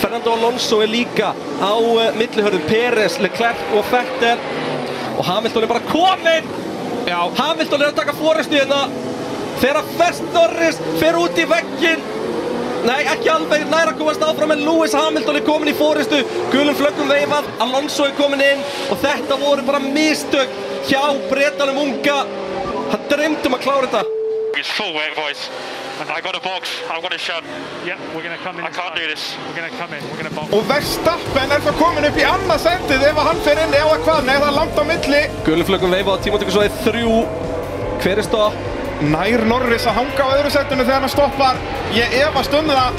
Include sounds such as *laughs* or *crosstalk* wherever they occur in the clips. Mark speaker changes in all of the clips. Speaker 1: Fernando Alonso er líka á uh, millihörðum Pérez, Leclerc og Fettel og Hamilton er bara kominn!
Speaker 2: Já,
Speaker 1: Hamilton er að taka fórustu hérna þegar Fest Norris fer út í vegginn Nei, ekki alveg næra að komast áfram en Lewis Hamilton er komin í fórustu gulum flöggum veifað, Alonso er komin inn og þetta voru bara mistök hjá breytanum unga hann dreymdi um að klára þetta
Speaker 3: It's full wet voice. I got a box. I've got a shut.
Speaker 4: Yep, we're going to come in.
Speaker 3: I can't do this.
Speaker 4: We're going to come in. We're going to bomb.
Speaker 5: Og Verstappen er þá komin upp í annað sendið ef að hann fer inn eða hvað, nei það er langt á milli.
Speaker 1: Gulum flöggum veifað á tímatökusvæði þrjú Hver er stopp?
Speaker 5: Nær Norris að hanga á öðru sendinu þegar hann stoppar. Ég efast um það.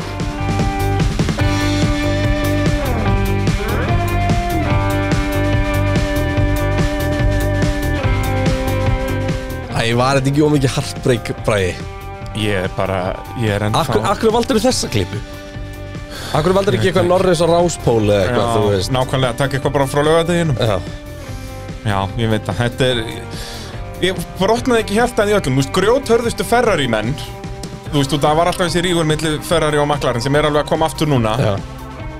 Speaker 6: Æ, var þetta ekki ómikið heartbreak bræði?
Speaker 2: ég er bara, ég er ennþá
Speaker 6: Akkur, akkur valdur þessa klippu? Akkur valdur ekki eitthvað Norris og Ráspól eða eitthvað, þú
Speaker 2: Já,
Speaker 6: veist?
Speaker 2: nákvæmlega, takk eitthvað bara frá lögadeginum
Speaker 6: Já,
Speaker 2: Já, ég veit að þetta er Ég brotnaði ekki hjartað í öllum Þú veist, grjóthörðustu Ferrari menn Þú veist, þú- það var alltaf þessi rígur milli Ferrari og McLaren sem er alveg að koma aftur núna
Speaker 6: já.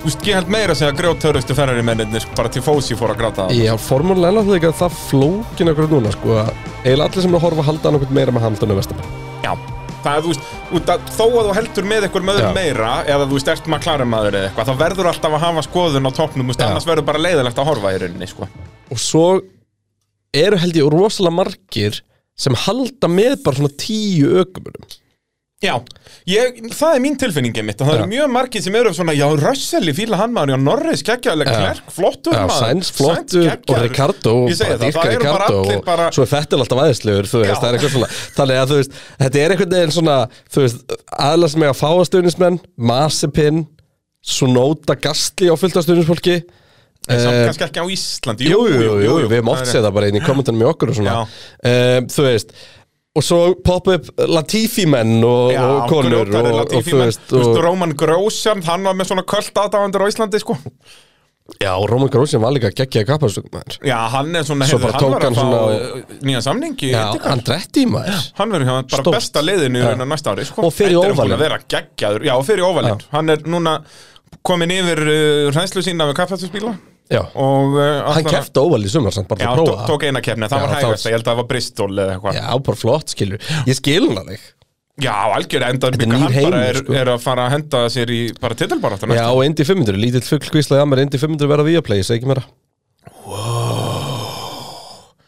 Speaker 2: Þú veist, ég held meira að segja að grjóthörðustu Ferrari mennir bara til fósi fór að gráta það
Speaker 6: Já, formúlega er það ekki að það flókin okkur núna, sko. að Eiginlega allir sem er að horfa að halda hann okkur meira með Hamilton og Vestabar.
Speaker 2: Já Það er, þú veist, út að, þó að þú heldur með eitthvað með
Speaker 6: Já.
Speaker 2: meira eða þú veist, ert McLaren maður eða eitthvað þá verður alltaf að hafa skoðun á toppnum þú veist,
Speaker 6: Já.
Speaker 2: annars verður bara leiðilegt að horfa í rauninni, sko
Speaker 6: Og svo eru held ég rosalega margir sem halda með bara svona tíu ökumunum.
Speaker 2: Já, ég, það er mín tilfinningi mitt og það
Speaker 6: Já.
Speaker 2: eru mjög margir sem eru svona, já, Russell í fíla hann maður, já, Norris, geggjaður, Klerk, flottur
Speaker 6: Já,
Speaker 2: maður
Speaker 6: Sainz, flottur
Speaker 2: Sainz,
Speaker 6: og
Speaker 2: geggjaður.
Speaker 6: Ricardo og
Speaker 2: Ég segi
Speaker 6: bara
Speaker 2: það,
Speaker 6: dýrka
Speaker 2: það eru bara
Speaker 6: Ricardo
Speaker 2: allir
Speaker 6: og
Speaker 2: bara,
Speaker 6: svo er Fettel alltaf æðislegur, þú veist,
Speaker 2: Já.
Speaker 6: það er eitthvað svona þannig að þú veist, þetta er einhvern veginn svona þú veist, aðla sem eiga fáastöðnismenn Masipin, Sunoda Gastli á fulltastöðnisfólki
Speaker 2: samt kannski ekki á Íslandi
Speaker 6: eh, Jú, jú, jú, jú, við höfum
Speaker 2: það
Speaker 6: oft
Speaker 2: er-
Speaker 6: séð það bara inn í kommentunum í okkur og svona
Speaker 2: Já.
Speaker 6: um, Þú veist Og svo poppa upp Latifi-menn og,
Speaker 2: Já,
Speaker 6: og konur og,
Speaker 2: grjótari,
Speaker 6: og,
Speaker 2: Latifi,
Speaker 6: þú
Speaker 2: menn.
Speaker 6: veist,
Speaker 2: Þú veist,
Speaker 6: og,
Speaker 2: Róman Grósjan, hann var með svona kvöld aðdáðandur á Íslandi, sko
Speaker 6: Já, og Róman Grósjan var líka geggjaði kapparstöðnum
Speaker 2: Já, hann er svona,
Speaker 6: Svo
Speaker 2: heyrðu,
Speaker 6: bara tók
Speaker 2: var
Speaker 6: hann
Speaker 2: að fá
Speaker 6: svona-
Speaker 2: eh, nýjan samning í
Speaker 6: Já,
Speaker 2: Indikar.
Speaker 6: hann dretti í maður
Speaker 2: Hann verður hérna bara
Speaker 6: Stórt.
Speaker 2: besta leiðinu í
Speaker 6: Já.
Speaker 2: raunar næsta ári sko.
Speaker 6: Og fyrir
Speaker 2: Þetta er hann
Speaker 6: óvalinn.
Speaker 2: búinn að vera geggjaður Já, og fyrir óvalinn Hann er núna komin yfir uh, hrænslu sína við kaffjáttusbíla
Speaker 6: Já,
Speaker 2: og uh, ætlar
Speaker 6: hann
Speaker 2: að-
Speaker 6: kefti óval í sumar samt bara
Speaker 2: Já,
Speaker 6: til að
Speaker 2: tók,
Speaker 6: prófa
Speaker 2: tók eina kefni, það
Speaker 6: Já,
Speaker 2: var
Speaker 6: þá-
Speaker 2: hægast Ég held að það var Bristol eða eitthvað Já,
Speaker 6: Já, bara flott, skilur Ég skil hann alveg
Speaker 2: já algjörlega endar
Speaker 6: Þetta er
Speaker 2: byggar
Speaker 6: nýr
Speaker 2: hann bara
Speaker 6: heimur,
Speaker 2: er,
Speaker 6: sko.
Speaker 2: er að fara að henda sér í bara titilbaráttan
Speaker 6: Já, og Indy 500, lítill fuggl kvíslaði að mér Indy 500 verða via play, segi ekki mér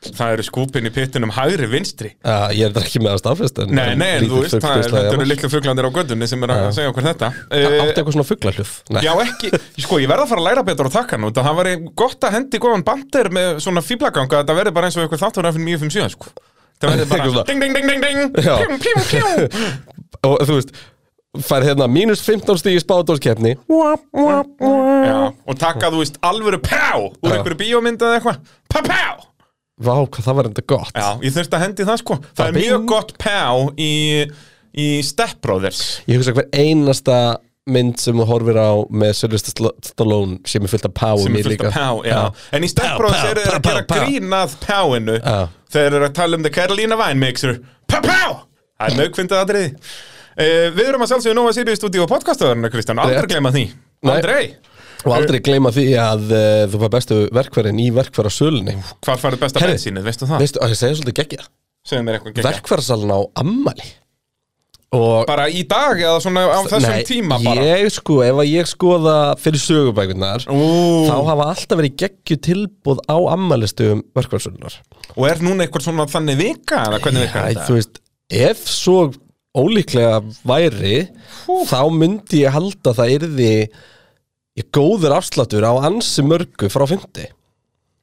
Speaker 2: Það eru skúpin í pittinum hægri vinstri
Speaker 6: uh, Ég er þetta ekki með að staðfest en,
Speaker 2: Nei,
Speaker 6: en
Speaker 2: nei, en þú
Speaker 6: lítill
Speaker 2: veist,
Speaker 6: fugl
Speaker 2: það er, þetta
Speaker 6: hvíslaði að
Speaker 2: eru
Speaker 6: mér.
Speaker 2: litlu fuglandir á gödunni sem er að segja okkur þetta
Speaker 6: Það
Speaker 2: Eh,
Speaker 6: Átti eitthvað svona fugglahljóð Nei,
Speaker 2: Já, ekki, sko, ég verða að fara að læra betur að taka nú Það var gott að hendi góðan bandir með svona fýblaganga Þetta verði bara eins og eitthvað þáttur af 957, sko Það verði
Speaker 6: Eitthvað
Speaker 2: bara
Speaker 6: svona.
Speaker 2: ding, ding, ding, ding, ding
Speaker 6: Já.
Speaker 2: Pjum, pjum, pjum
Speaker 6: og þú veist Fær hérna mínus 15 stíð í spátdórskeppni
Speaker 2: Já, og taka, þú veist, alvöru pjá Úr
Speaker 6: Já.
Speaker 2: einhverju bíómynd eða eitthvað Pjá, pjá
Speaker 6: Vá, hvað það var enda gott
Speaker 2: Já, ég þurfti að hendi það, sko Það er
Speaker 6: Bing.
Speaker 2: mjög gott pjá í, í Step Brothers
Speaker 6: Ég hugsa hver einasta mynd sem þú horfir á með Sylvester Sl- Stallone sem er fullt af
Speaker 2: sem
Speaker 6: páum í
Speaker 2: er fullt
Speaker 6: líka
Speaker 2: af pjá, já. En í Step
Speaker 6: Pjá,
Speaker 2: Brothers
Speaker 6: pjá,
Speaker 2: eru þeir
Speaker 6: pjá,
Speaker 2: að gera
Speaker 6: pjá, pjá.
Speaker 2: grínað pjáinu
Speaker 6: Já.
Speaker 2: Þeir eru að tala um The Carolina Wine Mixer Pjá, pjá! Það er mögfindið aðriði uh, Við erum að sjálfsögja Nóa Sirius stúdíu og podcastaðurinn, Kristján Aldrei
Speaker 6: Rétt.
Speaker 2: gleyma því
Speaker 6: Nei.
Speaker 2: Aldrei
Speaker 6: Og aldrei gleyma því að uh, þú fær bestu verkverðin í verkverða sölunni
Speaker 2: Hvar farið besta
Speaker 6: Herri,
Speaker 2: bensínið, veistu það?
Speaker 6: Veistu, að ég segja svolítið geggja
Speaker 2: Segðu mér eitthvað geggjað.
Speaker 6: verkfærasalinn á ammali og
Speaker 2: Bara í dag eða svona á þessum tíma bara
Speaker 6: ég sko, ef að ég skoða fyrir sögubækurnar
Speaker 2: Ú.
Speaker 6: þá hafa alltaf verið geggju tilbúð á ammalistum verkfærasalinnar
Speaker 2: Og er núna eitthvað svona þannig vika eða hvernig vika er
Speaker 6: þú
Speaker 2: þetta?
Speaker 6: veist, ef svo ólíklega væri þá myndi ég halda að það yrði ég góður afslatur á ansi mörgu frá 50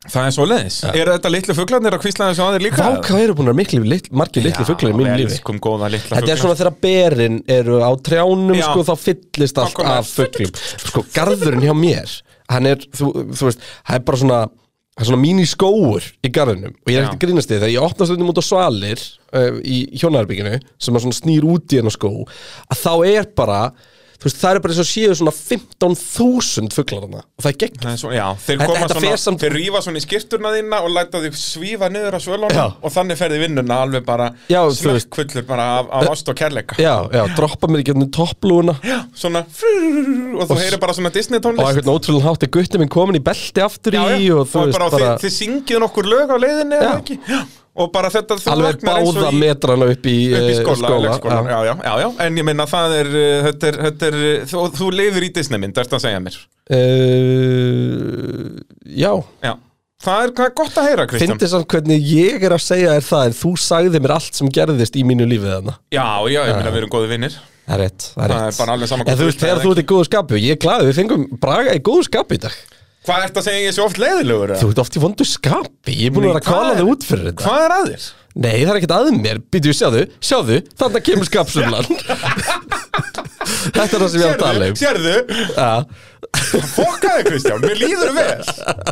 Speaker 2: Það er svo leiðis Eru þetta litlu fuglarnir að kvísla þessu aðeir líka?
Speaker 6: Vá, hvað eru búin að miklu, litl, margir litlu fuglar í mínu
Speaker 2: við Sko,
Speaker 6: lífi
Speaker 2: elskum góða litla
Speaker 6: Þetta er
Speaker 2: fugla.
Speaker 6: svona þegar berin eru á trjánum
Speaker 2: Já.
Speaker 6: sko þá fyllist allt
Speaker 2: koma-
Speaker 6: af fugglum sko garðurinn hjá mér hann er, þú, þú veist, það er bara svona það er svona mín skóur í garðinum og ég
Speaker 2: Já.
Speaker 6: er ekkert að grínast þið þegar ég opna stundum út á svalir eh, uh, í hjónarbygginu sem er svona snýr út í hennar skó að þá er bara þú veist, það er bara eins og séu svona 15.000 fuglar hana og það er gegn
Speaker 2: Það er Svo, já, þeir
Speaker 6: Þetta-
Speaker 2: koma
Speaker 6: þetta
Speaker 2: svona,
Speaker 6: fer samt-
Speaker 2: þeir rífa svona í skipturna þína og læta þig svífa niður á svölunum
Speaker 6: Já.
Speaker 2: og þannig ferði vinnuna alveg bara
Speaker 6: Já, þú veist.
Speaker 2: smekkfullur bara af, af ást og kærleika
Speaker 6: Já, já, droppa mér í gegnum topplúuna
Speaker 2: svona frrrr, og þú heyrir bara svona Disney
Speaker 6: og
Speaker 2: tónlist
Speaker 6: einhvern ótrúlega hátti gutti minn komin í belti aftur
Speaker 2: Já,
Speaker 6: í
Speaker 2: já.
Speaker 6: og þú veist
Speaker 2: bara,
Speaker 6: bara
Speaker 2: þið, þið syngið nokkur lög á leiðinni eða
Speaker 6: Já.
Speaker 2: ekki Já. og bara þetta þú
Speaker 6: alveg
Speaker 2: vaknar eins og
Speaker 6: báða
Speaker 2: í-
Speaker 6: metrana upp í,
Speaker 2: upp í
Speaker 6: eh,
Speaker 2: skóla, skóla
Speaker 6: já.
Speaker 2: já. Já, já, já, en ég minna það er, uh, þetta er, þetta er uh, þú, þú lifir í Disney mynd, þetta að segja mér
Speaker 6: Uh, já,
Speaker 2: já, það er, það er gott að heyra Kristján
Speaker 6: fyndi samt hvernig ég er að segja þér það en þú sagði mér allt sem gerðist í mínu lífið þarna
Speaker 2: já, já, ég minna við erum góði vinnir
Speaker 6: Það er rétt, það er
Speaker 2: Það
Speaker 6: rétt
Speaker 2: er bara alveg sama
Speaker 6: En
Speaker 2: hvort
Speaker 6: þú
Speaker 2: þú
Speaker 6: veist,
Speaker 2: vilt
Speaker 6: þegar
Speaker 2: eða
Speaker 6: þú ert í góðu skapu, ég er glaðið, við fengum Braga í góðu skapu í dag
Speaker 2: hvað ert að segja ég sé oft leiðilegur eða?
Speaker 6: Þú ert oft í vondu skapi, ég er búin
Speaker 2: Nei,
Speaker 6: að vera að
Speaker 2: hvað
Speaker 6: kala
Speaker 2: er-
Speaker 6: þig út fyrir þetta
Speaker 2: hvað er að þér?
Speaker 6: Nei, það er ekkert að mér, býtu, sjáðu, sjáðu, þannig kemur
Speaker 2: *laughs*
Speaker 6: skapsumlan Þetta er það sem ég er að
Speaker 2: Sérðu,
Speaker 6: tala um
Speaker 2: sérðu,
Speaker 6: Já.
Speaker 2: fokkaði Kristján, mér líður vel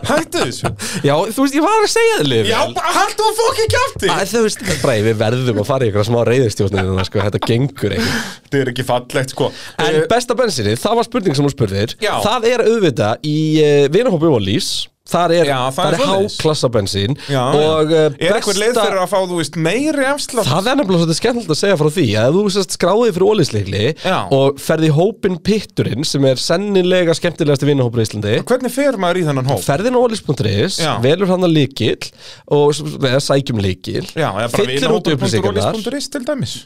Speaker 2: Hættu þessu
Speaker 6: Já, þú veist, ég var að segja þig
Speaker 2: Já, bara haldu að fokki kjátti
Speaker 6: Æ, þú veist, Bræði, við verðum að fara í eitthvað smá reyðistjórnir sko, þetta gengur eitthvað
Speaker 2: Þetta er ekki fallegt sko
Speaker 6: En
Speaker 2: Eh,
Speaker 6: besta bensinni, það var spurning sem hún spurðir
Speaker 2: Já.
Speaker 6: Það er auðvitað í uh, vinahópi Wallís Þar er,
Speaker 2: Já, það
Speaker 6: þar
Speaker 2: er
Speaker 6: er
Speaker 2: svoleiðis.
Speaker 6: háklassa bensín
Speaker 2: já,
Speaker 6: Og uh,
Speaker 2: Er eitthvað leið fyrir að fá, þú veist, meiri afslátt
Speaker 6: Það er nefnilega svolítið skemmtilegt að segja frá því að ef þú sérst skráðið fyrir óliðsleikli
Speaker 2: Já.
Speaker 6: og ferði hópin pitturinn sem er sennilega skemmtilegasti vinnahópur í Íslandi
Speaker 2: Hvernig fer maður í þennan hóp?
Speaker 6: ferðin á olis.is,
Speaker 2: Já.
Speaker 6: velur hann að líkil og s- eða sækjum líkil
Speaker 2: Já, eða bara
Speaker 6: fyllir út upplýsingarnar
Speaker 2: vinahópur.rolis.is til dæmis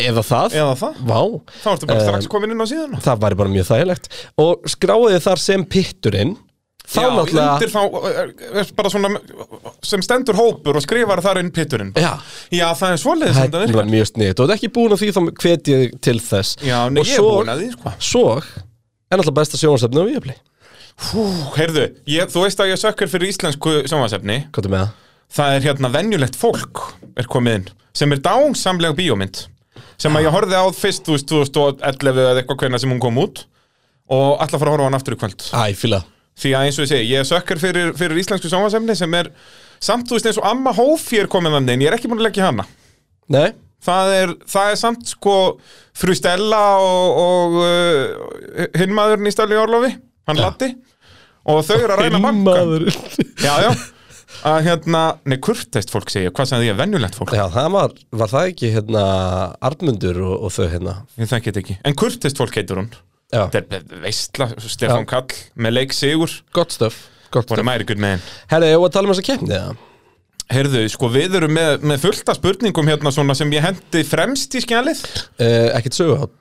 Speaker 6: eða það,
Speaker 2: Eða það.
Speaker 6: Vá.
Speaker 2: Þá ertu bara strax
Speaker 6: Um,
Speaker 2: komin inn á síðuna
Speaker 6: það væri bara mjög þægilegt og skráðið þar sem pitturinn þá
Speaker 2: Já, undir
Speaker 6: náttúrulega
Speaker 2: þá er, er bara svona sem stendur hópur og skrifar þar inn pitturinn
Speaker 6: Já.
Speaker 2: Já, það er svoleiðis sem
Speaker 6: Það
Speaker 2: þetta
Speaker 6: var
Speaker 2: virkar
Speaker 6: mjög sniðt og þetta er ekki búin að því þá hvet ég til þess
Speaker 2: Já, nei,
Speaker 6: og
Speaker 2: ég er búin að því, sko
Speaker 6: svo er náttúrulega besta sjónastöfni á Viaplay
Speaker 2: Hú, heyrðu, ég, þú veist að ég sökkar fyrir íslensku sjónvarsefni
Speaker 6: Hvað er með það?
Speaker 2: það er hérna venjulegt fólk er komið inn, sem er dásamleg bíómynd sem að ég horfði á fyrst þú veist, 2011 eða eitthvað hverna sem hún kom út og ætla að fara að horfa á hann aftur í kvöld
Speaker 6: Æ, fíla
Speaker 2: því að eins og ég segi, ég er sökkar fyrir, fyrir íslensku sjónvarsefni sem er samt þú veist eins og Amma Hófi er komið þannig en ég er ekki búin að leggja hana
Speaker 6: Nei,
Speaker 2: það er, það er samt sko frú Stella og, og uh, hinn maðurinn í Stella í Orlofi hann Latti og þau eru að ræna banka já, já að hérna, nei, kurteist fólk segja, hvað sem því er venjulegt fólk
Speaker 6: *laughs* Já, það var, var það ekki hérna Arnmundur og, og þau hérna
Speaker 2: Ég þekki þetta ekki. En kurtist fólk heitur hún.
Speaker 6: Já,
Speaker 2: Þetta er veistla, Stefán
Speaker 6: Já.
Speaker 2: Kall með leik Sigur.
Speaker 6: gott stöf, gott
Speaker 2: Hún er
Speaker 6: stöf.
Speaker 2: mæri gutt með henn.
Speaker 6: Herra, ég var að tala um þess að keppni það
Speaker 2: Herðu, sko, við erum með, með fullta spurningum hérna svona sem ég hendi fremst í skjalið.
Speaker 6: uh, Ekkert söguhátt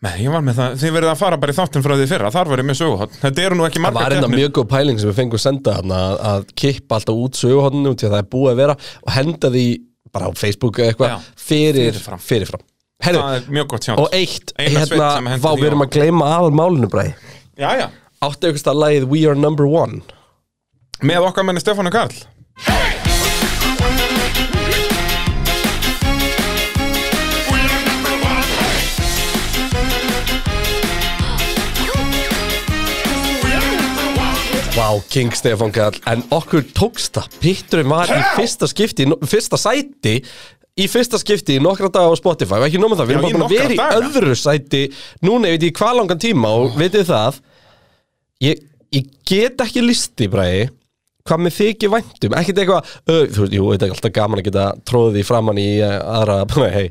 Speaker 2: Nei, ég var með það. Þið verðið að fara bara í þáttum frá því fyrra. Þar var ég með söguhótt. Þetta eru nú ekki
Speaker 6: Það
Speaker 2: marga
Speaker 6: var einna mjög góð pæling sem við fengum senda hann að, að kippa alltaf út söguhóttinu til að það er búið að vera og henda því bara á Facebook eða
Speaker 2: Já,
Speaker 6: eitthvað fyrir,
Speaker 2: fyrirfram.
Speaker 6: fyrirfram, Herru,
Speaker 2: Það er mjög gott sjátt.
Speaker 6: og eitt,
Speaker 2: Einar Sveinn sem
Speaker 6: hérna,
Speaker 2: henti
Speaker 6: vá,
Speaker 2: því
Speaker 6: við
Speaker 2: á.
Speaker 6: erum að gleyma aðal málinu bræði
Speaker 2: Já, já.
Speaker 6: Áttu ykkur stað lagið We Are Number One
Speaker 2: Með okkar menni Stefánu Karl.
Speaker 6: Vá, King Stefán Kall En okkur tókst það Pitturinn var í fyrsta skipti í no- Fyrsta sæti Í fyrsta skipti í nokkra daga á Spotify Og ekki nómið það,
Speaker 2: Já,
Speaker 6: við erum
Speaker 2: í
Speaker 6: bara búin að
Speaker 2: nokkra
Speaker 6: vera í
Speaker 2: daga. Ah.
Speaker 6: öðru sæti Núna, ég veit ég hvað langan tíma Og veitir það Ég, ég get ekki listi, bræði Hvað með þykir væntum Ekkert eitthvað, uh, þú veist, jú, þetta er alltaf gaman að geta Tróðið því framann í uh, aðra *laughs* Hei,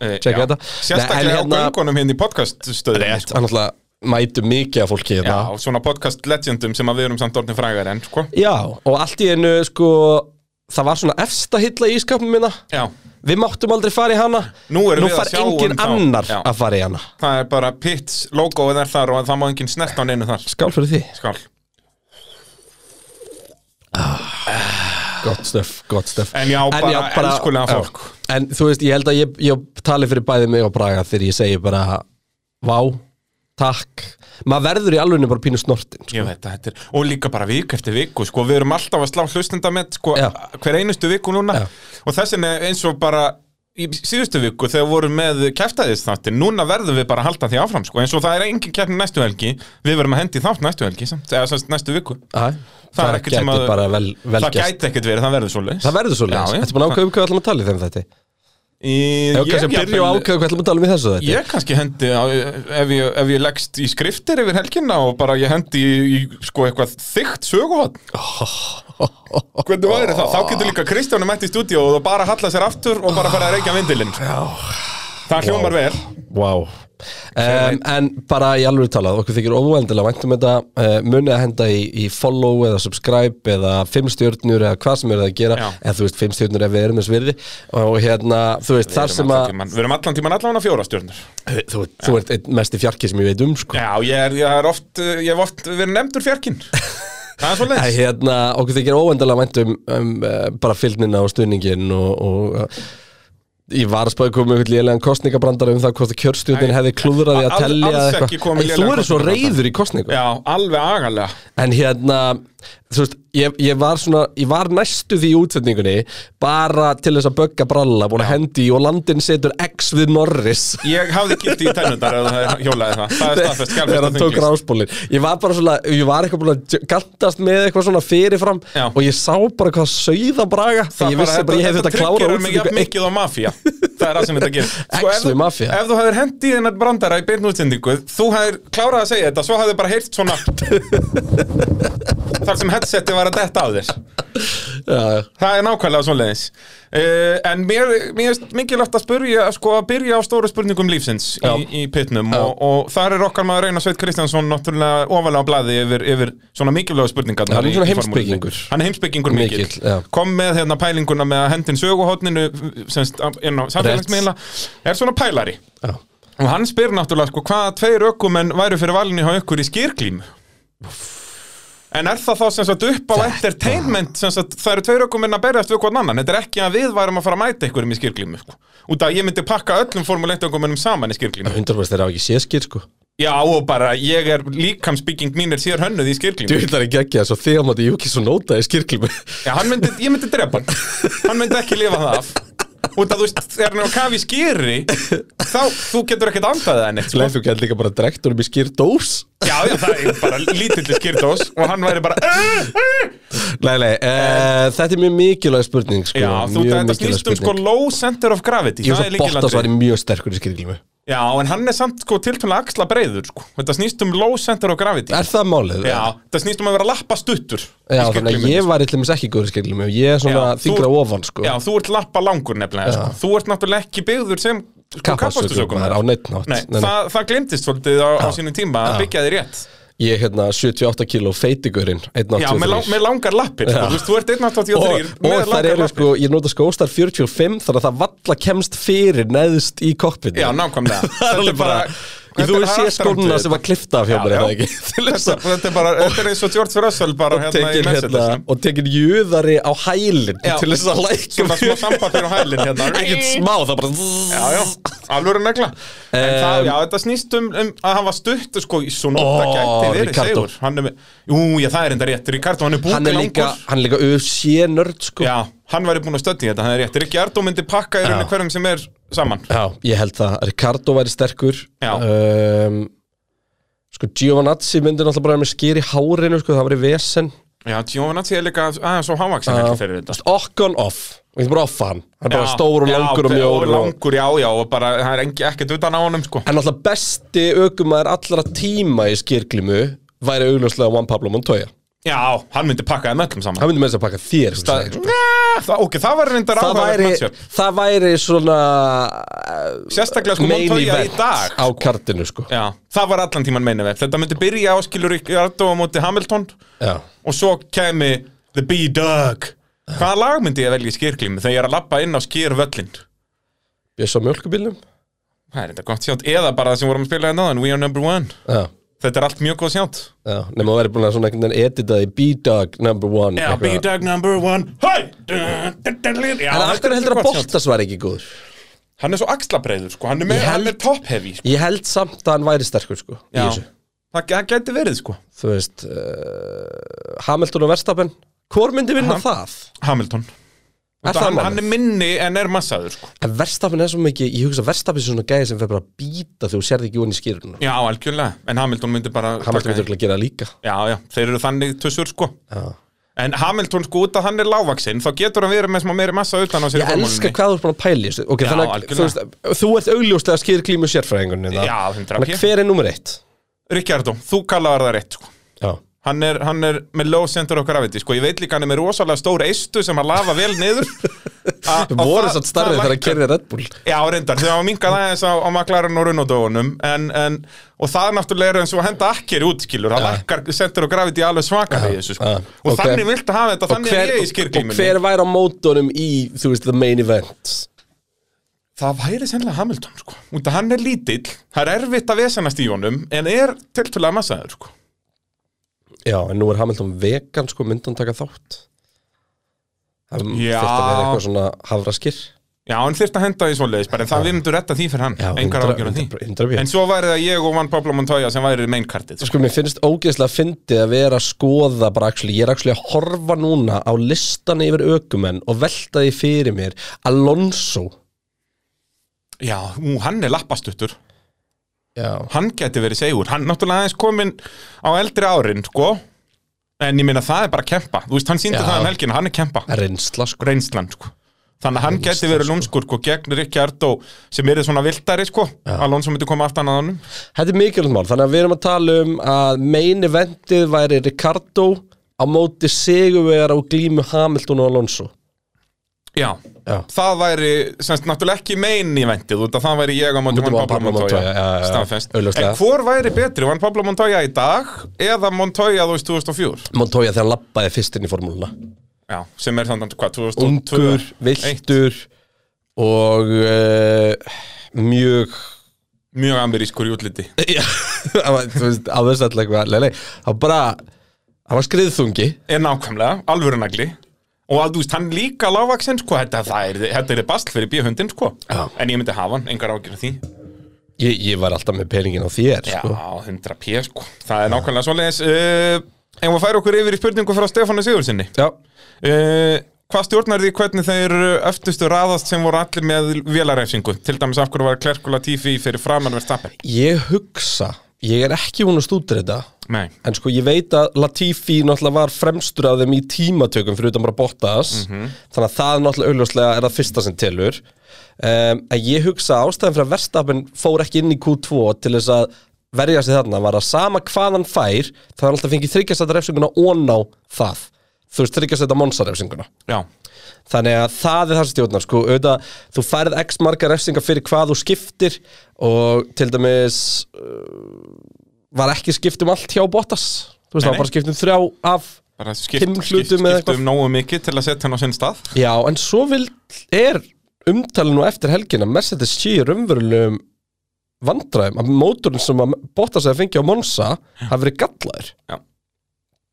Speaker 2: Eh,
Speaker 6: tjekka
Speaker 2: já.
Speaker 6: þetta Nei, sko,
Speaker 2: Sérstaklega
Speaker 6: en
Speaker 2: á göngunum hérna í podcaststöðinni.
Speaker 6: Rétt, hann alltaf mætu mikið af fólki
Speaker 2: Já,
Speaker 6: hérna
Speaker 2: svona podcast legendum sem að við erum samt orðin frægar enn, sko.
Speaker 6: Já, og allt í einu sko Það var svona efsta hilla í skapnum minna
Speaker 2: Já.
Speaker 6: Við máttum aldrei fara í hana
Speaker 2: Nú erum
Speaker 6: Nú
Speaker 2: við að
Speaker 6: far
Speaker 2: sjá um
Speaker 6: engin
Speaker 2: þá.
Speaker 6: annar
Speaker 2: Já.
Speaker 6: að fara í hana
Speaker 2: Það er bara Pits logoið er þar og það má enginn snert á neinu þar.
Speaker 6: Skál fyrir því
Speaker 2: Skál.
Speaker 6: Sko. Gott stöf, gott stöf
Speaker 2: En já, bara elskulega
Speaker 6: já.
Speaker 2: fólk.
Speaker 6: En þú veist, ég held að ég, ég tali fyrir bæði mig og Braga Þegar ég segi bara Vá, takk Maður verður í alvegni bara pínu snortin sko.
Speaker 2: Ég veit að þetta er, og líka bara vik eftir viku, sko, við erum alltaf að slá hlustendamett, sko,
Speaker 6: Já.
Speaker 2: hver einustu viku núna
Speaker 6: Já.
Speaker 2: og þess vegna eins og bara í síðustu viku þegar við vorum með kæftæðis þáttin, núna verðum við bara að halda því áfram, sko, eins og það er engin kæftni næstu helgi, við verum að hendi þátt næstu helgi, samt, eða samt næstu viku.
Speaker 6: Æ,
Speaker 2: Það er ekkert
Speaker 6: gæti
Speaker 2: sem að-
Speaker 6: bara vel, vel
Speaker 2: það
Speaker 6: gæst
Speaker 2: gæti ekkert verið, það verður svo
Speaker 6: Það verður svo leins,
Speaker 2: Já, já.
Speaker 6: um þetta er búin ákveðum hvað við ætlum að tala í þeim þetta
Speaker 2: Ég,
Speaker 6: Ef kannski að byrja og ákveða hvað ætlum að tala um í þessu þetta
Speaker 2: Ég kannski hendi, á- ef ég, ef ég leggst í skriftir yfir helgina og bara ég hendi í, í sko eitthvað þygt
Speaker 6: *laughs*
Speaker 2: söguhotn Hvernig væri það?
Speaker 6: Ah.
Speaker 2: Þá getur líka Kristjánu mætt í stúdíu og bara halla sér aftur og bara fara að reykja vindilinn Það hljómar vel
Speaker 6: Vá um, En bara í alveg talað, okkur þykir óendilega væntum þetta, uh, munið að henda í, í follow eða subscribe eða fimmstjörnur eða hvað sem eru það að gera
Speaker 2: Já.
Speaker 6: eða þú veist fimmstjörnur ef við erum þess virði og hérna, þú veist, þar sem að Eh,
Speaker 2: Við erum allan tíman allan að fjóra stjórnur
Speaker 6: þú, þú ert einn mesti fjarki sem ég veit um sko.
Speaker 2: Já, ég er, ég er oft, ég hef oft verið nefndur
Speaker 6: *laughs*
Speaker 2: fjarkinn Það er svo
Speaker 6: Æ,
Speaker 2: leiðis
Speaker 6: hérna, okkur þykir óendalega vænt um, um eh, bara fylgnina og stuðningin og, og eh, ég var að spáði komið eitthvað lélegan kostningabrandar um það hvort að kjörstjórnin
Speaker 2: Nei,
Speaker 6: hefði klúðraði að
Speaker 2: al-
Speaker 6: tellja
Speaker 2: alls
Speaker 6: eða
Speaker 2: ekki komið
Speaker 6: en þú
Speaker 2: lélegan
Speaker 6: eru svo
Speaker 2: kosningabrandara.
Speaker 6: reyður í kostningum
Speaker 2: Já, alveg agalega
Speaker 6: en hérna, þú veist ég, ég var svona, ég var næstu því í útsetningunni bara til þess að bögga bralla búin að hendi í og landin setur X við Norris
Speaker 2: Ég hafði gildi í tennundar ef það hjólaði það Það er staðfest,
Speaker 6: þegar
Speaker 2: skjálfest
Speaker 6: hann tók rásbólin ég var bara svona, ég var eitthvað búin að gantast með eitthvað svona fyrirfram
Speaker 2: Já.
Speaker 6: og ég sá bara hvað sauða braga ég vissi bara ég hef þetta klára
Speaker 2: tryggir
Speaker 6: út
Speaker 2: mig jafn mikið á mafía Það er það sem þetta
Speaker 6: *laughs*
Speaker 2: gerir Sko,
Speaker 6: Ex
Speaker 2: ef,
Speaker 6: við mafía.
Speaker 2: ef þú hefðir hendið í þennan brandara í beinu útsendingu Þú hefðir klárað að segja þetta Svo hefðir bara heyrt
Speaker 6: *laughs*
Speaker 2: svona Þar sem headseti var að detta af þér Það er nákvæmlega svoleiðis uh, En mér, mér er mikilvægt að spyrja sko, að byrja á stóru spurningum lífsins í,
Speaker 6: Já.
Speaker 2: í pitnum og, og þar er okkar maður Einar Sveit Kristjánsson náttúrulega ofalega á blaði yfir, yfir svona mikilvæga spurningar
Speaker 6: Já, hann er
Speaker 2: í-
Speaker 6: svona
Speaker 2: í formúlunni.
Speaker 6: heimspekingur.
Speaker 2: Hann er heimspekingur mikill,
Speaker 6: Mikill, já.
Speaker 2: Kom með hérna pælinguna með að hendin söguhotninu semst á- inn á samfélagsmiðla Er svona pælari Og hann spyr náttúrulega sko hvaða tveir ökumenn væru fyrir valinu hjá ykkur í skýrklímu En er það þá sem sagt upp á entertainment sem sagt það eru tveir ökumenn að berjast við hvort annan Þetta er ekki að við værum að fara að mæta ykkurum í skýrklímu sko. Út af að ég myndi pakka öllum formulegt ökumennum saman í skýrklímu
Speaker 6: hundarbrist þeirra á ekki séskir sko
Speaker 2: Já og bara ég er líkamsbygging mín er sér hönnuð í skýrklímu
Speaker 6: djúlar ekki ekki þess að þið á móti Júki svo nóta í skirklum
Speaker 2: Já, hann myndi, ég myndi drepa hann Hann myndi ekki lifa það af Út að þú veist, þegar hann er á kafi í skýri Þá, þú getur ekkert andað það neitt sko.
Speaker 6: leið þú gæti líka bara drekt honum í skýrdós
Speaker 2: Já, já, það er bara lítilli skýrdós Og hann væri bara "Eh, eh."
Speaker 6: nei, nei, uh, þetta er mjög mikilvæg spurning sko,
Speaker 2: Já, þú
Speaker 6: mjög
Speaker 2: þetta
Speaker 6: mikilvæg
Speaker 2: snýst um sko
Speaker 6: spurning.
Speaker 2: low center of gravity
Speaker 6: ég
Speaker 2: það er
Speaker 6: veist að Bottas
Speaker 2: lykilatriði.
Speaker 6: væri mjög sterkur í skirklum
Speaker 2: Já, en hann er samt sko tiltunlega axla breiður sko. Þetta snýst um low center of gravity
Speaker 6: er það málið?
Speaker 2: Já, þetta snýst um að vera lappa stuttur í
Speaker 6: Já, þannig að
Speaker 2: skyrklunni,
Speaker 6: ég var í tlumis ekki góður í skirklum ég er svona
Speaker 2: Já, þú-
Speaker 6: þingra ofan sko
Speaker 2: Já, þú ert lappa langur nefnilega sko. Þú ert náttúrulega ekki byggður sem sko,
Speaker 6: Kappakstursökumaður á neinn hátt.
Speaker 2: Nei,
Speaker 6: Nei, nei.
Speaker 2: Það, það glimtist svolítið á, á sínum tíma að byggja þig rétt
Speaker 6: Ég er hérna 78 kíló feitigurinn
Speaker 2: Já, með, lang,
Speaker 6: 183
Speaker 2: með langar lappir sko. Þú veist, þú ert 183
Speaker 6: og,
Speaker 2: með
Speaker 6: og þar
Speaker 2: langar
Speaker 6: eru
Speaker 2: lappir
Speaker 6: sko, ég nota skóstar 45 þannig að það valla kemst fyrir neðst í kokpinu
Speaker 2: Já, nákvæmlega
Speaker 6: *laughs* Það er alveg bara,
Speaker 2: þetta
Speaker 6: þú
Speaker 2: er
Speaker 6: er sé
Speaker 2: harðstrangt við
Speaker 6: skóna
Speaker 2: þetta.
Speaker 6: sem var klifta af hjá
Speaker 2: Já,
Speaker 6: mér
Speaker 2: já.
Speaker 6: eða ekki *laughs* Til þess
Speaker 2: Þetta
Speaker 6: að-
Speaker 2: þetta er bara, þetta er eins og George Russell bara
Speaker 6: og
Speaker 2: hérna í
Speaker 6: tekin
Speaker 2: Mercedes
Speaker 6: hérna og tekin jöðari á hælinn
Speaker 2: Já.
Speaker 6: til þess að læka
Speaker 2: Svona smá sambandin á hælinn hérna
Speaker 6: *laughs* ekkert smá, það bara
Speaker 2: Já, já, alveg negla En það, já, þetta snýst um, um að hann var stutt sko, í svona
Speaker 6: Ó,
Speaker 2: gæti verið
Speaker 6: Ricardo.
Speaker 2: segur Hann er með, jú, já, það er enda rétt Ricardo, hann er búin
Speaker 6: hann er líka, hann er líka UFC nörd sko
Speaker 2: Já, hann væri búin að stöddi þetta, hann er rétt Rikki Ardó myndi pakka í rauninu hverjum sem er saman
Speaker 6: Já, ég held það, Ricardo væri sterkur
Speaker 2: Já.
Speaker 6: um, Sko, Giovanazzi myndi náttúrulega bara með skýr í hárinu sko, það væri vesen
Speaker 2: Já, Giovinazzi er líka aðeins og hávaksin ekki fyrir þetta
Speaker 6: Okkon off, við getum bara offa hann Hann er bara
Speaker 2: Já,
Speaker 6: stór og
Speaker 2: já,
Speaker 6: langur um og mjór og-
Speaker 2: langur, já, já, og bara, það er engi, ekkert utan á honum, sko
Speaker 6: En náttúrulega besti aukumæður allra tíma í skýrglimu væri augljóslega Juan Pablo Montoya
Speaker 2: Já, hann myndi pakka þeim öllum saman
Speaker 6: Hann myndi með þess að pakka þér sko, segir, sko.
Speaker 2: Næ, það, ok, það var reyndar
Speaker 6: það,
Speaker 2: áhugavert
Speaker 6: væri,
Speaker 2: matchup.
Speaker 6: það væri svona eh,
Speaker 2: Sérstaklega sko
Speaker 6: main
Speaker 2: Montoya í
Speaker 6: event
Speaker 2: dag
Speaker 6: á kartinu sko
Speaker 2: Já, það var allan tíman meinið vel Þetta myndi byrja áskilur Ardó á móti Hamilton
Speaker 6: Já.
Speaker 2: Og svo kemi The B-Dug Hvaða lag myndi ég velja í skýrklímu þegar ég er að labba inn á skýrvöllin?
Speaker 6: Ég svo mjölkubílnum
Speaker 2: Það er þetta gott sjátt Eða bara það sem vorum að spila hérna áðan, We are number one
Speaker 6: Já
Speaker 2: Þetta er allt mjög góð sjátt
Speaker 6: Já, nema það væri búin að svona einhvern veginn edita í B-Dog number one
Speaker 2: Já,
Speaker 6: eitthvað.
Speaker 2: B-Dug number one Hey! Dun, dun, dun, dun. Já,
Speaker 6: En af
Speaker 2: þetta er
Speaker 6: hverju heldur að
Speaker 2: gott sjátt.
Speaker 6: Bottas væri ekki góður?
Speaker 2: Hann er svo axlabreiður, sko Hann er, með,
Speaker 6: Ég held-
Speaker 2: hann er top heavy sko.
Speaker 6: Ég held samt að hann væri sterkur sko í
Speaker 2: Já,
Speaker 6: þessu.
Speaker 2: það, það gæti verið, sko
Speaker 6: Þú veist uh, Hamilton og Verstappen Hvor myndi vinna
Speaker 2: Ham-
Speaker 6: það?
Speaker 2: Hamilton
Speaker 6: Er það
Speaker 2: hann,
Speaker 6: málið?
Speaker 2: hann er minni en er massaður, sko
Speaker 6: En Verstappen er svo mikið Ég hugsa að Verstappen er svona gæði sem fer bara að býta þegar þú sérði ekki hún í skýrun
Speaker 2: Já, algjörlega, en Hamilton myndi bara
Speaker 6: Hamilton
Speaker 2: taka
Speaker 6: myndi
Speaker 2: því.
Speaker 6: örugglega að gera það líka
Speaker 2: Já, já, þeir eru þannig tussur sko
Speaker 6: Já.
Speaker 2: En Hamilton sko út að hann er lávaksinn Þá getur hann verið með smá meiri massa utan á sér í
Speaker 6: Ég
Speaker 2: formúlunni.
Speaker 6: elska hvað þú ert búin að pæla í þessu okay,
Speaker 2: Já,
Speaker 6: þannig, að, þú,
Speaker 2: algjörlega.
Speaker 6: veist, þú ert augljóslega skýr klímu sérfræðingunni
Speaker 2: Já, 100
Speaker 6: Þannig
Speaker 2: pí.
Speaker 6: að hver er nummer eitt?
Speaker 2: Ricciardo, þú kallaðar það rétt sko.
Speaker 6: Já,
Speaker 2: hann, er, hann er með low center of gravity sko. Ég veit líka hann er með rosalega stór eistu sem hann lafa vel niður
Speaker 6: *laughs*
Speaker 2: A- og
Speaker 6: voru
Speaker 2: það-
Speaker 6: satt starrið
Speaker 2: það
Speaker 6: þegar að
Speaker 2: lækkar-
Speaker 6: kerði Red Bull
Speaker 2: Já, reyndar, þegar hann minkaði aðeins á, á maklarinn og runnodóunum en, en, og það er náttúrulega eins og að henda akkeri útskilur það lækkar center of gravity alveg svakar í þessu sko.
Speaker 6: ja,
Speaker 2: og
Speaker 6: ok.
Speaker 2: þannig viltu hafa þetta,
Speaker 6: og
Speaker 2: þannig
Speaker 6: hver,
Speaker 2: er ég í
Speaker 6: og
Speaker 2: skirklímunni
Speaker 6: hver væri á mótunum í, þú veist, the main event
Speaker 2: Það væri sennilega Hamilton sko. út að hann er lítill, það er erfitt að vesenast í honum en er tiltölulega massaður sko.
Speaker 6: Já, en nú er Hamilton vegan, sko, myndan taka þátt Það
Speaker 2: Já.
Speaker 6: þurft að vera eitthvað svona hafraskir
Speaker 2: Já, hann þyrst að henda því svoleiðis bara, en það við myndum retta því fyrir hann,
Speaker 6: Já,
Speaker 2: engar
Speaker 6: hundra-
Speaker 2: ágjur af því
Speaker 6: hundra- hundra prósent.
Speaker 2: En svo væri það ég og Juan Pablo Montoya sem væri mainkartið sko.
Speaker 6: Sko, mér finnst ógeðslega fyndið að vera að skoða bara actually, ég er actually að horfa núna á listan yfir ökumenn og velta því fyrir mér Alonso Sko-
Speaker 2: Já, ú, hann er lappastuttur
Speaker 6: Já,
Speaker 2: hann gæti verið segur, hann náttúrulega aðeins kominn á eldri árin, sko en ég meina það er bara að kempa þú veist, hann síndi
Speaker 6: Já.
Speaker 2: það um helgina, hann er kempa
Speaker 6: reynsla, sko
Speaker 2: reynslan, sko þannig að hann gæti verið lúmskur, sko, gegn Ricciardo sem er svona vildari, sko Alonso myndi koma allt annað á hann
Speaker 6: Þetta er mikilvægt mál, þannig að við erum að tala um að main eventið væri Ricardo á móti Sigurvegar og glímu Hamilton og Alonso
Speaker 2: Já.
Speaker 6: Já.
Speaker 2: það væri semst náttúrulega ekki mein í vendið út að það væri ég á móti
Speaker 6: Móti
Speaker 2: Juan Pablo Montoya,
Speaker 6: já, já, já.
Speaker 2: staðfest
Speaker 6: Augljóslega.
Speaker 2: en hvor væri betri, Juan Pablo Montoya í dag eða Montoya þú veist 2004
Speaker 6: Montoya þegar hann lappaði fyrst inn í formúluna
Speaker 2: já, sem er þannig hvað, 2002
Speaker 6: Ungur, viltur og uh, *laughs* mjög
Speaker 2: mjög amerískur í útliti
Speaker 6: Já, það var, þú veist, á þess að eitthvað Nei, nei, það var bara Það var skriðþungi
Speaker 2: er nákvæmlega, alvöru nagli og að þú veist, hann líka lágvaksinn sko, þetta, það er, þetta er basl fyrir bíhundin sko.
Speaker 6: Já.
Speaker 2: en ég myndi hafa hann, engar ágjur því
Speaker 6: ég, ég var alltaf með peningin á þér,
Speaker 2: já,
Speaker 6: sko
Speaker 2: 100 p sko, það er nákvæmlega svoleiðis uh, en við færum okkur yfir í spurningu frá Stefánu Sigurðssoni
Speaker 6: Já,
Speaker 2: uh, hvað stjórnar því hvernig þeir öftustu raðast sem voru allir með vélarefsingu, til dæmis af hverju var Klerkula Tífi fyrir framanverð stappin
Speaker 6: ég hugsa Ég er ekki hún að stúta þetta
Speaker 2: nei,
Speaker 6: En sko, ég veit að Latifi náttúrulega var fremstur af þeim í tímatökum fyrir utan bara Bottas Þannig að það náttúrulega augljóslega er það fyrsta sem telur um, En ég hugsa að ástæðan fyrir að Verstappen fór ekki inn í Q2 til þess að verja sig þarna var að sama hvað hann fær Það hann alltaf fengið þryggjastæta refsinguna og ná það Þú veist, þryggjastæta monsa refsinguna
Speaker 2: já,
Speaker 6: Þannig að það er það sem stjórnar sko, auðvitað, þú færð x margar refsingar fyrir hvað þú skiptir og til dæmis uh, var ekki skipt um allt hjá Bottas þú
Speaker 2: Nei,
Speaker 6: veist, það var bara
Speaker 2: nei.
Speaker 6: skipt um þrjá af
Speaker 2: bara
Speaker 6: Fimm
Speaker 2: skipt,
Speaker 6: hlutum
Speaker 2: skipt,
Speaker 6: eða
Speaker 2: skipt
Speaker 6: eitthvað.
Speaker 2: um nógu mikið til að setja hann á sinn stað
Speaker 6: Já, en svo vil er umtalið nú eftir helgina Mercedes sé í raunverulegum vandræðum að mótorinn sem að Bottas hefði fengið á Monza hafi verið gallaður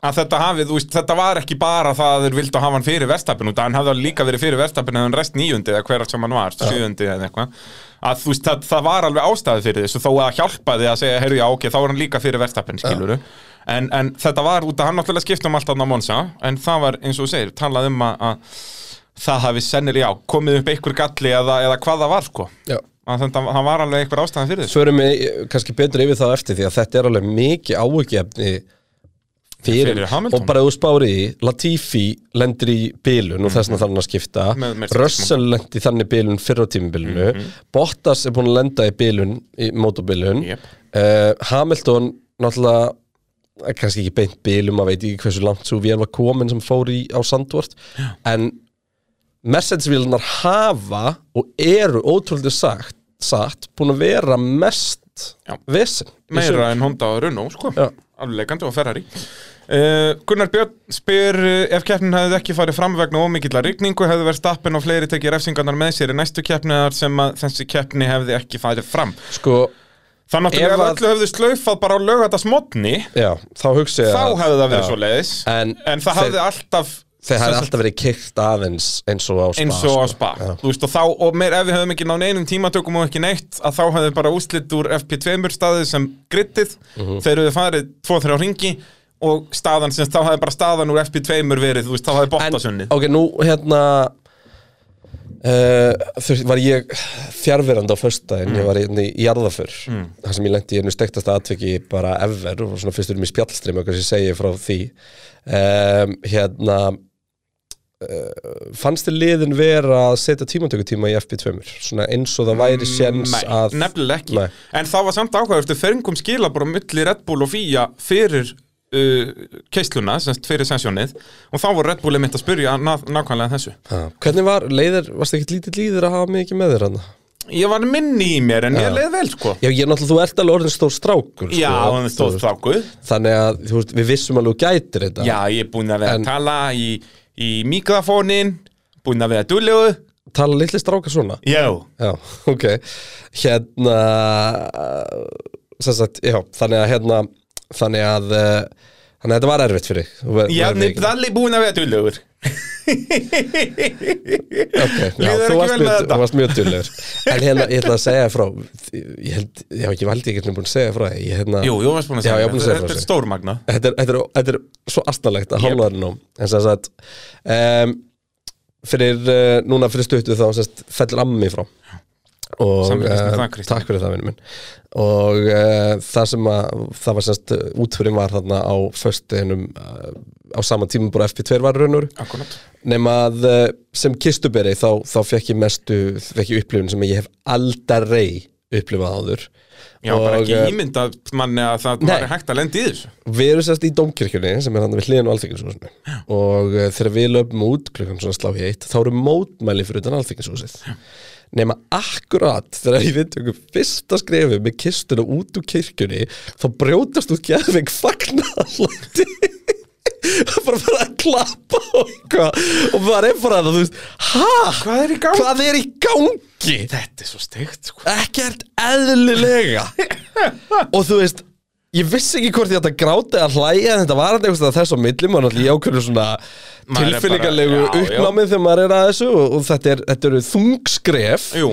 Speaker 2: að þetta hafið, þú veist, þetta var ekki bara það að þeir vildu að hafa hann fyrir verstapin út að hann hafði líka verið fyrir verstapin eða hann rest nýjundi eða hver sem hann var, sjöundi eða eitthvað að þú veist, það, það var alveg ástæði fyrir þessu þó að hjálpaði að segja, heyrðu já, ok, þá er hann líka fyrir verstapin, skiluru en, en þetta var út að hann náttúrulega skipti um allt annað Monsa, en það var, eins og þú segir, talað um að, að það hafi sennir, já, komið upp einhver galli eða, eða hvað það var, sko
Speaker 6: Já
Speaker 2: að þetta, það var alveg einhver ástæði fyrir þessu
Speaker 6: förum við eh, kannski betur yfir það eftir því að þetta er alveg mikið áhugjefni fyrir,
Speaker 2: Fyrir Hamilton.
Speaker 6: og bara ef þú spári í Latifi lendir í bilun og þess vegna þarf hann að skipta
Speaker 2: Mhm. Með Mhm. Mercedes.
Speaker 6: Russell lendir í þannig bilun fyrr á tímubilunu Bottas er búin að lenda í bilun í mótobilun
Speaker 2: Jep.
Speaker 6: Hamilton náttúrulega eh, kannski ekki beint bilum, maður veit ekki hversu langt svo vél var komin sem fór í á Sandvort en Mercedes-vílunar hafa og eru ótrúlega sagt, sagt búin að vera mest
Speaker 2: Já.
Speaker 6: vesen í sumar.
Speaker 2: meira en Honda og Renault sko
Speaker 6: Já.
Speaker 2: afleikandi og Ferrari uh, Gunnar Björn spyr uh, ef keppnin hefði ekki farið fram vegna ómikilla rigningu hefði verið stappin og fleiri tekið refsingarnar með sér í næstu keppniðar sem að þessi keppni hefði ekki farið fram
Speaker 6: sko,
Speaker 2: þannig að
Speaker 6: Ef
Speaker 2: ef
Speaker 6: að-
Speaker 2: öllu hefði slaufað bara á lögata smotni
Speaker 6: já, þá hugsa ég
Speaker 2: þá
Speaker 6: að-
Speaker 2: hefði það verið
Speaker 6: já.
Speaker 2: svo leiðis
Speaker 6: En
Speaker 2: það
Speaker 6: þeir-
Speaker 2: hefði alltaf sem
Speaker 6: þeir hefði
Speaker 2: sagt,
Speaker 6: alltaf verið kyrkt aðeins eins og á spa
Speaker 2: eins og á
Speaker 6: sko.
Speaker 2: spa Þú veist, og, þá, og meir, ef við höfum ekki náð einum tímatökum og ekki neitt að þá hefðu bara úslit úr FP2 staðið sem grittið
Speaker 6: Mhm.
Speaker 2: þegar við farið 2-3 ringi og staðan sem sagt, þá hefði bara staðan úr FP2 verið, þú veist, þá hefði
Speaker 6: en,
Speaker 2: bóttasunnið
Speaker 6: ok, nú hérna uh, var ég fjárverandi á föstudaginn,
Speaker 2: Mm.
Speaker 6: ég var hérna í jarðaför mm. þar sem ég lendi í einu stektasta atveki bara ever og svona fyrst erum í spjallstrimi og kannski segi ég frá því um, hérna uh, fannst þið liðin vera að setja tímantökutíma í FB2 svona eins og það væri
Speaker 2: Mm,
Speaker 6: séns
Speaker 2: Nei,
Speaker 6: að
Speaker 2: nefnilega ekki
Speaker 6: Nei.
Speaker 2: En það var samt ákvæðustu, fengum skila bara milli Red Bull og Fía fyrir uh, keisluna, semst fyrir sensjónið og þá voru Red Bull einmitt að spyrja na nákvæmlega þessu
Speaker 6: Ha, Ah, hvernig var leiðir, varst ekki lítið líður að hafa mikið með þér hann?
Speaker 2: Ég var minni í mér en ég leið vel sko
Speaker 6: Já, ég er náttúrulega, þú ert alveg orðin stór strákur
Speaker 2: Já,
Speaker 6: sko,
Speaker 2: hann stóð
Speaker 6: þú veist.
Speaker 2: þákuð
Speaker 6: Þannig að, þú veist, við vissum alveg þú gætir þetta
Speaker 2: Já, ég er búinn að vera
Speaker 6: En-
Speaker 2: að tala í, í mikrofónin, búinn að vera dúlegu
Speaker 6: Tala litli strákar svona
Speaker 2: Já
Speaker 6: Já, *laughs* ok Hérna sem sagt, já, Þannig að hérna Þannig að eh, Þannig að þetta var erfitt fyrir þig. Þú ver-
Speaker 2: Já,
Speaker 6: verður ekki-
Speaker 2: Nibdalli búinn að vera dúlegur
Speaker 6: Ok, já,
Speaker 2: Líður ekki vel
Speaker 6: þú varst mjög-
Speaker 2: með þetta?
Speaker 6: þú varst mjög dullegur En hérna, ég ætla að segja þér frá Ég held, já, ég valdi ekki búin að segja þér frá því. ég, hérna,
Speaker 2: Jú, ég varst búinn að
Speaker 6: Já,
Speaker 2: segja
Speaker 6: ég var búinn að segja frá
Speaker 2: Þetta er
Speaker 6: þessu.
Speaker 2: stórmagna
Speaker 6: þetta er, þetta er, þetta er svo astnalegt að hálfa þér nú en sem sagt um, fyrir, uh, núna fyrir stuttu þá sem sagt, fellur ammi frá og
Speaker 2: Samlíkist með
Speaker 6: eh,
Speaker 2: það, Kristján.
Speaker 6: takk fyrir það vinur minn og uh, það sem að það var semst útfyrir var þarna á föstuðinum uh, á sama tíma bara FP2 var raunur
Speaker 2: Akkurat
Speaker 6: nema að uh, sem kistuberi þá, þá fekk ég mestu fekk ég upplifun sem ég hef aldrei upplifað áður
Speaker 2: Já, bara
Speaker 6: Og,
Speaker 2: ekki
Speaker 6: eh,
Speaker 2: ímynda manni að það
Speaker 6: Nei.
Speaker 2: var hægt að lendi í þessu
Speaker 6: við erum sérst í Dómkirkjunni sem er hann við hliðin á Alþinginshúsinu og uh, þegar við löpum út klukkan svona slá í eitt þá eru mótmæli fyrir utan Alþinginshúsið nema akkurat þegar við tökum fyrsta skrefi með kistuna út úr kirkjunni þá brjótast út geðveik *laughs* fagnarlandi bara bara að klappa og eitthvað og maður er bara að þú veist hæ?
Speaker 2: Hvað er í gangi?
Speaker 6: Hvað er í gangi?
Speaker 2: Þetta er svo steikt sko
Speaker 6: ekkert eðlilega og þú veist ég vissi ekki hvort ég ætti að gráta eða hlæja en þetta var þetta eitthvað þess á milli maður er náttúrulega í ákveðinu svona
Speaker 2: Maður er
Speaker 6: tilfinningarlegu
Speaker 2: bara- já, já.
Speaker 6: uppnámið þegar maður er að þessu og, og þetta, er, þetta eru þungskref
Speaker 2: Jú,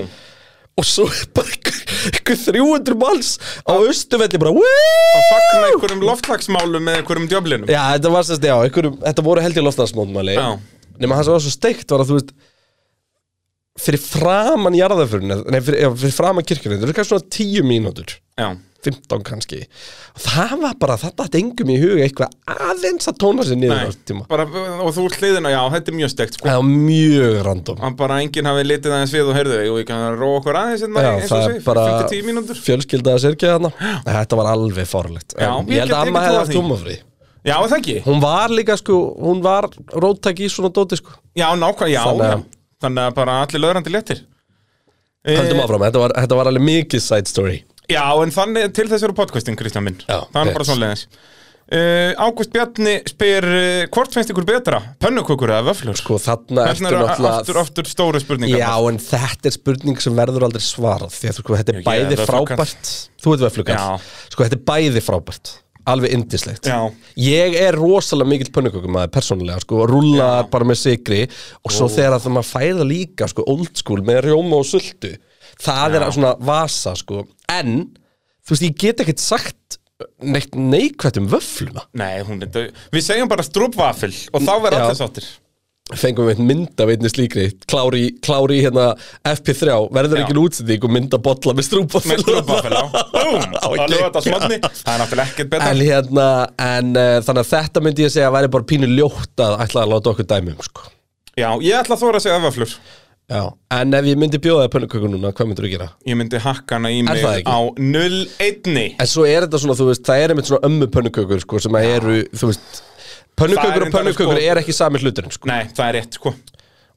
Speaker 6: og svo er bara einhver- einhver 300 manns á austuvelli bara "Woo!"
Speaker 2: að fagna einhverjum loftlagsmálum með einhverjum djöflinum
Speaker 6: já þetta var sérst já einhverjum, þetta voru held ég loftansmótmæli
Speaker 2: Já.
Speaker 6: nema það sem var svo steikt var að þú veist fyrir framan jarðaförun nei fyrir, já, fyrir framan kirkjunni þetta eru kannski svona 10 mínútur
Speaker 2: Já,
Speaker 6: 15 kannski og það var bara, þetta hatt engum í huga eitthvað aðeins að tóna sér niður á
Speaker 2: nei,
Speaker 6: þessum tíma
Speaker 2: bara, og þú hliðina, já, þetta er mjög steikt sko
Speaker 6: það var mjög random
Speaker 2: Hann bara enginn hafi litið aðeins við og heyrðu Jú, ég kann að róa okkur aðeins hérna,
Speaker 6: Já,
Speaker 2: eins og
Speaker 6: það er
Speaker 2: segi,
Speaker 6: bara
Speaker 2: 5-10 mínútur
Speaker 6: fjölskylda að sérkja þarna Nei, þetta var alveg fórlegt
Speaker 2: Já,
Speaker 6: En
Speaker 2: ég
Speaker 6: ég held
Speaker 2: get-
Speaker 6: að
Speaker 2: ég
Speaker 6: amma
Speaker 2: get
Speaker 6: hefði
Speaker 2: trúað
Speaker 6: haft
Speaker 2: því.
Speaker 6: húmafri
Speaker 2: Já, það ekki
Speaker 6: hún var líka sko, hún var róttæk í svona dóti sko
Speaker 2: Já, nákvæm, já,
Speaker 6: Þannig
Speaker 2: Þannig,
Speaker 6: að-
Speaker 2: já. Þannig að bara allir löðrandi léttir Eh,
Speaker 6: höldum áfram, þetta var, þetta var alveg mikið side story
Speaker 2: Já, en þannig til þess eru podcastin, Kristján minn
Speaker 6: Já,
Speaker 2: Það er
Speaker 6: rétt.
Speaker 2: bara svoleiðis uh, Ágúst Bjarni spyr uh, Hvort finnst ykkur betra? Pönnukökur eða vöflur?
Speaker 6: sko þarna
Speaker 2: Þessna
Speaker 6: ertu
Speaker 2: eru
Speaker 6: náttúrulega
Speaker 2: aftur, aftur stóru spurningar
Speaker 6: Já, en þetta er spurning sem verður aldrei svarað því að þú, sko, þetta er
Speaker 2: Ég er
Speaker 6: bæði
Speaker 2: vöfflukall.
Speaker 6: frábært Þú ert veflugall
Speaker 2: Já.
Speaker 6: Sko, þetta er bæði frábært Alveg indislegt
Speaker 2: Já.
Speaker 6: Ég er rosalega mikill pönnukökumæður persónulega sko, og rúlla bara með sigri og svo þegar að það maður fæða líka sko, old school með rjóma og sultu það er svona vasa sko. en, þú veist, ég get ekkert sagt neitt neikvætt um vöfluna
Speaker 2: Nei, hún er dög Við segjum bara strúpvafil og þá verður
Speaker 6: Já.
Speaker 2: allir sáttir
Speaker 6: fengum við einn mynd af einni slíkri klári, klári í hérna FP3 verður
Speaker 2: Já.
Speaker 6: ekki útsending og mynda bolla með strúpafél
Speaker 2: Með strúpvafil á
Speaker 6: *laughs*
Speaker 2: Búm,
Speaker 6: Á
Speaker 2: það lögur þetta
Speaker 6: geggjað.
Speaker 2: smotni Það er náttúrulega ekkert betra
Speaker 6: en hérna en, uh, þannig að þetta myndi ég segja að væri bara pínu ljótt að ætla að láta okkur dæmi um sko.
Speaker 2: Já, ég ætla að þóra að segja vöflur
Speaker 6: Já. en ef ég myndi bjóða þér pönnuköku núna hvað myndur þú gera?
Speaker 2: Ég myndi hakka hana í mig
Speaker 6: það ekki?
Speaker 2: á 0-1
Speaker 6: En svo er þetta svona, þú veist, það er einmitt svona ömmu pönnukökur sko, sem að eru, þú veist
Speaker 2: Það er
Speaker 6: pönnukökur og
Speaker 2: reyndar,
Speaker 6: pönnukökur
Speaker 2: sko-
Speaker 6: er ekki sami hluturinn sko.
Speaker 2: Nei, það er rétt, sko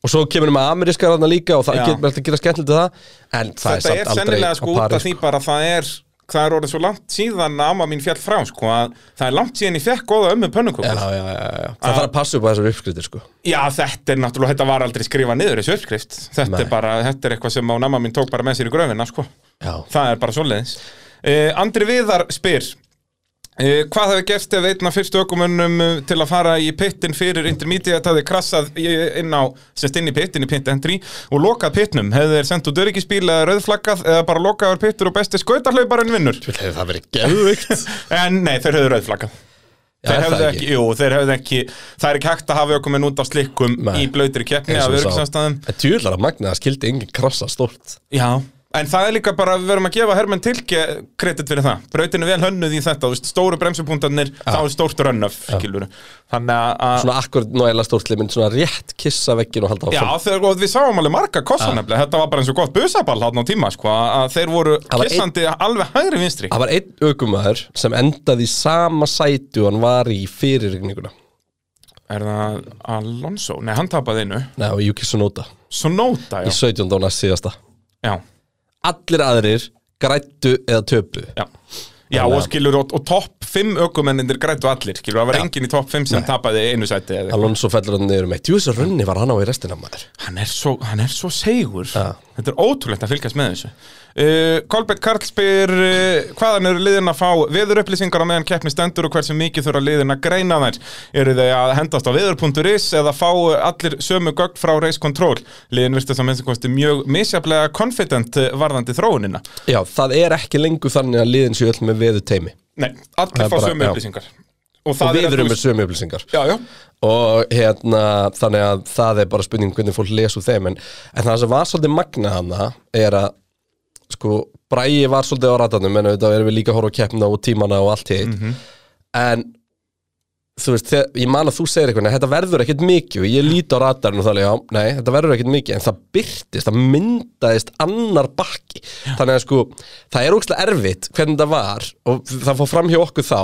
Speaker 6: og svo kemur við með amerískar þarna líka og það
Speaker 2: Já.
Speaker 6: getur alltaf að gera skemmtilegt það en það
Speaker 2: Þetta
Speaker 6: er
Speaker 2: er
Speaker 6: samt aldrei
Speaker 2: sennilega, sko,
Speaker 6: á
Speaker 2: út
Speaker 6: pari,
Speaker 2: af því bara að það er Það er orðið svo langt síðan að amma mín fjall frá, sko að Það er langt síðan ég fekk góða ömmu pönnukökur
Speaker 6: já, já, já, já. Það þarf að passa upp á þessar uppskritir sko
Speaker 2: Já, þetta er náttúrulega, þetta var aldrei skrifað niður þessu uppskrift Þetta
Speaker 6: Nei.
Speaker 2: er bara, þetta er eitthvað sem á namma mín tók bara með sér í gröfina, sko
Speaker 6: Já,
Speaker 2: Það er bara svoleiðis uh, Andri Viðar spyr uh, Hvað hefur gerst ef einna fyrstu ökumönnum uh, til að fara í pittin fyrir intermediate hafði krassað í- inn á sérst inn í pittin í pit entry og lokað pittnum, hefur þeir sendt út öryggisbíl eða rauðflaggað eða bara lokaður pittur og besti skautahlauparinn vinnur
Speaker 6: það verið geðvikt
Speaker 2: En nei, þeir höfðu rauðflaggað
Speaker 6: er
Speaker 2: þeir
Speaker 6: það
Speaker 2: hefðu
Speaker 6: ekki?
Speaker 2: ekki, jú, þeir hefðu ekki það er ekki hægt að hafa okkur með út af slikkum
Speaker 6: Nei.
Speaker 2: í blöytri keppni af öryggsastæðum
Speaker 6: Tjúlar að magna að skildi engin krossa stórt
Speaker 2: Já, en það er líka bara, við verum að gefa Hermann Tilke kredit fyrir það, brautin er vel hönnuð í þetta, þú veist, stóru bremsupunktarnir þá er stórt rönnöf, skilur þannig að- að,
Speaker 6: Svona akkur náðilega stórt limin Svona rétt kissa veggin og halda
Speaker 2: já,
Speaker 6: áfram
Speaker 2: þegar og við sáum alveg marga kossa nefnilega, þetta var bara eins og gott busaball hann á tíma, sko, að að þeir voru
Speaker 6: var
Speaker 2: kissandi alveg hægri vinstri
Speaker 6: Það var einn ökumæður sem endaði í sama sætu hann var í fyrirrigninguna
Speaker 2: Er það Alonso? Nei, hann tapaði einu
Speaker 6: Nei, og Yuki Tsunoda
Speaker 2: Sonota,
Speaker 6: í
Speaker 2: já
Speaker 6: 17. og næst síðasta
Speaker 2: Já,
Speaker 6: Allir aðrir grættu eða töpu
Speaker 2: já. Já,
Speaker 6: Þannig
Speaker 2: og
Speaker 6: að-
Speaker 2: skilur, og, og topp 5 ökumennir grættu allir, skilur, það var enginn í topp 5 sem tapaði einu sæti eða eitthvað.
Speaker 6: Alonso fellur hann neyrum eitt Jú, þessi runni var hann á í restina maður
Speaker 2: Hann er svo, hann er svo segur
Speaker 6: Já.
Speaker 2: Þetta er ótrúlegt að fylgjast með þessu uh, Kolbett Karl spyr uh, hvaðan eru liðin að fá viðurupplýsingar á meðan keppni stendur og hversu mikið þurfa liðin að greina þær Eru þau að hendast á viður.is eða fá allir sömu gögn frá race control Liðin virtist að minnstu kosti mjög misjaflega confident eh, varðandi þróunina
Speaker 6: Já, það er ekki lengur þannig að liðin séu öll með veðu teimi
Speaker 2: Nei,
Speaker 6: Það
Speaker 2: allir
Speaker 6: er
Speaker 2: fá
Speaker 6: bara-
Speaker 2: sömu
Speaker 6: já.
Speaker 2: upplýsingar Og
Speaker 6: og
Speaker 2: það
Speaker 6: við
Speaker 2: er
Speaker 6: erum
Speaker 2: að
Speaker 6: með
Speaker 2: þú-
Speaker 6: sömu upplýsingar
Speaker 2: Já, já,
Speaker 6: og hérna þannig að það er bara spurning hvernig fólk lesu þeim en, en það sem var svolítið magna hana er að sko bræði var svolítið á ratanum en auðvitað erum við líka að horfa á keppna og tímana og allt hitt
Speaker 2: Mhm.
Speaker 6: en þú veist, þegar, ég man að þú segir eitthvað nei, þetta verður ekkert mikið og ég lít á ratarinn og það er já, nei, þetta verður ekkert mikið en það byrtist, það myndaðist annar bakki, þannig að sko það er ógstlega erfitt hvernig það var og það fór fram hjá okkur þá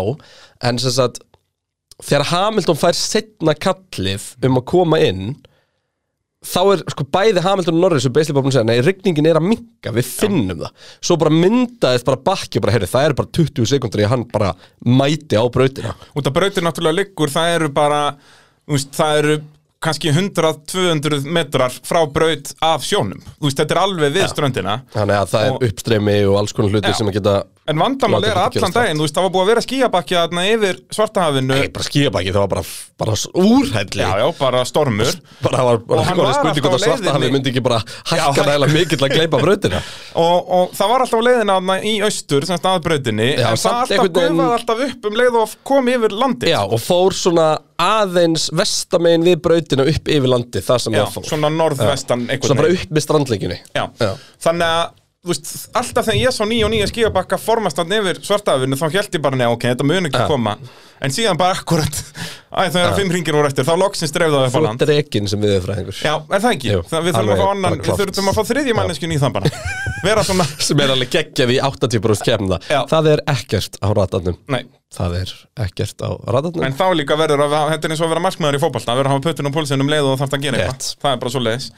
Speaker 6: en sem sagt, þegar Hamilton fær setna kallið um að koma inn þá er sko bæði Hamilton og Norris og Beisley Bobin segja, nei, rigningin er að minka við finnum það, svo bara myndaðist bara bakki og bara, heyrðu, það er bara 20 sekundur í að hann bara mæti á brautina
Speaker 2: út af brautin náttúrulega liggur Það eru bara, þú veist, það eru kannski 100-200 metrar frá braut af sjónum Þú veist, þetta er alveg við ströndina
Speaker 6: þannig að það
Speaker 2: Og-
Speaker 6: er uppstreymi og alls konar hluti
Speaker 2: Já.
Speaker 6: sem að geta
Speaker 2: En vandamál
Speaker 6: Láta
Speaker 2: er
Speaker 6: þetta
Speaker 2: allan
Speaker 6: gerast allt.
Speaker 2: daginn, þú veist, það var búið að vera skíabakki þarna yfir Svartahafinu
Speaker 6: Nei, bara skíabæki, það var bara, bara s- úrhelli
Speaker 2: Já, já, bara stormur
Speaker 6: bara var, bara
Speaker 2: Og hann
Speaker 6: var
Speaker 2: var alltaf
Speaker 6: spurning hvort að
Speaker 2: á
Speaker 6: svarta hafi
Speaker 2: leiðinni.
Speaker 6: myndi ekki bara
Speaker 2: Já.
Speaker 6: hækka nægilega mikið til að gleypa brautina
Speaker 2: *laughs* og, og það var alltaf á leiðina þarna í austur, semst að brautinni
Speaker 6: Já,
Speaker 2: En það
Speaker 6: samt
Speaker 2: alltaf
Speaker 6: einhvern veginn-
Speaker 2: gufaði alltaf upp um leið og kom yfir landi
Speaker 6: já, og fór svona aðeins vestamein við brautina upp yfir landi það sem
Speaker 2: Já,
Speaker 6: það fór
Speaker 2: svona norðvestan einhvern
Speaker 6: svona bara
Speaker 2: veginn.
Speaker 6: upp með strandleikjunni
Speaker 2: Já. þannig að þú veist, alltaf þegar ég sá nýja og nýja skíabakka formast hann yfir svartafinu þá held ég bara neða ok, þetta mun ekki koma en síðan bara akkurat *laughs* æ, það er að fimm ringir úr eftir, þá loksins dreifðu það upp á
Speaker 6: þú
Speaker 2: land
Speaker 6: er ekkin sem við erum fræðingur
Speaker 2: Já, er það ekki?
Speaker 6: Jú,
Speaker 2: það, við þurfum
Speaker 6: alveg
Speaker 2: að fá annan,
Speaker 6: bara klárt.
Speaker 2: við þurfum að fá þriðji manneskjun í þann bara vera svona,
Speaker 6: *laughs* sem er alveg geggjað í 80% kemna
Speaker 2: Já.
Speaker 6: það er ekkert á ratarnum
Speaker 2: nei
Speaker 6: það er ekkert á ratarnum
Speaker 2: En þá líka verður að, þetta er eins og að vera markmaður í fótballta, verður að hafa pötun og pólsinn um leið og þarf að gera
Speaker 6: Rétt.
Speaker 2: eitthvað, það er bara svo leiðis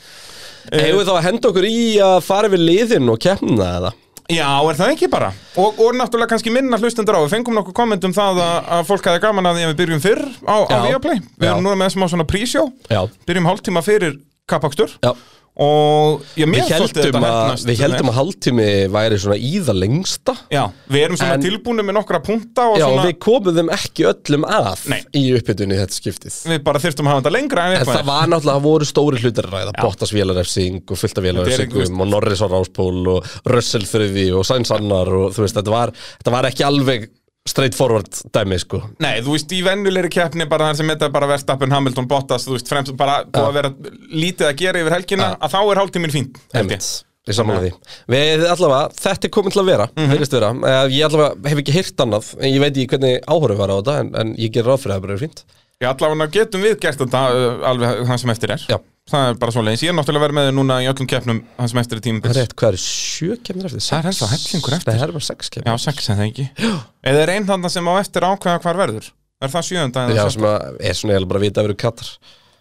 Speaker 6: hefur
Speaker 2: eh,
Speaker 6: þá að henda okkur í að fara yfir liðin og kemna eða
Speaker 2: Já, er það ekki bara? Og, og náttúrulega kannski minna hlustendur á, við fengum nokkuð kommentum það að, að fólk hafi gaman að því að við byrjum fyrr á, á
Speaker 6: Já.
Speaker 2: Viaplay, við
Speaker 6: Já.
Speaker 2: erum núna með smá svona prísjó,
Speaker 6: Já.
Speaker 2: byrjum hálftíma fyrir kappakstur
Speaker 6: Já.
Speaker 2: og já, mér
Speaker 6: við
Speaker 2: þótti
Speaker 6: heldum,
Speaker 2: þetta
Speaker 6: að,
Speaker 2: heppnast
Speaker 6: við heldum að hálftími væri svona í það lengsta
Speaker 2: Já, við erum svona
Speaker 6: En-
Speaker 2: tilbúinu með nokkra punta og
Speaker 6: Já,
Speaker 2: svona,
Speaker 6: við komum þeim ekki öllum að
Speaker 2: Nei.
Speaker 6: í uppbytunni þetta skiptið
Speaker 2: við bara þyrftum að hafa þetta lengra en
Speaker 6: En
Speaker 2: eitthvað
Speaker 6: það var náttúrulega, það voru stóri hlutir að ræða Bottas vélarefsing og fullt
Speaker 2: Þetta
Speaker 6: af
Speaker 2: er ekki-
Speaker 6: vélarefsingum og Norris á ráspól og Russell þriði og Sainz annar og þú veist, þetta var, þetta var ekki alveg straight forward dæmi, sko
Speaker 2: Nei, þú veist, í vennulegri keppni bara þar sem þetta er bara verðstappin Hamilton Bottas, þú veist, fremst bara búið að vera lítið að gera yfir helgina, að þá er hálftíminn fínt, held ég.
Speaker 6: Einmitt, ég sammála því Við allavega, þetta er komin til að vera, mm
Speaker 2: Mhm.
Speaker 6: vera. Eh, Ég allavega hef ekki heyrt annað en ég veit ekki hvernig áhorfið var á þetta en, en ég gerir ráð fyrir að það bara er fínt
Speaker 2: Já, allavega getum við gert þetta uh, alveg það sem eftir er.
Speaker 6: Já.
Speaker 2: Það er bara svo leiðis. Ég er náttúrulega verið með þér núna í öllum keppnum það sem eftir er
Speaker 6: Það
Speaker 2: tímabils.
Speaker 6: er rétt, hvað er sjö kemur eftir?
Speaker 2: Það er
Speaker 6: Sex?
Speaker 2: ennþá hellingur eftir.
Speaker 6: Nei, það er bara sex kemur
Speaker 2: Já, sex eða ekki. Já. Eða er einn þarna sem á eftir að ákveða hvar verður? Er það sjöunda eða
Speaker 6: Já,
Speaker 2: sjöunda?
Speaker 6: sem að er svona eiginlega bara að vita að vera kattar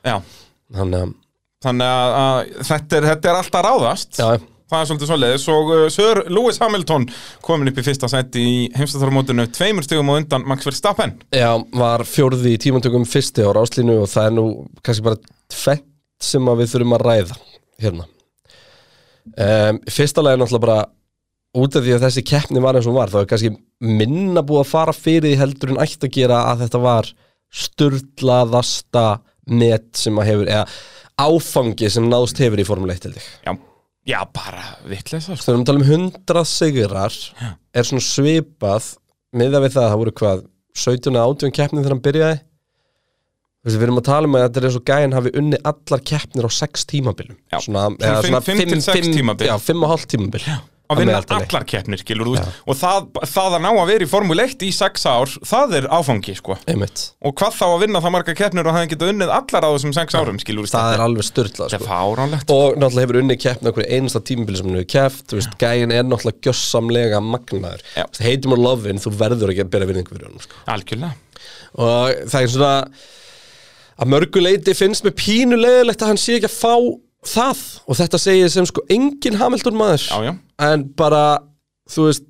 Speaker 2: Já.
Speaker 6: Þannig að,
Speaker 2: Þannig að, að þetta, er, þetta er alltaf ráðast.
Speaker 6: já,
Speaker 2: Það er svolítið svoleiðis og uh, Sir Lewis Hamilton komin upp í fyrsta seti í heimstarðarmótinu tveimur stigum á undan Max Verstappen.
Speaker 6: já, var fjórði í tímantökum fyrsti á ráslínu og það er nú kannski bara tvennt sem að við þurfum að ræða hérna um, Fyrsta lagi er náttúrulega bara út af því að þessi keppni var eins og hún var þá er kannski minna búið að fara fyrir því heldur en ætti að gera að þetta var sturlaðasta net sem að hefur, eða áfangi sem náðst hefur í formuleitt til þig
Speaker 2: Já, já bara vitleisa sko.
Speaker 6: Þegar við erum að tala um 100 sigrar er svona svipað miða við það að það voru hvað 17 eða 18 keppnum þegar hann byrjaði Þú veist, við erum að tala um að þetta er eins og gæinn hafi unni allar keppnir á 6 tímabilum
Speaker 2: Já.
Speaker 6: svona,
Speaker 2: Svona fimm- fimm til
Speaker 6: fimm-
Speaker 2: sex
Speaker 6: fimm-
Speaker 2: tímabil.
Speaker 6: Já, 5 og hálf tímabil
Speaker 2: að
Speaker 6: Að
Speaker 2: vinna
Speaker 6: meðaltali.
Speaker 2: allar keppnir, skilur þú veist. og það, það að ná að vera í Formule 1 í 6 ár, það er áfangi sko.
Speaker 6: Einmitt,
Speaker 2: og hvað þá að vinna það marga keppnir og það geta unnið allar á þessum 6 árum skilur þú veist.
Speaker 6: það er alveg styrla
Speaker 2: Þetta er
Speaker 6: sko.
Speaker 2: fáránlegt
Speaker 6: og náttúrulega hefur unni keppna okkur einasta tímabil sem hann hefur keppt, þú veist, gæinn er náttúrulega gjössamlega magnaður,
Speaker 2: Já.
Speaker 6: Þú veist, heitum og lofin þú verður ekki að byrja virðingu fyrir hann sko.
Speaker 2: algjörlega
Speaker 6: og það er svona að mörgu leiti finnst mér pínu leðilegt að hann sé ekki að fá það og þetta segi ég sem sko engin Hamilton maður
Speaker 2: já, já.
Speaker 6: en bara, þú veist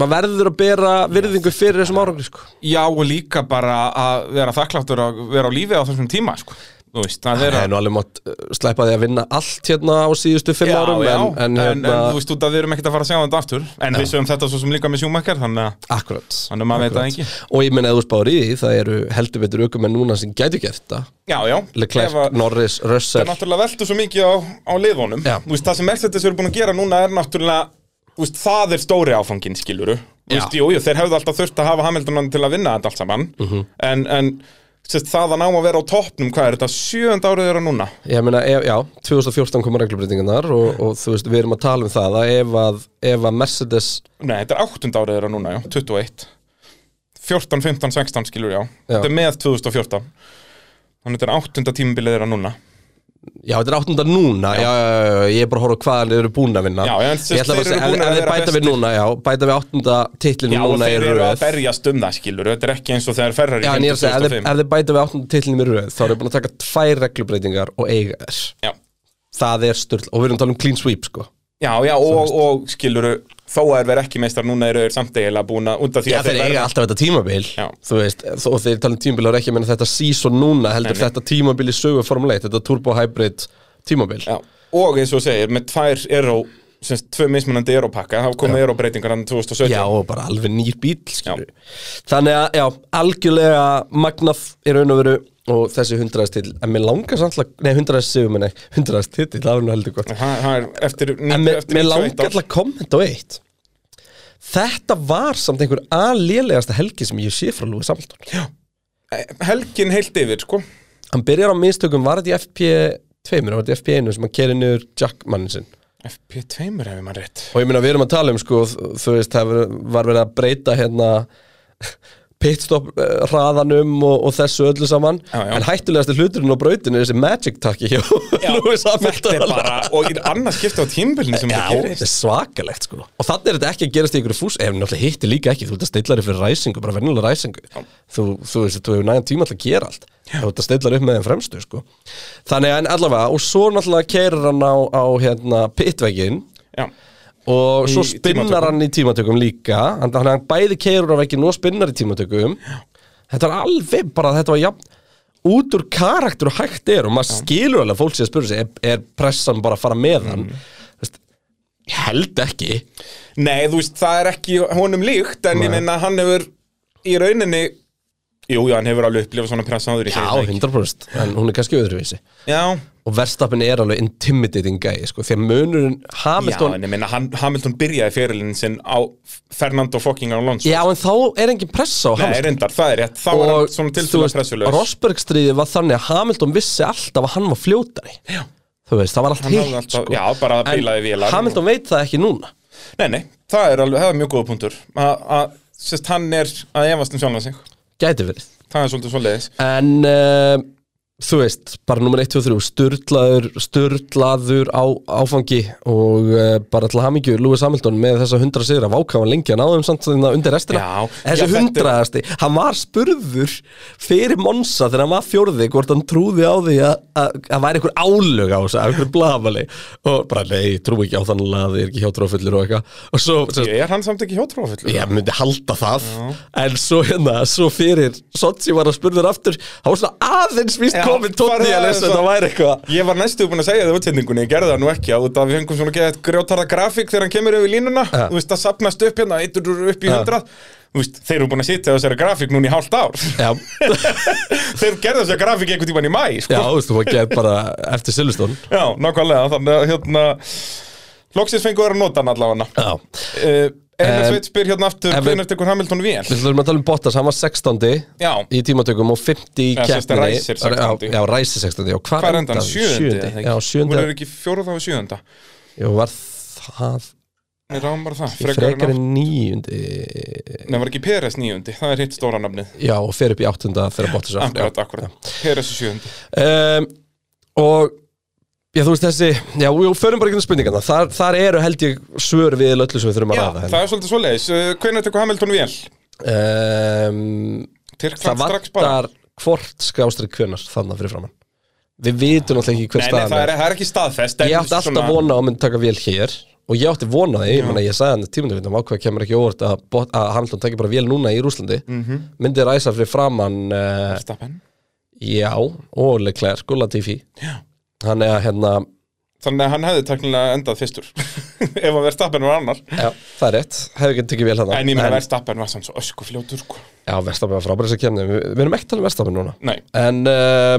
Speaker 6: maður verður að bera virðingu fyrir þessum árangri sko
Speaker 2: já og líka bara að vera þakkláttur að vera á lífi á þessum tíma sko. Þú veist, það er
Speaker 6: það er nú alveg mátt uh, sleppa því að vinna allt hérna á síðustu fimm árum
Speaker 2: já,
Speaker 6: en, en,
Speaker 2: en,
Speaker 6: hérna,
Speaker 2: þú veist út að við erum ekkert að fara að segja þetta aftur en við sögum þetta svo sem líka með sjúmakkar þannig að,
Speaker 6: akkurat
Speaker 2: þannig að maður veit það ekki
Speaker 6: og ég meina að þú spáður í því, það eru heldur betur aukumenn núna sem gætu gert þetta
Speaker 2: já, já,
Speaker 6: Leclerc,
Speaker 2: Ef að-
Speaker 6: Norris,
Speaker 2: það
Speaker 6: Russell
Speaker 2: er náttúrulega veltu svo mikið á, á liðunum
Speaker 6: Já.
Speaker 2: Þú veist, það sem Mercedes eru búin að gera núna er náttúrulega þú veist, það er stóri áfangin skiluru Þú veist, jú, jú, þeir hefðu alltaf þurft að hafa Hamiltonan til að vinna þetta allt saman
Speaker 6: Mhm.
Speaker 2: en, en sérst, það að ná að vera á toppnum hvað er þetta, sjöönda árið þeirra núna
Speaker 6: Ég meina, ef, já, 2014 koma reglubreitingarnar og, og þú veist, við erum að tala um það að ef að, ef að Mercedes
Speaker 2: nei, þetta er áttunda árið þeirra núna, já, 21 14, 15, 16 skilur, já, þetta er með 2014 þannig þetta er áttunda tímabilið þeirra núna
Speaker 6: Já, þetta er áttunda núna, já, já, já, já ég er bara að horfa á hvaðan þeir eru búin að vinna
Speaker 2: Já, já, en
Speaker 6: en
Speaker 2: sem
Speaker 6: þeir
Speaker 2: þeir eru
Speaker 6: eru
Speaker 2: búin
Speaker 6: búin
Speaker 2: að
Speaker 6: að þeir
Speaker 2: vera
Speaker 6: bæta við
Speaker 2: bestir.
Speaker 6: núna, já, bæta við áttunda titlinu
Speaker 2: já, og
Speaker 6: núna í
Speaker 2: þeir eru að
Speaker 6: röð
Speaker 2: berjast um það skilur, þetta er ekki eins og þegar ferrar
Speaker 6: Já, en ég er að segja, ef þeir- ef þeir bæta við áttunda titlinu í röð þá eru búin að taka tvær reglubreitingar og eiga þess
Speaker 2: já,
Speaker 6: Það er styrl, og við erum að tala um clean sweep, sko
Speaker 2: Já, já, og, og skiluru þó að þeir vera ekki meistar núna eru þeir samt eiginlega búin að út af því
Speaker 6: Já,
Speaker 2: að
Speaker 6: þeir eiga
Speaker 2: verða-
Speaker 6: alltaf þetta tímabil
Speaker 2: Já.
Speaker 6: Þú veist, og þeir tala um tímabil og ekki að menna þetta season núna heldur
Speaker 2: Nei, nei.
Speaker 6: þetta tímabil í sögu Formule 1, þetta turbo hybrid tímabil
Speaker 2: Já, og eins og þú segir, með tvær Euro, semst tvö mismunandi Europakka þá komið Euro breytingar hann 2017
Speaker 6: Já, og bara alveg nýr bíl, skilju Þannig að, já, algjörlega magnað í raun og veru og þessi hundraðastill, en mér langar samt að, nei, hundraðastigum, nei, hundraðastill það er nú heldur gott,
Speaker 2: En það það er eftir,
Speaker 6: en mér,
Speaker 2: eftir
Speaker 6: mér
Speaker 2: 91
Speaker 6: langar
Speaker 2: ár.
Speaker 6: alltaf að kommenta á eitt Þetta var samt einhver aðlélegasta helgi sem ég sé frá Lúi Samhaldun Já
Speaker 2: Helgin heilt yfir, sko
Speaker 6: Hann byrjar á mistökum, var þetta í FP2, mér var þetta í FP1 sem hann keri niður Jackmannin sinn
Speaker 2: FP2 ef ég maður rétt
Speaker 6: og ég meina við erum að tala um sko þ- þú veist það var- var verið að breyta hérna *laughs* pitstop eh, hraðanum og, og þessu öllu saman
Speaker 2: Já, já.
Speaker 6: en hættulegasti hluturinn á brautinu er þessi magic takki hjá *laughs* Lewis
Speaker 2: Þetta er
Speaker 6: Hamilton
Speaker 2: bara, og í annars skipta á tímbilinu sem
Speaker 6: Já,
Speaker 2: þetta
Speaker 6: þetta
Speaker 2: gerist
Speaker 6: er svakalegt sko og þannig er þetta ekki að gerast í ykkur fús ef náttúrulega hitti líka ekki, þú ert að steilla þér fyrir ræsingu bara venjulega ræsingu þú, þú veist, þú hefur nægan tíma alltaf að gera allt þú ert að steilla þér upp með þeim fremstu sko þannig að en allavega, og svo náttúrulega keirir hann á, á hérna pitveggin
Speaker 2: Já,
Speaker 6: og svo spinnar
Speaker 2: tímatökum.
Speaker 6: hann í tímatökum líka hann, hann bæði keirur af ekki nú spinnar í tímatökum þetta var alveg bara þetta var jafn út úr karakter og hægt er og maður skilur alveg að fólk sé að spyrja sig er, er pressan bara að fara með hann Þú veist, ég held ekki
Speaker 2: nei, þú veist, það er ekki honum líkt en ég
Speaker 6: Nei.
Speaker 2: minna hann hefur í rauninni Jú, já, hann hefur alveg upplifað svona pressa áður í
Speaker 6: já 100% en hún er kannski öðruvísi
Speaker 2: Já,
Speaker 6: og verðstappin er alveg intimidating gæi sko, því að munurinn
Speaker 2: Já,
Speaker 6: Hamilton
Speaker 2: en ég meina, Han- Hamilton byrjaði fyrirlin sinn á Fernando fucking Alonso
Speaker 6: já, en þá er engin pressa á
Speaker 2: Nei,
Speaker 6: Hamilton
Speaker 2: reyndar, það er rétt, þá var hann svona tilfæðan pressulegur
Speaker 6: Rosberg stríði var þannig að Hamilton vissi alltaf að hann var fljótari já. þú veist, það var allt
Speaker 2: Hann hafði
Speaker 6: hitt
Speaker 2: alltaf-
Speaker 6: sko.
Speaker 2: já, bara að
Speaker 6: En
Speaker 2: bílaði vélar
Speaker 6: Hamilton veit það ekki núna
Speaker 2: Nei, nei, það er alveg, það er mjög góða punktur Að- að, sérst, hann er að efast um sjálfan sig
Speaker 6: gæti verið
Speaker 2: Það er svolítið svoleiðis
Speaker 6: en uh, þú veist, bara nummer 1, 2, 3 styrlaður, styrlaður á, áfangi og uh, bara til hamingju Lewis Hamilton með þessa 100 sigra vákáðan lengi að náðum samt þarna undir restina
Speaker 2: Já, já,
Speaker 6: þessi
Speaker 2: þetta er-
Speaker 6: hundraðasti, hann var spurður fyrir Monsa þegar hann var fjórði hvort hann trúði á því að- að að væri einhver álög á þessu, að einhver blafali og bara nei, trú ekki á þannig að þið er ekki hjátrúfullir og eitthvað og svo, sem,
Speaker 2: Ég er hann samt ekki hjótrófullur
Speaker 6: Ég myndi halda það En svo hérna, svo fyrir Sotsi var að spurður aftur Það var svona aðeins víst
Speaker 2: Já,
Speaker 6: komið tótt
Speaker 2: bara
Speaker 6: í að lesa
Speaker 2: svo-
Speaker 6: Þetta væri eitthvað
Speaker 2: Ég var næstu búin að segja það í útsendingunni, ég gerði það nú ekki á út af við fengum svona geðið grjótarða grafík þegar hann kemur yfir línuna,
Speaker 6: Ja.
Speaker 2: þú veist að sapnast upp hérna, eittur upp í
Speaker 6: Ja.
Speaker 2: hundrað, þú veist, þeir eru búin að sitja á þessari grafík núna í hálft ár,
Speaker 6: Já, *laughs*
Speaker 2: þeir gerðu þessari grafík einhvern tímann í mæ, sko.
Speaker 6: já þú veist, þú var gett bara eftir Silvestón
Speaker 2: Já, nákvæmlega, þannig að hérna Loksins fengu að vera að nota hann allavega
Speaker 6: Já,
Speaker 2: uh, Einar
Speaker 6: Em,
Speaker 2: Sveit spyr hérna aftur
Speaker 6: Eh, en við-
Speaker 2: Hvernig tekur Hamilton vél?
Speaker 6: Við ætlum að tala um Bottas, hann var 16.
Speaker 2: Já,
Speaker 6: í tímatökum og 50 í
Speaker 2: Já, sem sagt,
Speaker 6: keppninni
Speaker 2: Riser 16.
Speaker 6: Já, já ræsir 16. Já, hvað
Speaker 2: hvað er endan? Sjöndi? eða ekki?
Speaker 6: Já,
Speaker 2: Hún
Speaker 6: sjöunda
Speaker 2: er ekki fjóruð á sjöunda
Speaker 6: Jú, var það
Speaker 2: Ég ráðum bara það Frekar
Speaker 6: frekar
Speaker 2: en
Speaker 6: en níundi
Speaker 2: Nei, var ekki Peres níundi Það er hitt stóra nafnið
Speaker 6: Já, og fer upp í áttunda þegar Bottas er aftur.
Speaker 2: Akkurat, akkurat Peres er sjöundi
Speaker 6: um, og já, þú veist þessi, já, við förum bara ekki um spurningarna, þar, þar eru held ég svör við öllu sem við þurfum að
Speaker 2: Já,
Speaker 6: ræða hérna.
Speaker 2: það er svolítið svoleiðis Uh, Hvenær tekur Hamilton vél?
Speaker 6: um,
Speaker 2: Tyrkland
Speaker 6: það
Speaker 2: strax bara
Speaker 6: vantar hvort skástrík hvernar þannig fyrir framann við vitum náttúrulega ekki hver
Speaker 2: Nei, nei,
Speaker 6: staðan
Speaker 2: það er, það er ekki staðfest en
Speaker 6: ég átti alltaf vona á að myndi taka vel hér og ég átti vona á því, ég meina ég sagði hann tímundavindum ákveð kemur ekki óvart að, Bot- að Hamilton taki bara vel núna í Rúslandi
Speaker 2: Mhm.
Speaker 6: myndi ræsa fyrir framann uh,
Speaker 2: Verstappen.
Speaker 6: já, og Leclerc og Latifi hann er hérna
Speaker 2: Þannig að hann hefði teknilega endað
Speaker 6: *laughs*
Speaker 2: fyrstur Ef að Verstappen var annar
Speaker 6: Já, það er rétt, hefði ekki tekið vel hann
Speaker 2: En ég meina Verstappen var samt svo ösku fljótur sko.
Speaker 6: Já, Verstafn var frábæri sem kemni, við, við erum ekki að tala um Verstafn núna
Speaker 2: Nei,
Speaker 6: En uh,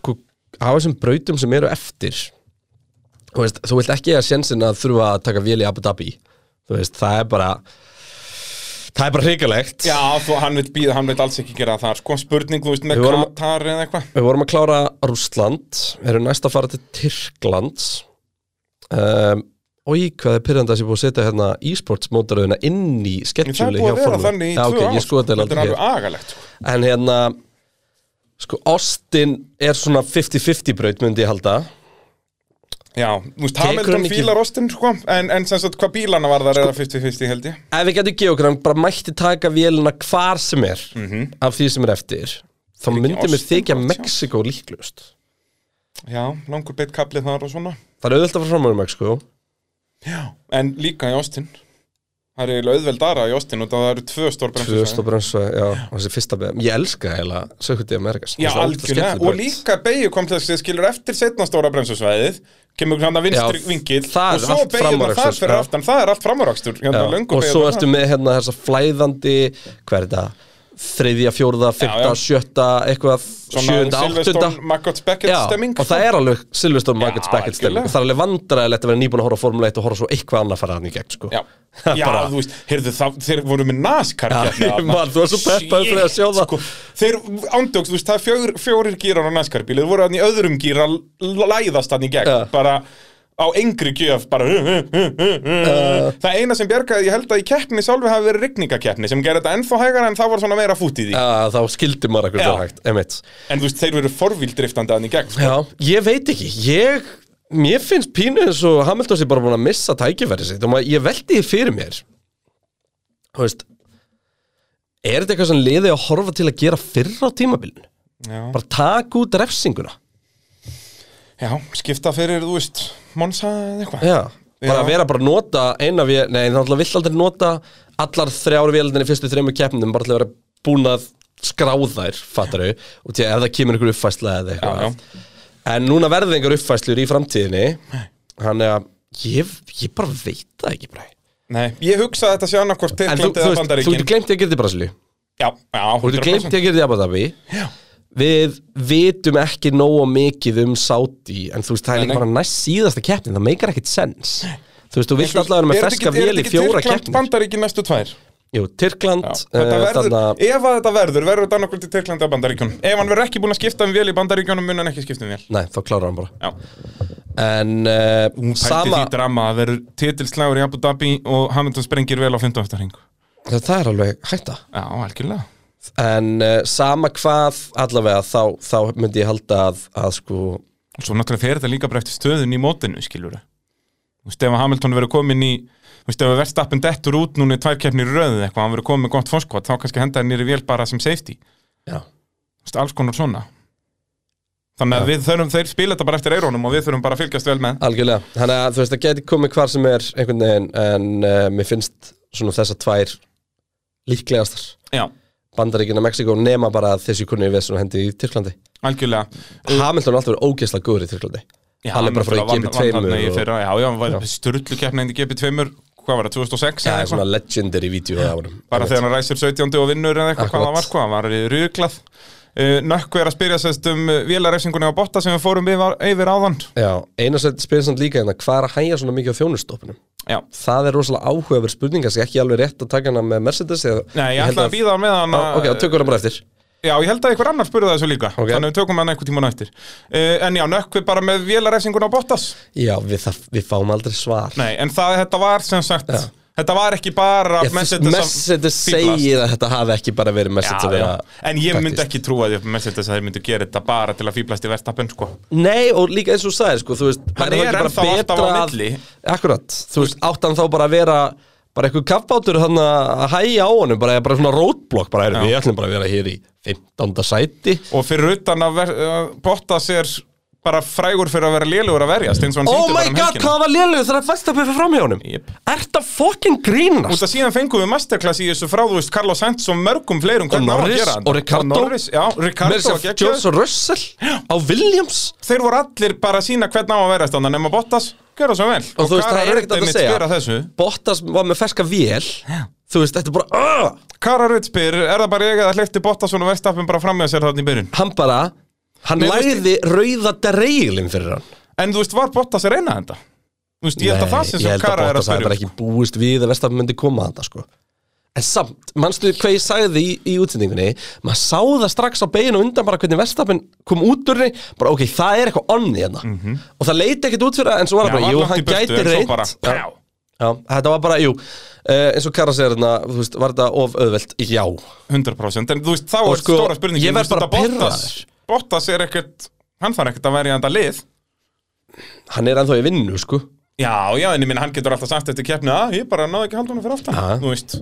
Speaker 6: Sko, á þessum brautum sem eru eftir Þú veist, þú vilt ekki að sjensin að þurfa að taka vel í Abu Dhabi Þú veist, það er bara Það er bara hrikalegt
Speaker 2: já, þú, hann vil býða, hann vil alls ekki gera það sko. Spurning, þú veist, með
Speaker 6: Við vorum-
Speaker 2: Katar eða eitthvað
Speaker 6: Við vorum að klára Rússland Við erum næst að fara til Tyrklands um, Og í hvað er pyrrandi að sé búið að setja hérna e-sports mótaröðuna inn í
Speaker 2: En Það er
Speaker 6: sketsjúli
Speaker 2: búið að vera þannig í
Speaker 6: Já,
Speaker 2: tvö
Speaker 6: ok,
Speaker 2: ár sko.
Speaker 6: ég skoði þetta
Speaker 2: Þetta er
Speaker 6: aldrei hér
Speaker 2: alveg agalegt sko.
Speaker 6: En hérna Sko, Austin er svona 50-50 braut myndi ég halda
Speaker 2: Já, þú veist,
Speaker 6: Tekur hann
Speaker 2: Hamilton
Speaker 6: ekki- Sko-
Speaker 2: fílar rostinn sko. en, en sem sagt, hvað bílana var það er það 50-50 held ég
Speaker 6: Ef við getum geogrann bara mætti taka vélina hvar sem er af því sem er eftir þá myndi mér
Speaker 2: Mhm. Austin
Speaker 6: þykja
Speaker 2: gott, já.
Speaker 6: Mexiko líklust
Speaker 2: Já, langur beitt kaplið þar og svona
Speaker 6: Það er auðvitað frá framöðum Mexiko
Speaker 2: En líka í Austin Það er eiginlega auðveldara í Austin og það eru tvö stór bremsu
Speaker 6: Tvöst og bremsa, já, og þessi fyrsta beð Ég elska heila Sökuti Amerikas
Speaker 2: Já,
Speaker 6: Það er ógeðslega
Speaker 2: algjörlega,
Speaker 6: skemmtileg
Speaker 2: og
Speaker 6: braut.
Speaker 2: líka beigju kom til þess að skilur eftir setna stóra bremsusvæðið kemur hann að vinstri
Speaker 6: Já,
Speaker 2: vingill
Speaker 6: það er
Speaker 2: og svo
Speaker 6: allt
Speaker 2: beigjuna
Speaker 6: framúrakstur,
Speaker 2: þar fyrir
Speaker 6: já.
Speaker 2: aftan, það er allt framúrakstur
Speaker 6: Já,
Speaker 2: hérna, löngu
Speaker 6: Og
Speaker 2: beygju
Speaker 6: svo
Speaker 2: þarna.
Speaker 6: ertu með hérna þessa flæðandi Hvað er þetta? Þriðja, fjórða, fyrta,
Speaker 2: já.
Speaker 6: sjötta Eitthvað, sjöunda, áttunda
Speaker 2: Silverstone, Maggot Beckett stemming sko.
Speaker 6: og það er alveg Silveston Margaret
Speaker 2: Já,
Speaker 6: Beckett stemming
Speaker 2: algjörlega.
Speaker 6: það er alveg vandræðilegt að vera nýbúin að horfa á Formule 1 og horfa svo eitthvað annað fara hann í gegn sko.
Speaker 2: Já,
Speaker 6: *laughs* Það
Speaker 2: já
Speaker 6: bara-
Speaker 2: þú veist, heyrðu það, þeir voru með NASCAR
Speaker 6: Já,
Speaker 2: keppni
Speaker 6: ég
Speaker 2: þarna.
Speaker 6: man, þú varst svo peppaður fyrir að
Speaker 2: Shit,
Speaker 6: sjá það.
Speaker 2: sko. Þeir ándjóks, þú veist, það er fjór, fjórir gírar á NASCAR bíl, þeir voru hann í öðrum gír að l- læðast hann í gegn,
Speaker 6: Já.
Speaker 2: bara á engri gjöf, bara uh, Það eina sem bjargaði, ég held að í keppni sjálfi hafi verið rigningakeppni sem gerði þetta ennþá hægara en það var svona meira fút í því
Speaker 6: Já, þá skildi maður akkur
Speaker 2: Já.
Speaker 6: það hægt emitt.
Speaker 2: En þú veist, þeir voru forvíldriftandi hann í gegn sko.
Speaker 6: Já, ég veit ekki ég, mér finnst pínu eins og Hamilton sé bara búin að missa tækifæri sitt og maður, ég veldi því fyrir mér þú veist er þetta eitthvað sem liðið að horfa til að gera fyrr á tímabilinu?
Speaker 2: Já.
Speaker 6: Bara taka út refsinguna
Speaker 2: Já, skipta fyrir, þú veist, Monsa eða eitthvað
Speaker 6: Já, bara
Speaker 2: Já.
Speaker 6: að vera bara að nota eina vél, nei það náttúrulega vill aldrei nota allar þrjár vélarnir í fyrstu þreymur keppnum bara til að vera búin að skráðær fattar þau, og til að ef það kemur einhver uppfæsla eða
Speaker 2: Já,
Speaker 6: eitthvað en núna verði einhver uppfæslur í framtíðinni þannig að ég, ég bara veit það ekki bara
Speaker 2: Nei, ég hugsa að þetta sé annarkvort
Speaker 6: en þú,
Speaker 2: Tyrkland
Speaker 6: þú
Speaker 2: eða
Speaker 6: veist, þú
Speaker 2: Bandaríkin
Speaker 6: getur glemt ég að gera þetta í Brasilíu
Speaker 2: Já, já,
Speaker 6: og þú
Speaker 2: 100%.
Speaker 6: glemt ég að gera þetta í Abu Dhabi við vitum ekki nógu mikið um Saudi en þú veist, það er
Speaker 2: Nei,
Speaker 6: líka
Speaker 2: nei.
Speaker 6: bara næst síðasta keppnin það meikar ekkit sens þú veist, þú vilt alltaf vera með
Speaker 2: Er þetta
Speaker 6: ferska
Speaker 2: ekki-
Speaker 6: vél í fjóra
Speaker 2: Er þetta ekki Tyrkland,
Speaker 6: keppnir
Speaker 2: Bandaríkin næstu tvær?
Speaker 6: Jú, Tyrkland, uh,
Speaker 2: Þetta verður,
Speaker 6: þarna
Speaker 2: ef að þetta verður, verður þetta annarkvöld í Tyrkland eða Bandaríkjunum Ef hann verður ekki búin að skipta um vél í Bandaríkjunum mun hann ekki skipta um vél
Speaker 6: Nei, þá klárar hann bara
Speaker 2: Já.
Speaker 6: En uh,
Speaker 2: Pælti
Speaker 6: sama
Speaker 2: því drama að verður titilslagur í Abu Dhabi og Hamilton sprengir vel á 15 eftir hring
Speaker 6: Það er alveg hætta
Speaker 2: Já, algjörlega
Speaker 6: En uh, sama hvað allavega þá, þá myndi ég halda að, að sko
Speaker 2: Og svo náttúrulega fer þetta líka bara eftir stöðun í mótinu, skilur Þú veist, ef að Hamilton verður komin í Þú veist, ef að verðstappin dettur út núna í tvær keppnir röðu eitthvað, hann verður komin með gott fórskot þá kannski henda hann nýri vél bara sem safety
Speaker 6: Já,
Speaker 2: Þú veist, alls konar svona Þannig að við þurfum, þeir spila þetta bara eftir eirónum og við þurfum bara að fylgjast vel með
Speaker 6: algjörlega Þannig að þú veist, það geti komið hvar sem er einhvern veginn En uh, mér finnst svona þessar tvær líklegastar
Speaker 2: Já,
Speaker 6: Bandaríkina Mexiko nema bara að þessi kunni við svona hendi í Tyrklandi
Speaker 2: algjörlega
Speaker 6: Hamilton er alltaf verið ógeðslega góður í Tyrklandi
Speaker 2: Já,
Speaker 6: Hann er bara frá í
Speaker 2: náttúrulega
Speaker 6: GP2
Speaker 2: vann- vann þarna í
Speaker 6: og-
Speaker 2: fyrra, Já, já, hann
Speaker 6: Já.
Speaker 2: var styrlu keppnið í GP2 Hvað var það, 2006
Speaker 6: Það
Speaker 2: eða
Speaker 6: er svona
Speaker 2: eitthvað
Speaker 6: legendary vídeo af honum
Speaker 2: Bara þegar hann ræsir 17. og vinnur eða eitthvað, hvað
Speaker 6: Akkurat.
Speaker 2: það var, hvað hann var í ruglað Uh, Nökkvi er að spyrja sérst um vélarefsingunni á botta sem við fórum yfir, yfir áðan
Speaker 6: Já, eina sem spyrir samt líka hérna, hvað er að hæja svona mikið á þjónustopunum?
Speaker 2: Já,
Speaker 6: Það er rosalega áhugaverð spurning, kannski ekki alveg rétt að taka hana með Mercedes eða...
Speaker 2: Nei, ég,
Speaker 6: held
Speaker 2: ætla að býða með hann
Speaker 6: Á, Ok, þá tökum við hana bara eftir.
Speaker 2: Já, ég held að einhver annar spurði þessu líka
Speaker 6: Ok.
Speaker 2: Þannig við tökum hann einhver tíma nættir uh, En já, nökkvi bara með vélarefsingun á Bottas
Speaker 6: Já, við, það, við fáum aldrei svar.
Speaker 2: Nei, en það, þetta var sem sagt
Speaker 6: Já.
Speaker 2: Þetta var ekki bara
Speaker 6: Ég, Mercedes, Mercedes
Speaker 2: fíblast.
Speaker 6: segir að þetta hafi ekki bara verið Mercedes
Speaker 2: Já,
Speaker 6: að
Speaker 2: já.
Speaker 6: vera...
Speaker 2: En ég myndi
Speaker 6: taktist.
Speaker 2: ekki trúa því að Mercedes að þeir myndu gera þetta bara til að fýblast í verðstappen sko.
Speaker 6: Nei, og líka eins og þú sagðir, sko, þú veist, væri þá
Speaker 2: er
Speaker 6: ekki bara
Speaker 2: ennþá alltaf
Speaker 6: betra
Speaker 2: á
Speaker 6: að-
Speaker 2: milli.
Speaker 6: Akkurat, þú veist, átt hann þá bara að vera bara eitthvað kaffbátur hann að hæja á honum, bara, bara svona roadblock, bara erum við ætlum bara að vera hér í 15. sæti.
Speaker 2: Og fyrir utan að ver, uh, Bottas er bara frægur fyrir að vera lélugur að verjast eins og hann
Speaker 6: Oh
Speaker 2: sýndi
Speaker 6: my
Speaker 2: bara um
Speaker 6: god,
Speaker 2: helgina.
Speaker 6: hvað var lélugur þegar að fæsta pöfum fram hjá honum?
Speaker 2: Jep.
Speaker 6: Ert að fucking grínast?
Speaker 2: Út af síðan fengum við masterclass í þessu frá, þú veist, Carlos Sainz og mörgum fleirum hvernig á að
Speaker 6: Norris
Speaker 2: gera þetta.
Speaker 6: og Ricardo.
Speaker 2: Norris, já,
Speaker 6: Meira
Speaker 2: Ricardo
Speaker 6: að
Speaker 2: var
Speaker 6: segja
Speaker 2: geggjaður.
Speaker 6: George Russell á Williams
Speaker 2: Þeir voru allir bara að sína hvernig á að verjast þannig nema Bottas, gera svo vel.
Speaker 6: og, þú veist,
Speaker 2: Kara
Speaker 6: það er ekkert hægt að
Speaker 2: Rudinich spyr að
Speaker 6: segja
Speaker 2: þessu.
Speaker 6: Bottas var með ferska vél þú veist, þetta er bara uh,
Speaker 2: Kara Rutt spyr, er það bara ég að hleyfti Bottas og verðstappen bara fram með sér þarna í byrjun?
Speaker 6: hann bara hann
Speaker 2: Mér
Speaker 6: lagði rauða dreigilinn fyrir hann
Speaker 2: En þú veist, var Bottas að reyna þetta? Þú veist, ég held að það sem
Speaker 6: ég
Speaker 2: sem
Speaker 6: held að
Speaker 2: Kara er að
Speaker 6: Bottas
Speaker 2: spyrja
Speaker 6: hefði bara
Speaker 2: um.
Speaker 6: ekki búist við að Vestafn myndi koma að það sko En samt, mannstu hvað ég sagði í, í útsendingunni maður sá það strax á beginu undan bara hvernig Vestafn kom út úr henni bara ok, það er eitthvað onni hérna og það leiti ekkert út fyrir það en svo var
Speaker 2: Mhm. Já, var
Speaker 6: það bara, jú,
Speaker 2: langt
Speaker 6: hann
Speaker 2: í burtu,
Speaker 6: gæti
Speaker 2: en svo
Speaker 6: reynt
Speaker 2: bara,
Speaker 6: já,
Speaker 2: pjá.
Speaker 6: já, þetta var bara, jú uh, eins og Kara segir hérna, þú veist, var þetta of auðvelt já,
Speaker 2: 100% En þú veist, þá
Speaker 6: Og
Speaker 2: er
Speaker 6: sko,
Speaker 2: stóra spurningin
Speaker 6: ég verð
Speaker 2: þú veist,
Speaker 6: bara
Speaker 2: þetta Bottas-
Speaker 6: pirraður.
Speaker 2: Bottas er ekkert, hann þarf ekkert að verja þetta lið
Speaker 6: hann er ennþá í vinnu sko,
Speaker 2: Já, já, en ég minn, hann getur alltaf sagt eftir keppni að ég bara náði ekki haldunum fyrir aftan
Speaker 6: Já.
Speaker 2: Þú veist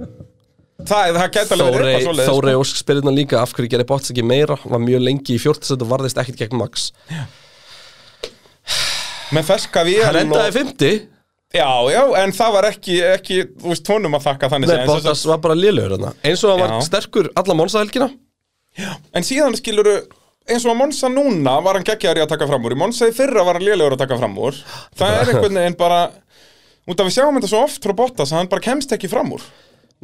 Speaker 2: Það, það gæti alveg verið eitthvað svoleiðis sko.
Speaker 6: Þórei Ósk spyrir hérna líka af hverju gerir Bottas ekki meira, var mjög lengi í 14 og varðist ekkert gegn Max
Speaker 2: Með ferska við
Speaker 6: hann endaði 50
Speaker 2: Já, já, en það var ekki, ekki þú veist, honum að þakka þannig
Speaker 6: Nei,
Speaker 2: séð, en sem sagt-
Speaker 6: Bottas var bara lélugur hérna Eins og hann var
Speaker 2: Já.
Speaker 6: sterkur alla Monsa-helgina
Speaker 2: En síðan skiluru eins og að Monsa núna var hann geggjaður í að taka fram úr í Monsa í fyrra var hann lélegur að taka fram úr það er einhvern veginn bara út af við sjáum þetta svo oft frá Bottas að hann bara kemst ekki fram úr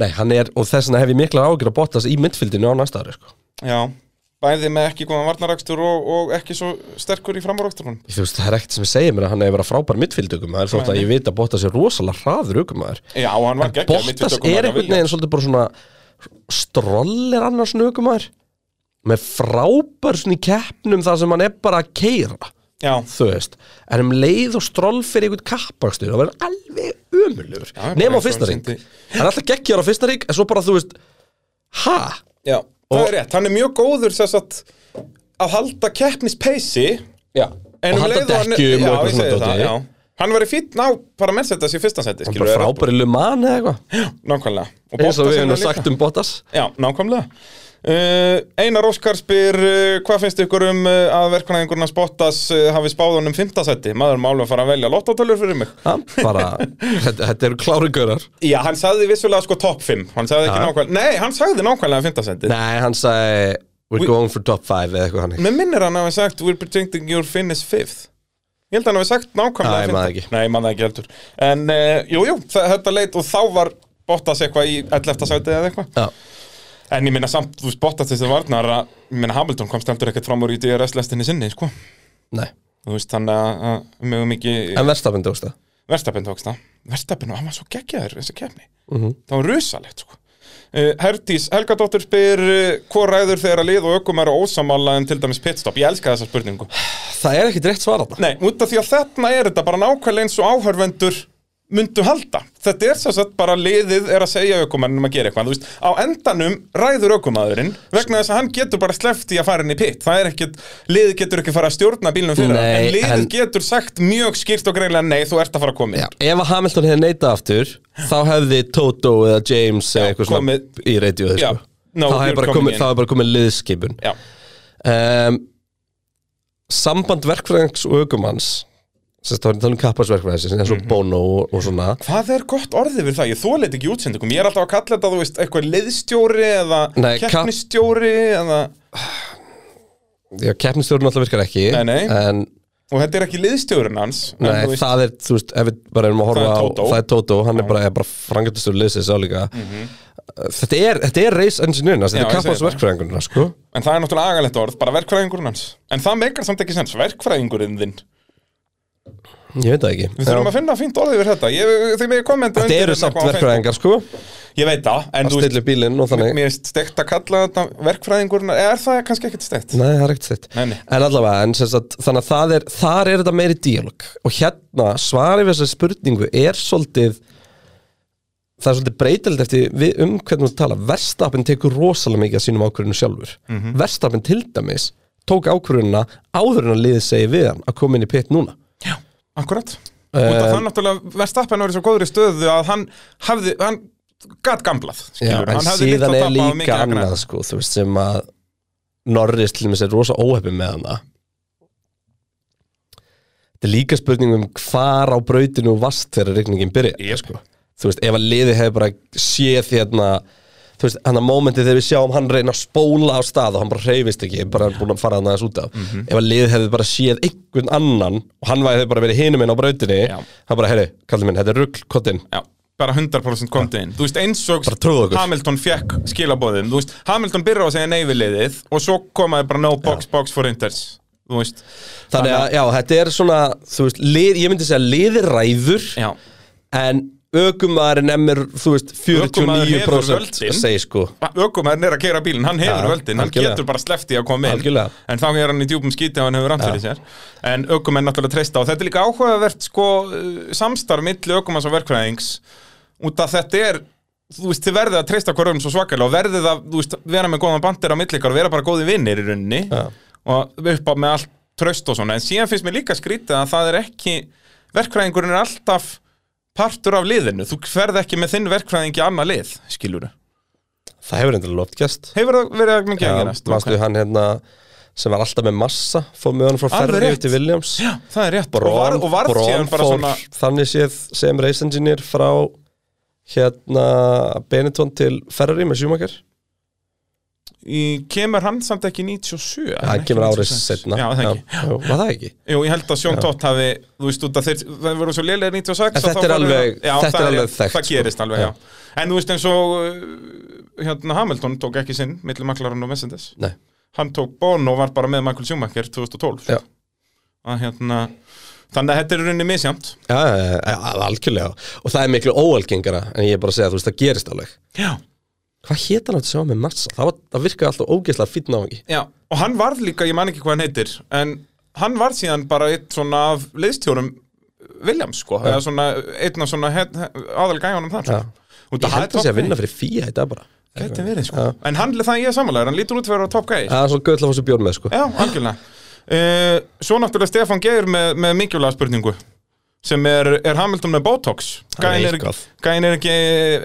Speaker 6: Nei, hann er, og þess vegna hef ég miklar ágjur að Bottas í myndfildinu á næsta ári sko.
Speaker 2: já, bæði með ekki góðan varnarakstur og, og ekki svo sterkur í framúraksturunum
Speaker 6: Þú veist, það er ekkert sem segir mér að hann hefur verið frábær myndfildugumæður Þótt að
Speaker 2: Nei.
Speaker 6: ég veit að Bottas er rosalega hraður aukumæður
Speaker 2: já, og hann var geggjaður mitt við
Speaker 6: Bottas
Speaker 2: tökum
Speaker 6: er
Speaker 2: hann að
Speaker 6: einhvern
Speaker 2: vilja.
Speaker 6: veginn svolítið bara svona Stroll er annars aukumæður Með frábær svona í keppnum þar sem hann er bara að keira
Speaker 2: já,
Speaker 6: Þú veist, en um leið og stroll fyrir einhvern kappakstur Það verður alveg ömurlegur
Speaker 2: Já,
Speaker 6: Nefn á
Speaker 2: bara
Speaker 6: fyrsta
Speaker 2: eins og hann
Speaker 6: ring Hann er alltaf geggjar á fyrsta ring En svo bara, þú veist, ha?
Speaker 2: já, það
Speaker 6: Og-
Speaker 2: er rétt hann er mjög góður sess að að halda keppnispeysi
Speaker 6: Já,
Speaker 2: en um
Speaker 6: og halda
Speaker 2: leið og hann-
Speaker 6: dekkjum
Speaker 2: já,
Speaker 6: um og eitthvað
Speaker 2: ég segi
Speaker 6: svona
Speaker 2: það,
Speaker 6: dóti
Speaker 2: já hann var í fýtn á bara Mercedes í fyrsta seti
Speaker 6: Hann
Speaker 2: skilur
Speaker 6: bara
Speaker 2: við,
Speaker 6: frábæri luman eða eitthvað
Speaker 2: nákvæmlega Og
Speaker 6: Eins og
Speaker 2: Bottas
Speaker 6: við
Speaker 2: er það
Speaker 6: hefum
Speaker 2: líka.
Speaker 6: sagt um Bottas
Speaker 2: Já, nákvæmlega uh, Einar Óskar spyr uh, hvað finnst ykkur um uh, að verkunæðingurna Spottas uh, hafi spáð honum fimmtasætti maður má alveg fara að velja lottotölur fyrir mig
Speaker 6: Hann bara, þetta, þetta eru klárugörar
Speaker 2: Já, hann sagði vissulega sko topp 5 hann sagði ekki
Speaker 6: Já.
Speaker 2: nákvæmlega, nei, hann sagði nákvæmlega fimmtasætti
Speaker 6: Nei, hann sagði We're going for top 5 eða eitthvað hann
Speaker 2: Mér minnir hann hafi sagt we're predicting your finish fifth Ég held að hann hafi sagt nákvæmlega
Speaker 6: Nei, ég man það ekki.
Speaker 2: fimmta- Nei, mann það ekki heldur En, uh, jú, jú, þa- þetta leit og þá var Bottas eitthvað í 11. sæti eða eitthvað
Speaker 6: Já,
Speaker 2: En ég minna samt, þú spottast þessi varnar að, ég minna Hamilton komst heldur ekkert fram úr í DRS-lestinni sinni, sko
Speaker 6: nei
Speaker 2: þú veist þannig að- að mjög mikið
Speaker 6: En verðstafinn tókst það
Speaker 2: verstapinn tókst það verstapinn og hann var svo geggjaður þessi kefni
Speaker 6: Mhm.
Speaker 2: það var rusalegt sko Uh, Herdís Helgadóttir spyr uh, hvað ræður þegar að lið og ökum eru ósamála en til dæmis pitstop, ég elska þessa spurningu
Speaker 6: Það er ekkit rétt svar þarna
Speaker 2: Nei, út af því að þarna er þetta bara nákvæmlega eins og áhörvendur myndu halda þetta er svo sett bara liðið er að segja ökumannum að gera eitthvað, þú veist á endanum ræður ökumæðurinn vegna þess að hann getur bara sleft í að fara inn í pitt það er ekkit, liðið getur ekki fara að stjórna bílnum fyrir hann,
Speaker 6: Nei,
Speaker 2: en liðið
Speaker 6: en-
Speaker 2: getur sagt mjög skýrt og greinlega nei, þú ert að fara að koma
Speaker 6: Já,
Speaker 2: inn
Speaker 6: ef að Hamilton hefði neitað aftur Þá hefði Toto eða James eða eitthvað svona
Speaker 2: komið-
Speaker 6: í radioði
Speaker 2: Já,
Speaker 6: sko.
Speaker 2: no,
Speaker 6: Þá hefði
Speaker 2: you're
Speaker 6: bara
Speaker 2: coming
Speaker 6: komið,
Speaker 2: in.
Speaker 6: þá hefði bara komið liðskipun
Speaker 2: Já.
Speaker 6: um, Samband verkfræðings og aukumanns Sérst, þá er þannig kapparsverkfræðins um eins og
Speaker 2: Mhm.
Speaker 6: Bono og, og svona
Speaker 2: Hvað er gott orðið við það? Ég þóleit ekki í útsendingum. Ég er alltaf að kalla þetta, þú veist, eitthvað liðstjóri eða
Speaker 6: Nei, ka-
Speaker 2: keppnistjóri eða...
Speaker 6: Já, keppnistjórun alltaf virkar ekki
Speaker 2: Nei, nei.
Speaker 6: En
Speaker 2: Og þetta er ekki liðstjórun hans. en
Speaker 6: nei,
Speaker 2: þú veist-
Speaker 6: það er, þú veist, ef við bara erum að horfa
Speaker 2: Það er
Speaker 6: á
Speaker 2: Tótó.
Speaker 6: Það er Tótó, hann er bara, er bara frangatastjóri liðsins á líka þetta er, þetta er race engineering hans, þetta
Speaker 2: Mhm. Já, ég segi
Speaker 6: er
Speaker 2: það.
Speaker 6: kappasverkfræðingurinn sko.
Speaker 2: En það er náttúrulega agalegt orð, bara verkfræðingurinn hans En það meikar samt ekki sens, verkfræðingurinn þinn
Speaker 6: ég veit það ekki
Speaker 2: Við þurfum
Speaker 6: Já.
Speaker 2: að finna fínt orðið yfir þetta Ég, Þið með kommenta
Speaker 6: þetta
Speaker 2: undir
Speaker 6: eru
Speaker 2: hérna eitthvað
Speaker 6: samt
Speaker 2: á Facebook.
Speaker 6: verkfræðingar sko,
Speaker 2: Ég veit það, en
Speaker 6: að
Speaker 2: þú
Speaker 6: stilla
Speaker 2: veist,
Speaker 6: upp bílinn og
Speaker 2: mér
Speaker 6: þannig
Speaker 2: er stegt að kalla þetta verkfræðingurinn Er það kannski ekkert stegt?
Speaker 6: Nei, það er ekkert þitt
Speaker 2: Nei, nei.
Speaker 6: En allavega, en sem sagt, þannig að það er, þar er þetta meiri díalog Og hérna, svarið við þessari spurningu er svolítið Það er svolítið breytild eftir við, um hvernig þú tala Verstapin tekur rosalega mikið af sínum ákvörðinu sjálfur mm
Speaker 2: Mhm.
Speaker 6: Verstapin til dæmis tók ákvörðunina áður en að liðið segi við hann að koma inn í pitt núna
Speaker 2: Akkurat
Speaker 6: Eh,
Speaker 2: Út af það náttúrulega Verstappen var í svo góðri stöðu að hann hafði, hann gat gamblað skilur,
Speaker 6: En
Speaker 2: hann hafði litla
Speaker 6: síðan
Speaker 2: að
Speaker 6: er
Speaker 2: tapa og mikið
Speaker 6: líka
Speaker 2: að græða.
Speaker 6: annað sko, þú veist sem að Norris til dæmis er rosa óhefn með hana Þetta er líka spurning um hvar á brautinu þú varst þegar regningin byrja
Speaker 2: Ég sko
Speaker 6: þú veist, ef að liði hefur bara séð hérna þú veist, hann að mómenti þegar við sjáum hann reyna að spóla á stað og hann bara hreyfist ekki, bara búin að fara hann aðeins út af
Speaker 2: Mhm.
Speaker 6: ef að liði hefur bara séð einhvern annan og hann væri bara verið hinum inn á brautinni
Speaker 2: Já.
Speaker 6: hann bara, herri, kallið minn, þetta er rugl, kottinn
Speaker 2: Já, bara 100% komdi inn Þú veist, eins og
Speaker 6: Bara trúðu okkur.
Speaker 2: Hamilton fekk skilabóðin Þú veist, Hamilton byrjar á að segja nei við liðið Og svo komaði bara no box, box for inters Þú veist
Speaker 6: þannig að, já, þetta er svona, þú veist, lið, ég myndi segja liði ræður
Speaker 2: Já,
Speaker 6: en ökumæðurinn emir, þú veist,
Speaker 2: Ökumaður hefur
Speaker 6: 49%
Speaker 2: völdin.
Speaker 6: segi sko
Speaker 2: aukumæðin er að keira bílinn, hann hefur
Speaker 6: Já,
Speaker 2: völdin, hann
Speaker 6: algjörlega.
Speaker 2: getur bara slefti að koma inn
Speaker 6: Algjörlega.
Speaker 2: En þá er hann í djúpum skíti ef hann hefur rann fyrir sér En aukumenn náttúrulega treysta á Þetta er líka áhugavert sko uh, samstarf milli aukumanns og verkfræðings Út að þetta er Þú veist, þið verðið að treysta hverjum svo svakalega og verðið að, þú veist, vera með góðan bandir á milli ykkar og vera bara góði vinnir í rauninni
Speaker 6: Já.
Speaker 2: og upp á með allt tröst og svona en síðan finnst mér líka skrítið að það er ekki verkfræðingurinn er alltaf partur af liðinu, þú ferð ekki með þinn verkfræðingi í annað lið, skilur
Speaker 6: það hefur endur loft gæst
Speaker 2: Hefur það verið mikið að gerast?
Speaker 6: mannstu hann hérna sem var alltaf með massa, fóð með hann frá
Speaker 2: Alveg
Speaker 6: Ferri
Speaker 2: rétt.
Speaker 6: yfir til Williams
Speaker 2: Já, það er rétt
Speaker 6: Brón,
Speaker 2: Og varð, og varð
Speaker 6: Brón
Speaker 2: síðan bara
Speaker 6: fór
Speaker 2: svona
Speaker 6: þannig séð sem race engineer frá hérna Benetton til Ferrari með Schumacher
Speaker 2: í, Kemur hann samt ekki 97?
Speaker 6: það
Speaker 2: Ekki
Speaker 6: kemur árið
Speaker 2: 96.
Speaker 6: setna
Speaker 2: Já, það ekki
Speaker 6: já, var það ekki?
Speaker 2: Jú, ég held að Sjón Tótt hafi Þú veist út að þeir Það voru svo lélega 96 og þá
Speaker 6: En þetta er
Speaker 2: farið
Speaker 6: alveg-
Speaker 2: að- já,
Speaker 6: þetta
Speaker 2: það
Speaker 6: er alveg þekkt,
Speaker 2: Það
Speaker 6: sko.
Speaker 2: gerist alveg,
Speaker 6: Já.
Speaker 2: já. En þú veist eins og uh, Hérna Hamilton tók ekki sinn Milli maklarinn og Mercedes
Speaker 6: Nei.
Speaker 2: Hann tók Bonn og var bara með Michael Schumacher 2012
Speaker 6: Já.
Speaker 2: að, hérna, Þannig að þetta er í rauninni misjamt
Speaker 6: Já, já, já, já, algjörlega og það er miklu óalgengara en ég er bara að segja þú veist það gerist alveg
Speaker 2: Já
Speaker 6: hvað hétt hann að sjá með massa? það, var, það virkaði alltaf ógeðslega fínn náðingi
Speaker 2: Já, og hann varð líka, ég man ekki hvað hann heitir En hann varð síðan bara eitt svona af liðstjórum Williams sko Eða svona, einn af svona aðal gæjanum þar sko.
Speaker 6: Já.
Speaker 2: Út
Speaker 6: ég
Speaker 2: að það
Speaker 6: held að sé að vinna
Speaker 2: fyrir
Speaker 6: fyrir fíja þetta bara
Speaker 2: Gæti verið sko En hann, það ég er samanlega, hann lítur út fyrir að vera top gæj
Speaker 6: það er svo gauðla fór sem bjórn með sko
Speaker 2: Já, *laughs* algjörlega uh, Svo náttúrulega Stefán Geir með, með mikilvæga spurningu sem er, er Hamilton með Botox
Speaker 6: Það er
Speaker 2: Gæin er,
Speaker 6: eitthvað.
Speaker 2: gæin er ekki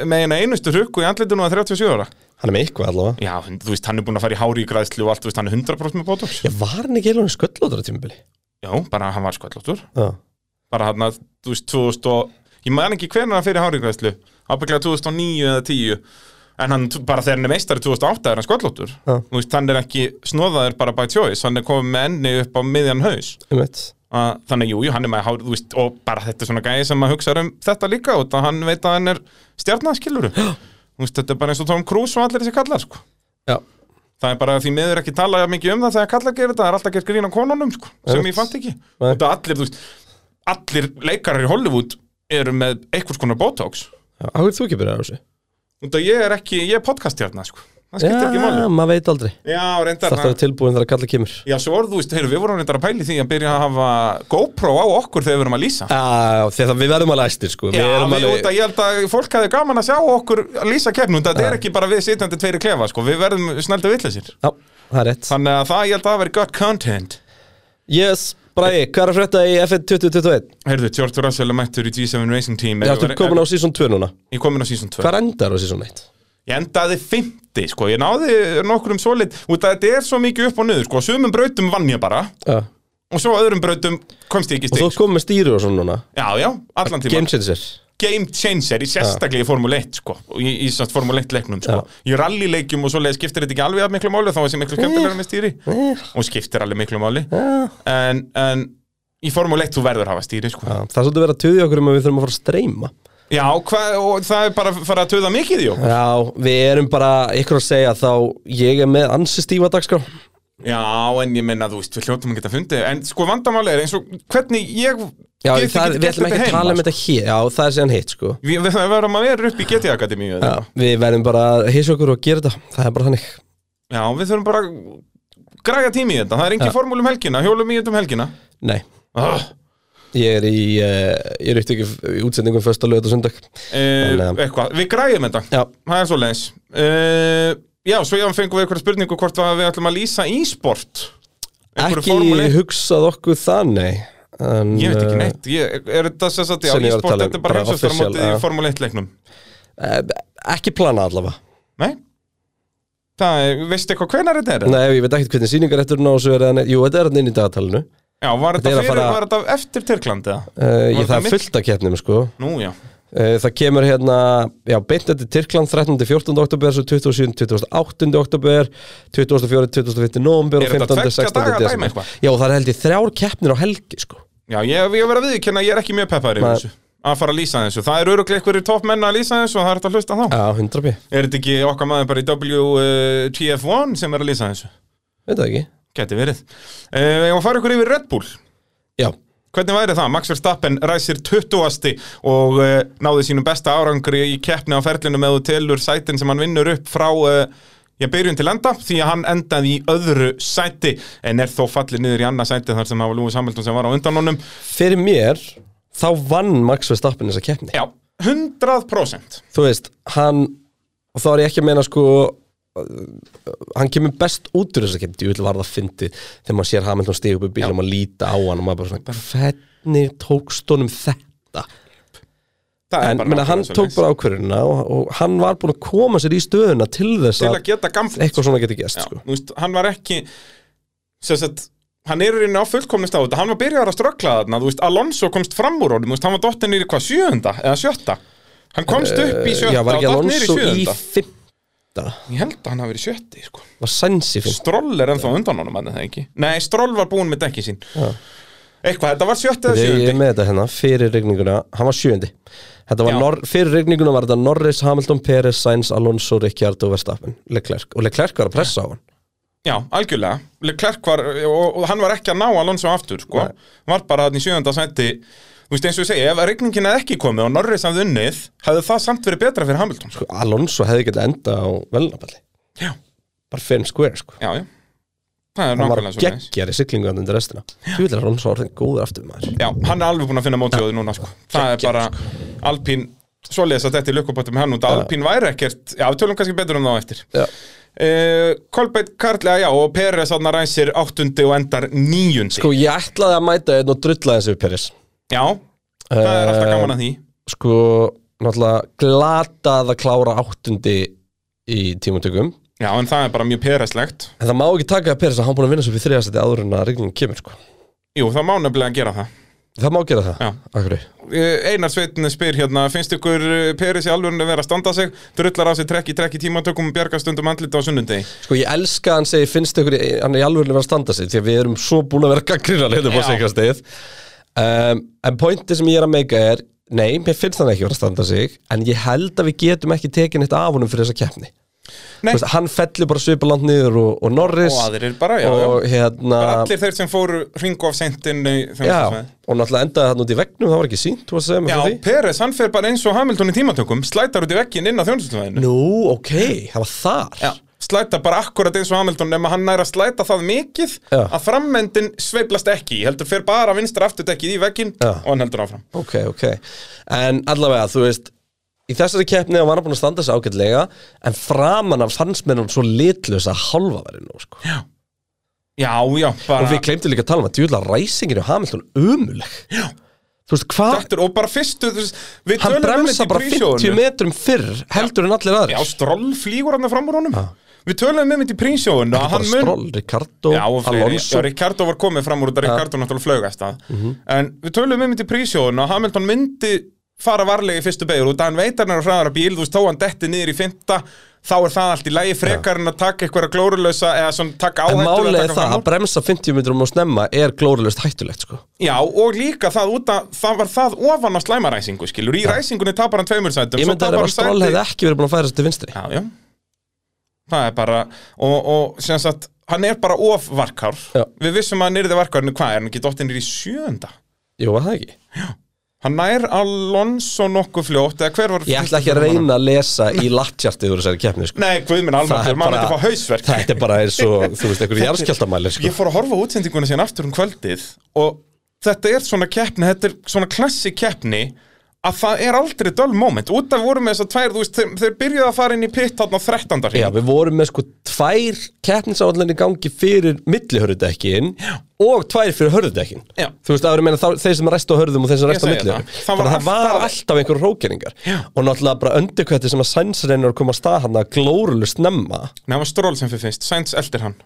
Speaker 2: með eina einustu hrukku í andlitinu að 37 ára
Speaker 6: hann er með eitthvað allavega
Speaker 2: Já, þú veist, hann er búin að fara í hári í græðslu og allt, þú veist, hann er 100% með Botox
Speaker 6: ég var hann ekki heilvægum sköllóttur á tímubili
Speaker 2: Já, bara hann var skvallóttur
Speaker 6: já,
Speaker 2: bara hann að, þú veist, 2000 og ég man ekki hvernig hann fyrir hárigræðslu ábygglega 2009 eða 10 en hann, t- bara þegar hann er meistari 2008 er hann skollóttur,
Speaker 6: Já.
Speaker 2: þú veist, hann er ekki snóðaður bara by choice, hann er komið með enni upp á miðjan haus,
Speaker 6: um veit
Speaker 2: uh, þannig að jú, jú, hann er með hár, þú veist, og bara þetta er svona gæði sem maður hugsa um þetta líka, og það hann veit að hann er stjarnaskiluru, þú veist, þetta er bara eins og Tom Cruise og allir þessi kallar, sko
Speaker 6: já,
Speaker 2: Það er bara því miður ekki tala jafn mikið um það þegar kallar gerir þetta, það er alltaf gert grín á konunum sko, sem
Speaker 6: Einmitt.
Speaker 2: ég fatt ekki. Þetta allir, þú veist, allir leikarar í Hollywood eru með einhvers konar botox.
Speaker 6: já, hvað er þú ekki byrjað á þessu?
Speaker 2: Þetta ég er ekki, ég er podcastjarnar sko, það skiptir ekki máli.
Speaker 6: maður veit aldrei
Speaker 2: Já, reyndar,
Speaker 6: Þarf það að vera tilbúin þegar að kalla kemur
Speaker 2: já, svo orðu, þú veist, heyrðu, við vorum reyndar að pæli því að byrja að hafa GoPro á okkur þegar við erum að lýsa.
Speaker 6: Já, þegar við verðum alveg æstir sko
Speaker 2: Já,
Speaker 6: Við erum
Speaker 2: við,
Speaker 6: alveg
Speaker 2: út að ég held að fólk hefði gaman að sjá okkur að lýsa keppnum, þetta er ekki bara við sitjandi tveiri klefa, sko, við verðum snælda villisir.
Speaker 6: Já, það er rétt
Speaker 2: Þannig að það, ég held að það veri gott content.
Speaker 6: Yes, Bræði, hvað er að frétta í F1 2021?
Speaker 2: Heyrðu, George Russell er mættur í G7 Racing Team
Speaker 6: Ég ættum komin á season 2 núna
Speaker 2: Ég er komin á season 2
Speaker 6: Hvað endar á season 1?
Speaker 2: Ég endaði 50, sko Ég náði nokkrum solid Út að þetta er svo mikið upp og niður, sko Sumum brautum vann ég bara
Speaker 6: Já
Speaker 2: Og svo öðrum brautum komst ég ekki
Speaker 6: Og þú
Speaker 2: stig
Speaker 6: ert komin með stýru og svona núna
Speaker 2: Já, já, allan tíma
Speaker 6: Game
Speaker 2: Game,
Speaker 6: changer
Speaker 2: changer í sérstaklega í Formule 1, sko og Í, í svona Formule 1 leiknum, sko Í rallyleikjum og svoleiðis skiptir þetta ekki alveg að miklu máli Þá var þessi miklu
Speaker 6: Eh,
Speaker 2: kemdilega með stýri
Speaker 6: Já,
Speaker 2: Og skiptir alveg miklu máli
Speaker 6: Eh.
Speaker 2: En, en í Formule 1 þú verður að hafa stýri, sko
Speaker 6: Það er svolítið verið að tuðja okkur um að við þurfum að fara að streyma
Speaker 2: Já, hva, og það er bara að fara að töða mikið í okkur
Speaker 6: Já, við erum bara ykkur að segja þá ég er með ansi stífa dagskrá
Speaker 2: Já, en ég menna, þú veist, við hljóttum að geta fundið En sko vandamáli er eins og hvernig ég
Speaker 6: Já,
Speaker 2: get
Speaker 6: það,
Speaker 2: ekki
Speaker 6: við
Speaker 2: gert
Speaker 6: ætlum ekki
Speaker 2: þetta
Speaker 6: að tala
Speaker 2: heima,
Speaker 6: um
Speaker 2: sko.
Speaker 6: þetta hér Já, það er síðan hitt sko
Speaker 2: Við við það verðum að vera upp í GT Akademíu
Speaker 6: Já,
Speaker 2: eða?
Speaker 6: við verðum bara að hissa okkur og gera þetta Það er bara þannig
Speaker 2: Já, við þurfum bara að græja tími í þetta Það er engin formúl um helgina, hjólum í þetta um helgina
Speaker 6: Nei,
Speaker 2: oh,
Speaker 6: ég er í uh, Ég er upptöku í útsendingum Fösta lögat og sundag
Speaker 2: eh,
Speaker 6: En, eh,
Speaker 2: Eitthvað, við græjum þetta
Speaker 6: Já,
Speaker 2: Það er svo leins uh, Já, svo ég fengum við eitthvað spurningu hvort að við ætlum að lýsa e-sport Einhverju
Speaker 6: ekki
Speaker 2: formúli.
Speaker 6: hugsað okkur það, nei en, eh,
Speaker 2: Ég veit ekki neitt, ég, er þetta sem sagt, já,
Speaker 6: sem ég var
Speaker 2: e-sport,
Speaker 6: að tala um,
Speaker 2: þetta er bara
Speaker 6: bara
Speaker 2: heimsastar
Speaker 6: official,
Speaker 2: mótið í
Speaker 6: já.
Speaker 2: Formule 1 leiknum
Speaker 6: eh, Ekki plana allavega
Speaker 2: Nei? Það er, veistu eitthvað hvenar þetta er?
Speaker 6: Nei, ég veit ekki hvernig sýningarætturinn á þessu er en, Jú, þetta er hann inn í dagatalinu
Speaker 2: Já, var þetta
Speaker 6: Þetta er að
Speaker 2: fyrir,
Speaker 6: fara-
Speaker 2: var þetta eftir Tyrkland eða?
Speaker 6: uh,
Speaker 2: Var
Speaker 6: ég,
Speaker 2: þetta
Speaker 6: Það er fullt af keppnum, sko uh,
Speaker 2: Nú, já,
Speaker 6: Það kemur hérna, já, beint eftir Tyrkland 13. 14. oktober, svo 27. 28. oktober 24. 25. november
Speaker 2: Er
Speaker 6: og
Speaker 2: þetta
Speaker 6: 15.
Speaker 2: tveggja
Speaker 6: 16.
Speaker 2: daga dæmi
Speaker 6: desember
Speaker 2: eitthvað?
Speaker 6: Já, það er held ég þrjár keppnir á helgi, sko
Speaker 2: já, ég, ég verð að viðkynna, ég er ekki mjög peppaður yfir
Speaker 6: Nei.
Speaker 2: þessu Að fara að lýsa þessu, það er öruglega einhverjir topp menn að lýsa þessu og það er þetta að hlusta þá
Speaker 6: Já, 100 bí,
Speaker 2: Er þetta ekki okkar maður bara í eh, WTF1 sem er að lýsa þessu?
Speaker 6: veit það ekki
Speaker 2: Gæti verið uh, Og fara ykkur yfir Red Bull
Speaker 6: Já,
Speaker 2: Hvernig væri það? Max Verstappen ræsir 20. og uh, náði sínum besta árangri í keppni á ferlinu með og telur sætin sem hann vinnur upp frá uh, já, byrjun til enda því að hann endaði í öðru sæti en er þó fallið niður í annað sæti þar sem hafa Lúi Samhildun sem var á undan honum
Speaker 6: fyrir mér þá vann Max Verstappen þessa keppni
Speaker 2: Já, 100%
Speaker 6: þú veist, hann og þá er ég ekki að meina sko uh, hann kemur best út úr þess að kemur ég vil varða að fyndi þegar maður sér Hamilton stíð upp í bíl og maður líta á hann og maður bara svona hvernig tókst honum þetta
Speaker 2: Það er
Speaker 6: en
Speaker 2: bara
Speaker 6: menna,
Speaker 2: nákvæmlega
Speaker 6: hann tók
Speaker 2: svoleiðis.
Speaker 6: bara ákvörðuna og, og hann var búin að koma sér í stöðuna til þess
Speaker 2: til
Speaker 6: að,
Speaker 2: að geta gamfl
Speaker 6: eitthvað svona geti gæst
Speaker 2: Já,
Speaker 6: sko.
Speaker 2: þú veist, hann var ekki sem sagt, hann er í rauninni á fullkomnist á þetta hann var byrjar að ströggla þarna, þú veist, Alonso komst fram úr honum, þú veist, hann var dottinn niður í hvað, sjöunda eða sjötta, hann komst upp í
Speaker 6: Eh, já,
Speaker 2: sjötta
Speaker 6: var
Speaker 2: og
Speaker 6: ekki
Speaker 2: dottinn niður í
Speaker 6: Alonso í
Speaker 2: sjöunda
Speaker 6: fymta
Speaker 2: ég held að hann hafi verið sjötti, sko
Speaker 6: var Sainz í fymta
Speaker 2: Stroll er ennþá undan honum, hann er það ekki nei, Stroll var búinn með dekki sín eitthvað, þetta var sjötti eða
Speaker 6: Ég er
Speaker 2: sjöndi
Speaker 6: með þetta hérna, fyrir regninguna, hann var sjöndi Þetta var,
Speaker 2: Já.
Speaker 6: nor, fyrir regninguna var þetta Norris, Hamilton, Perez, Sainz, Alonso, Ricciard og Verstappen, Leclerc Og Leclerc var að pressa á hann
Speaker 2: já, algjörlega, Leclerc var og, og hann var ekki að ná Alonso aftur, sko var bara hann í sjöunda sæti þú veist, eins og ég segi, ef rigningin hefði ekki komið og Norris hafði unnið, hefði það samt verið betra fyrir Hamilton, sko,
Speaker 6: Alonso hefði getið enda á velnaballi
Speaker 2: já
Speaker 6: Bara fair and square sko
Speaker 2: Já, já Það er
Speaker 6: Hann var sko.
Speaker 2: nákvæmlega svo
Speaker 6: geggjar í siglingu hann undir restina Þú vil að Alonso orðin góður aftur maður
Speaker 2: Já, hann er alveg búinn að finna mótsjóði núna sko. Það er
Speaker 6: Geggjað, sko.
Speaker 2: bara Alpín Svoleiðis að þetta er lukkubóttum hann út að Alpín væri ekkert Já, við tölum kannski betur um það á eftir
Speaker 6: Já.
Speaker 2: Uh, Kolbeitt Karl, já, já, og Peres hann ræsir áttundi og endar níundi
Speaker 6: Sko ég ætlaði að mæta einn og drulla þessu við Perez
Speaker 2: Já, það er alltaf gaman að því
Speaker 6: Sko, náttúrulega glatað að klára áttundi í tímatökum
Speaker 2: Já, en það er bara mjög Pereslegt
Speaker 6: En það má ekki taka að Peres að hann búin að vinna svo fyrir þriðastætti áður en að regningin kemur sko
Speaker 2: Jú, það má nefnilega gera það
Speaker 6: Það má gera það?
Speaker 2: Já.
Speaker 6: Akkurri.
Speaker 2: Eh, Einar Sveitn spyr hérna finnst ykkur Peres í alveg að vera að standa sig drullar á sig trekk í trekk í tímatökum og bjargast stundum andlita á sunnundegi
Speaker 6: Sko ég elska að hann segi finnst ykkur hann er í alveg að vera að standa sig því að við erum svo búin að vera gaggrinnan hérna
Speaker 2: Já.
Speaker 6: på sikrastegið um, En pointi sem ég er að meika er nei, mér finnst hann ekki vera að standa sig en ég held að við getum ekki tekin eitt af honum fyrir þessa keppni
Speaker 2: Nei.
Speaker 6: Þú veist, Hann fellur bara svipaland niður og, og Norris
Speaker 2: Og aðrir bara, já,
Speaker 6: og,
Speaker 2: já.
Speaker 6: Hérna,
Speaker 2: bara allir þeir sem fóru ringu af sendinni
Speaker 6: já, og náttúrulega endaði hann út í vegnum það var ekki sínt, þú varst að segja mér
Speaker 2: já
Speaker 6: frá því
Speaker 2: Peres, hann fer bara eins og Hamilton í tímatökum slætar út í veggin inn á þjónustusvæðinu
Speaker 6: Nú, ok, það var þar
Speaker 2: slætar bara akkurat eins og Hamilton nema hann nær að slæta það mikið
Speaker 6: Já.
Speaker 2: að framendin sveiflast ekki heldur fer bara vinstra afturdekkið í veggin
Speaker 6: Já.
Speaker 2: og hann heldur áfram
Speaker 6: Ok, ok En allavega, þú veist Í þessari keppni var hann búin að standa sig ágætlega En framan af fannst mér hann svo litlösa halva verið nú sko.
Speaker 2: já, já,
Speaker 6: Og
Speaker 2: bara
Speaker 6: við glemtum líka að tala um að djúla ræsingin og Hamilton umuleg Já Þú veist hvað,
Speaker 2: Dættur, og bara fyrstu þú veist, við
Speaker 6: hann
Speaker 2: tölum um þetta
Speaker 6: bremsa
Speaker 2: í
Speaker 6: bara 50
Speaker 2: prísjóðunum
Speaker 6: metrum fyrr heldur en allir
Speaker 2: já,
Speaker 6: aðrir
Speaker 2: stról flýgur hann fram úr honum við tölum um þetta í prísjóðunum að
Speaker 6: Bara
Speaker 2: hann mun
Speaker 6: Stroll, Ricardo,
Speaker 2: Já, og fleiri, já,
Speaker 6: Alonso
Speaker 2: Ricardo var komið fram úr þetta Ricardo náttúrulega flögast að
Speaker 6: Mhm.
Speaker 2: en við tölum um þetta í prísjóðun og Hamilton myndi fara varlega í fyrstu beigur út að hann veit að hann er hraðara bíl þú veist, þó hann detti niður í fynda þá er það allt í lagi frekar en að taka einhverja glórulösa eða svona taka
Speaker 6: En
Speaker 2: áhættu við að
Speaker 6: málið er
Speaker 2: taka
Speaker 6: það
Speaker 2: fram
Speaker 6: að
Speaker 2: úr.
Speaker 6: bremsa 50 metrum og snemma er glórulegst hættulegt sko
Speaker 2: Já, og líka það út að það var það ofan á slæmaræsingu, skilur, í ræsingunni tapar hann tveimur sætum,
Speaker 6: Ég
Speaker 2: svo
Speaker 6: myndi
Speaker 2: tapar
Speaker 6: að ef að
Speaker 2: hann
Speaker 6: Stroll
Speaker 2: sæti-
Speaker 6: hefði ekki verið búin að færa sér til vinstri
Speaker 2: Já, já Það er bara, og, og sem sagt hann er bara of varkár
Speaker 6: Já.
Speaker 2: Við vissum að hann yrði varkár, en hvað er hann ekki dottinn í sjönda?
Speaker 6: Jú, var það ekki
Speaker 2: Hann nær Alonso nokkuð fljótt, eða hver var
Speaker 6: Ég ætla ekki að reyna að lesa í lattjartið úr þessari keppni *laughs* sko.
Speaker 2: Nei, guð minn
Speaker 6: Það er
Speaker 2: alveg, maður
Speaker 6: bara-
Speaker 2: þetta fá hausverk
Speaker 6: Þetta er bara eins og, þú veist, einhverjum jarðskjaldamæli sko.
Speaker 2: Ég fór að horfa á útsendinguna síðan aftur um kvöldið og þetta er svona keppni, þetta er svona klassi keppni að það er aldrei dull moment út af voru með þess að tvær, þú veist, þeir, þeir byrjuðu að fara inn í pitt þarna 13.
Speaker 6: Já,
Speaker 2: hring
Speaker 6: við vorum með sko tvær keppnisáallinni gangi fyrir millihörðudekkin og tvær fyrir hörðudekkin
Speaker 2: Já.
Speaker 6: Þú veist, það verður meina þá- þeir sem resta á hörðum og þeir sem resta á
Speaker 2: segi
Speaker 6: millihörðum
Speaker 2: það. Það var
Speaker 6: Þannig að það var
Speaker 2: alltaf-
Speaker 6: alltaf einhver rókeringar og náttúrulega bara öndurkvætti sem að Sainz reynir að koma að stað hann að glórulu snemma
Speaker 2: Nei, það var Stroll sem fyrir fyrst, Sainz eldir hann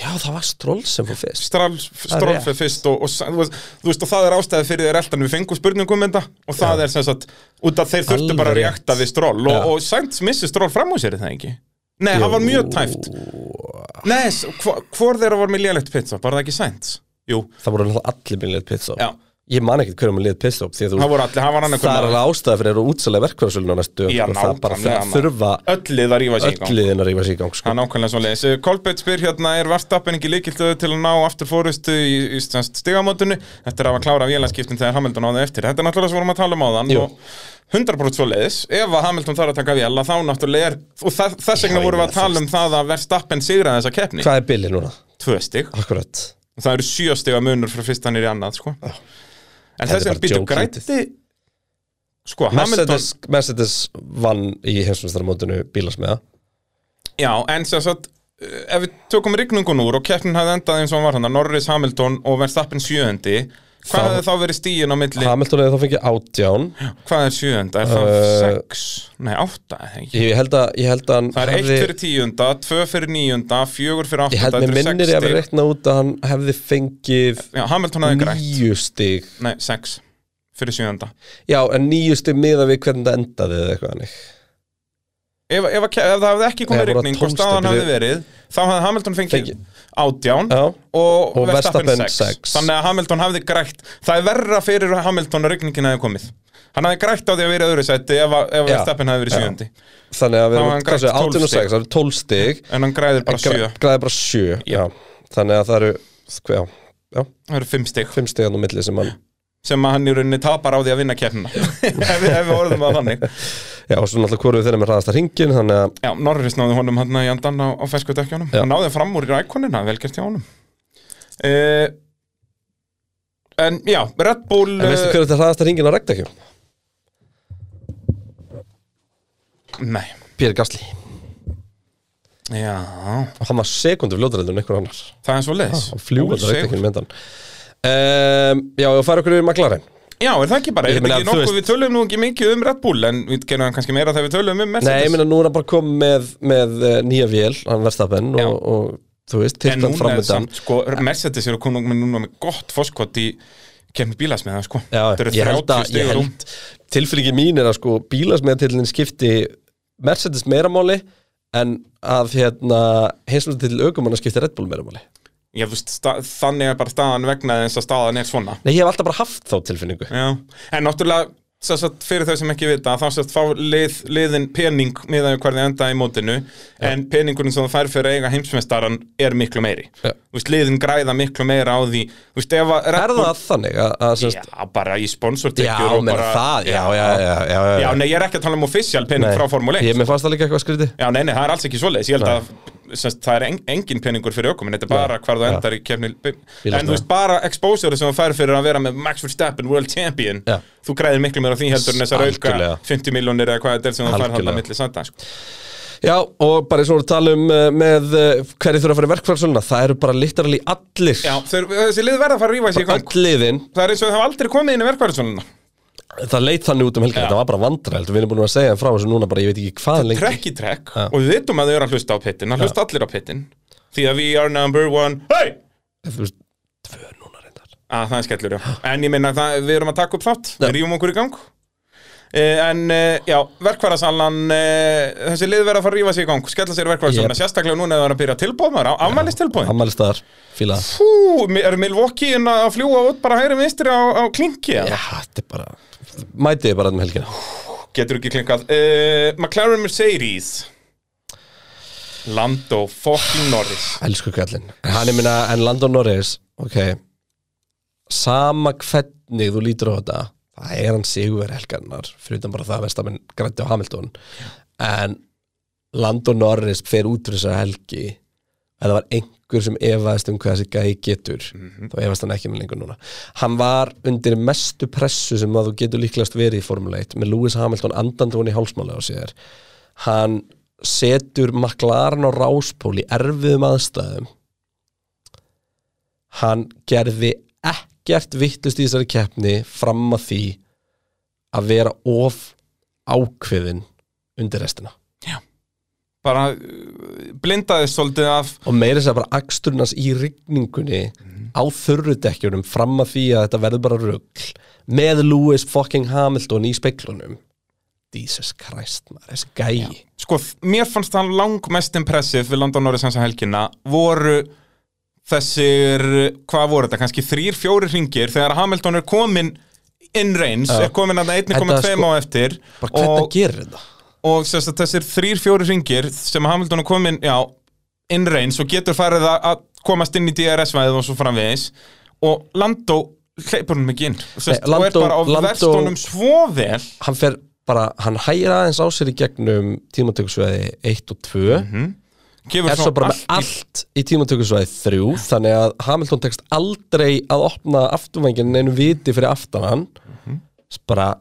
Speaker 6: Já, það var Stroll sem fór fyrst
Speaker 2: Stroll, Stroll
Speaker 6: rétt.
Speaker 2: fyrir fyrst og, og Sainz- þú veist- þú veist, og það er ástæði fyrir þeir eldan við fengum spurningum mynda og það er sem sagt, út af þeir þurftu
Speaker 6: Alveg
Speaker 2: bara að
Speaker 6: rétt.
Speaker 2: reakta við Stroll
Speaker 6: Já.
Speaker 2: og, og Sainz missi Stroll fram úr sér er það ekki Nei, hann var mjög tæft Nei, s- hvor hvor þeirra var með lélegt pitt var það ekki Sainz? Jú,
Speaker 6: Það voru náttúrulega allir með liðið pitstop
Speaker 2: Já.
Speaker 6: Ég man ekkert hverjum með liðið pitstop því að
Speaker 2: Það
Speaker 6: þú
Speaker 2: voru allir, það var hann
Speaker 6: Það er alveg ástæða fyrir að útsalega verkvæðarsölinu næstu
Speaker 2: Já,
Speaker 6: og það bara
Speaker 2: nákvæmlega, maður.
Speaker 6: þurfa
Speaker 2: Öll lið að rífa sig í gang
Speaker 6: ölliðin að rífa sig í gang sko.
Speaker 2: Það er nákvæmlega svo leiðis Kolbeitt spyr hérna, er vartappen ekki líkiltöðu til að ná aftur fórustu í, í semst stigamótinu eftir að hafa klárað vélanskiptin þegar Hamilton áði eftir Þetta er náttúrulega svo vorum að tala um áðan
Speaker 6: Jú.
Speaker 2: og 100% svo leiðis, ef að Hamilton þarf að taka vél að þá náttúrulega er, og það, þess
Speaker 6: Já,
Speaker 2: vegna
Speaker 6: ég
Speaker 2: vorum við
Speaker 6: meina,
Speaker 2: að tala um það að verðstappen sigra þessa keppni
Speaker 6: Hvað er bilið núna?
Speaker 2: Tvö stig,
Speaker 6: Akkurat
Speaker 2: og það eru sjö stiga munur frá fyrst hann er í annað, sko En
Speaker 6: Þetta er
Speaker 2: þess
Speaker 6: bara
Speaker 2: er býtu
Speaker 6: joke
Speaker 2: græti Sko, Hamilton
Speaker 6: Mercedes, Mercedes vann í heimsmyndstarmótinu bílasmiða
Speaker 2: Já, en sem sagt eh, ef við tökum rigningun úr og keppnin hafði endað eins og hann var hann Norris, Hamilton og Verstappen sjöundi hvað
Speaker 6: Þá-
Speaker 2: hefði þá verið stíin á milli
Speaker 6: Hamilton hefði þá fengið átján
Speaker 2: hvað er sjöunda, er það
Speaker 6: Eh,
Speaker 2: sex nei, átta, eða ekki
Speaker 6: Ég held að, ég held að hann
Speaker 2: það er eitt
Speaker 6: hefði-
Speaker 2: fyrir tíunda, tvö fyrir níunda fjögur fyrir
Speaker 6: Ég
Speaker 2: átta,
Speaker 6: held með minnir ég hefði reikna út að hann hefði fengið
Speaker 2: já, Hamilton hefði grætt,
Speaker 6: níu stig
Speaker 2: nei, sex fyrir sjöunda
Speaker 6: Já, en níu stig miða við hvernig það endaði eða eitthvað hannig
Speaker 2: ef, ef, að ke- ef það hefði ekki
Speaker 6: Nei, það
Speaker 2: komið
Speaker 6: voru
Speaker 2: rigning og
Speaker 6: tólfta
Speaker 2: staðan
Speaker 6: byrju-
Speaker 2: hefði verið þá hefði Hamilton fengið
Speaker 6: Fengið.
Speaker 2: átján
Speaker 6: Já.
Speaker 2: og,
Speaker 6: Og Verstappen
Speaker 2: Verstappen
Speaker 6: sex.
Speaker 2: 6 þannig að Hamilton hefði grætt það er verra fyrir Hamilton að rigningin hefði komið hann hefði grætt á því að vera í öðru seti ef, að- ef
Speaker 6: Já.
Speaker 2: Verstappen hefði verið
Speaker 6: Já.
Speaker 2: sjöndi
Speaker 6: Þannig að við
Speaker 2: Þá
Speaker 6: erum,
Speaker 2: hann
Speaker 6: hvað
Speaker 2: grætt
Speaker 6: segja,
Speaker 2: 12
Speaker 6: átján og
Speaker 2: stig.
Speaker 6: 6 Það eru 12 stig
Speaker 2: en hann græðir bara
Speaker 6: Gra-
Speaker 2: 7
Speaker 6: Græði bara sjö Já, þannig að það eru hva- Já, já,
Speaker 2: það eru 5 stig
Speaker 6: fimm stigan á milli sem hann
Speaker 2: sem að hann í rauninni tapar á því að vinna
Speaker 6: *laughs*
Speaker 2: keppnina ef, við- ef við orðum að þannig
Speaker 6: Já, og svo náttúrulega hvoruð þeirra með hraðasta hringin Þannig að
Speaker 2: já, Norris náði honum hann í andan á, á fersku dökjónum
Speaker 6: Já.
Speaker 2: hann náði fram úr í rækonina, velgjast hjá honum uh, en já, Red Bull
Speaker 6: En veistu
Speaker 2: eh,
Speaker 6: hver er þetta hraðasta hringin á regndekjum?
Speaker 2: Nei,
Speaker 6: Pér Gasly
Speaker 2: já,
Speaker 6: og hann var sekundu fljótarættur en einhver annar
Speaker 2: það er svo leiðis
Speaker 6: Ah, og fljótarættur með hann um, Já, og fara okkur yfir maklarinn
Speaker 2: Já, er það ekki bara, er
Speaker 6: Ég
Speaker 2: þetta
Speaker 6: meina,
Speaker 2: ekki
Speaker 6: þú
Speaker 2: nokkuð,
Speaker 6: veist-
Speaker 2: við tölum nú ekki mikið um Red Bull en við gerum það kannski meira þegar við tölum um
Speaker 6: Nei,
Speaker 2: Mercedes
Speaker 6: ég meina nú er hann bara komið með, með eh, nýja vél, hann verðstapenn
Speaker 2: Já.
Speaker 6: og, og þú veist,
Speaker 2: En
Speaker 6: tiltan
Speaker 2: núna er
Speaker 6: framöndan
Speaker 2: samt, sko, Mercedes eru komin með núna með gott foskott í kemur bílasmiða, sko
Speaker 6: Já,
Speaker 2: Þetta eru
Speaker 6: ég held
Speaker 2: 30
Speaker 6: að, ég
Speaker 2: stigur um
Speaker 6: held tilfyringi mín er að sko bílasmiðatillin skipti Mercedes meiramáli en að hérna hinsmjöndatill aukumanna skipti Red Bull meiramáli
Speaker 2: Ég veist, sta- þannig er bara staðan vegna þess að staðan er svona
Speaker 6: Nei, ég hef alltaf bara haft þá tilfinningu
Speaker 2: Já, en náttúrulega sem sagt, fyrir þau sem ekki vita, þá sérst fá lið, liðin pening miðað við hverði enda í mótinu en peningurinn sem það fær fyrir að eiga heimsmeistaran er miklu meiri
Speaker 6: Já.
Speaker 2: Þú veist, liðin græða miklu meira á því Þú veist, ef að Red
Speaker 6: Er
Speaker 2: Bull
Speaker 6: það þannig að, að semst,
Speaker 2: Já, bara í
Speaker 6: Já,
Speaker 2: sponsortekjur og
Speaker 6: meina
Speaker 2: bara
Speaker 6: það, já, já, já, já, já, já.
Speaker 2: Já, nei, ég er ekki að tala um official pening frá Formule 1
Speaker 6: Ég mér fannst það líka eitthvað skrítið
Speaker 2: Já, nei, nei, það er alls ekki svoleiðis Ég held að semst, það er en, engin peningur fyrir ökumin Þetta er bara hvar þú
Speaker 6: já.
Speaker 2: endar í kefni
Speaker 6: Bílasmiðja.
Speaker 2: En þú veist, bara exposure sem þú fær fyrir að vera með Max Verstappen World Champion
Speaker 6: Já.
Speaker 2: Þú græðir miklu meira á því heldur en þessar auka
Speaker 6: Algjörlega.
Speaker 2: 50 miljónir eða hvað þetta er sem þú fær hann
Speaker 6: Algjörlega.
Speaker 2: að milli sanda sko.
Speaker 6: Já, og bara eins og við talum uh, með uh, hverju þurfa að fara í verkfærsöluna Það eru bara literally allir
Speaker 2: Já, þeir, þessi lið verða að fara að rífa sig í
Speaker 6: Bara
Speaker 2: gang
Speaker 6: Öll liðin,
Speaker 2: Það er eins og það hafa aldrei komið inn í verkvæðarsvöluna
Speaker 6: það leit þannig út um helgina
Speaker 2: Já.
Speaker 6: Það var bara vandræld, við erum búin að segja þeim frá þessu núna bara, ég veit ekki hvað lengi
Speaker 2: trekk í trekk og við vitum að þau eru að hlusta á pittin að hlusta allir á pittin því að we are number one hey!
Speaker 6: Þú veist, Tvö núna reyndar
Speaker 2: að það er skellur já en ég meina það, við erum að taka upp þátt við rýfum okkur í gang Eh, En eh, já, verkfærasalan eh, Þessi lið verða að fara að rífa sig í gang Skella sér verkfærasalana,
Speaker 6: Yep.
Speaker 2: sérstaklega núna eða það er að byrja tilbúð maður, afmælist tilbúð
Speaker 6: Ammælstaðar, fíla það.
Speaker 2: Fú, er Milwaukee inn að að fljúga út bara hægri vinstri á, á klinki
Speaker 6: Já,
Speaker 2: yeah.
Speaker 6: þetta er bara Mætið er bara um helgina
Speaker 2: Getur ekki klinkað uh, McLaren Mercedes Lando fucking Norris
Speaker 6: Elsku kallinn En hann er minna, en Landon Norris Ok Sama hvernig þú lítur á þetta Það er hann sigurverð helgarnar Fyrir utan bara það að Vestamenn grætti á Hamilton En Landon Norris fer út fyrir þessar helgi Ef það var einhver sem efaðist um hvað þessi gæi getur Þá efast hann ekki með lengur núna Hann var undir mestu pressu sem að þú getur líklegast verið í Formule 1 Með Lewis Hamilton andandi hún í hálsmáli á sér Hann setur McLaren á ráspól í erfiðum aðstæðum hann gerði ekkert vittlust í þessari keppni fram að því að vera of ákveðin undir restina
Speaker 2: bara eh, blindaðist svolítið af
Speaker 6: og meira þess að segja bara aksturnas í rigningunni á þurrudekkjunum fram að því að þetta verður bara rugl með Lewis fucking Hamilton í speiklunum Jesus Christ maður, þessi gæi
Speaker 2: sko, mér fannst hann langmest impressive við London Norris hans að helgina voru þessir, hvað voru þetta, kannski þrýr, fjóri hringir þegar Hamilton er komin in range,
Speaker 6: Já.
Speaker 2: er komin að
Speaker 6: Þetta
Speaker 2: 1,2
Speaker 6: sko-
Speaker 2: á eftir
Speaker 6: bara hvernig
Speaker 2: og,
Speaker 6: gerir þetta?
Speaker 2: og sérst, að þessir þrýr, fjóri hringir sem Hamilton er komin, já, in range og getur farið að- að komast inn í DRS-væðið og svo framvegis og Lando hleypur hann ekki inn sérst,
Speaker 6: Nei, Lando-
Speaker 2: og er bara á
Speaker 6: Lando-
Speaker 2: verstunum svo vel
Speaker 6: hann fer bara, hann hægir aðeins á sér í gegnum tímatökusvæði 1 og 2
Speaker 2: gefur
Speaker 6: er svo bara með
Speaker 2: Mhm. allt í
Speaker 6: allt í tímatökusvæði 3 þannig að Hamilton tekst aldrei að opna afturvængin einu viti fyrir aftan hann
Speaker 2: Mhm.
Speaker 6: bara,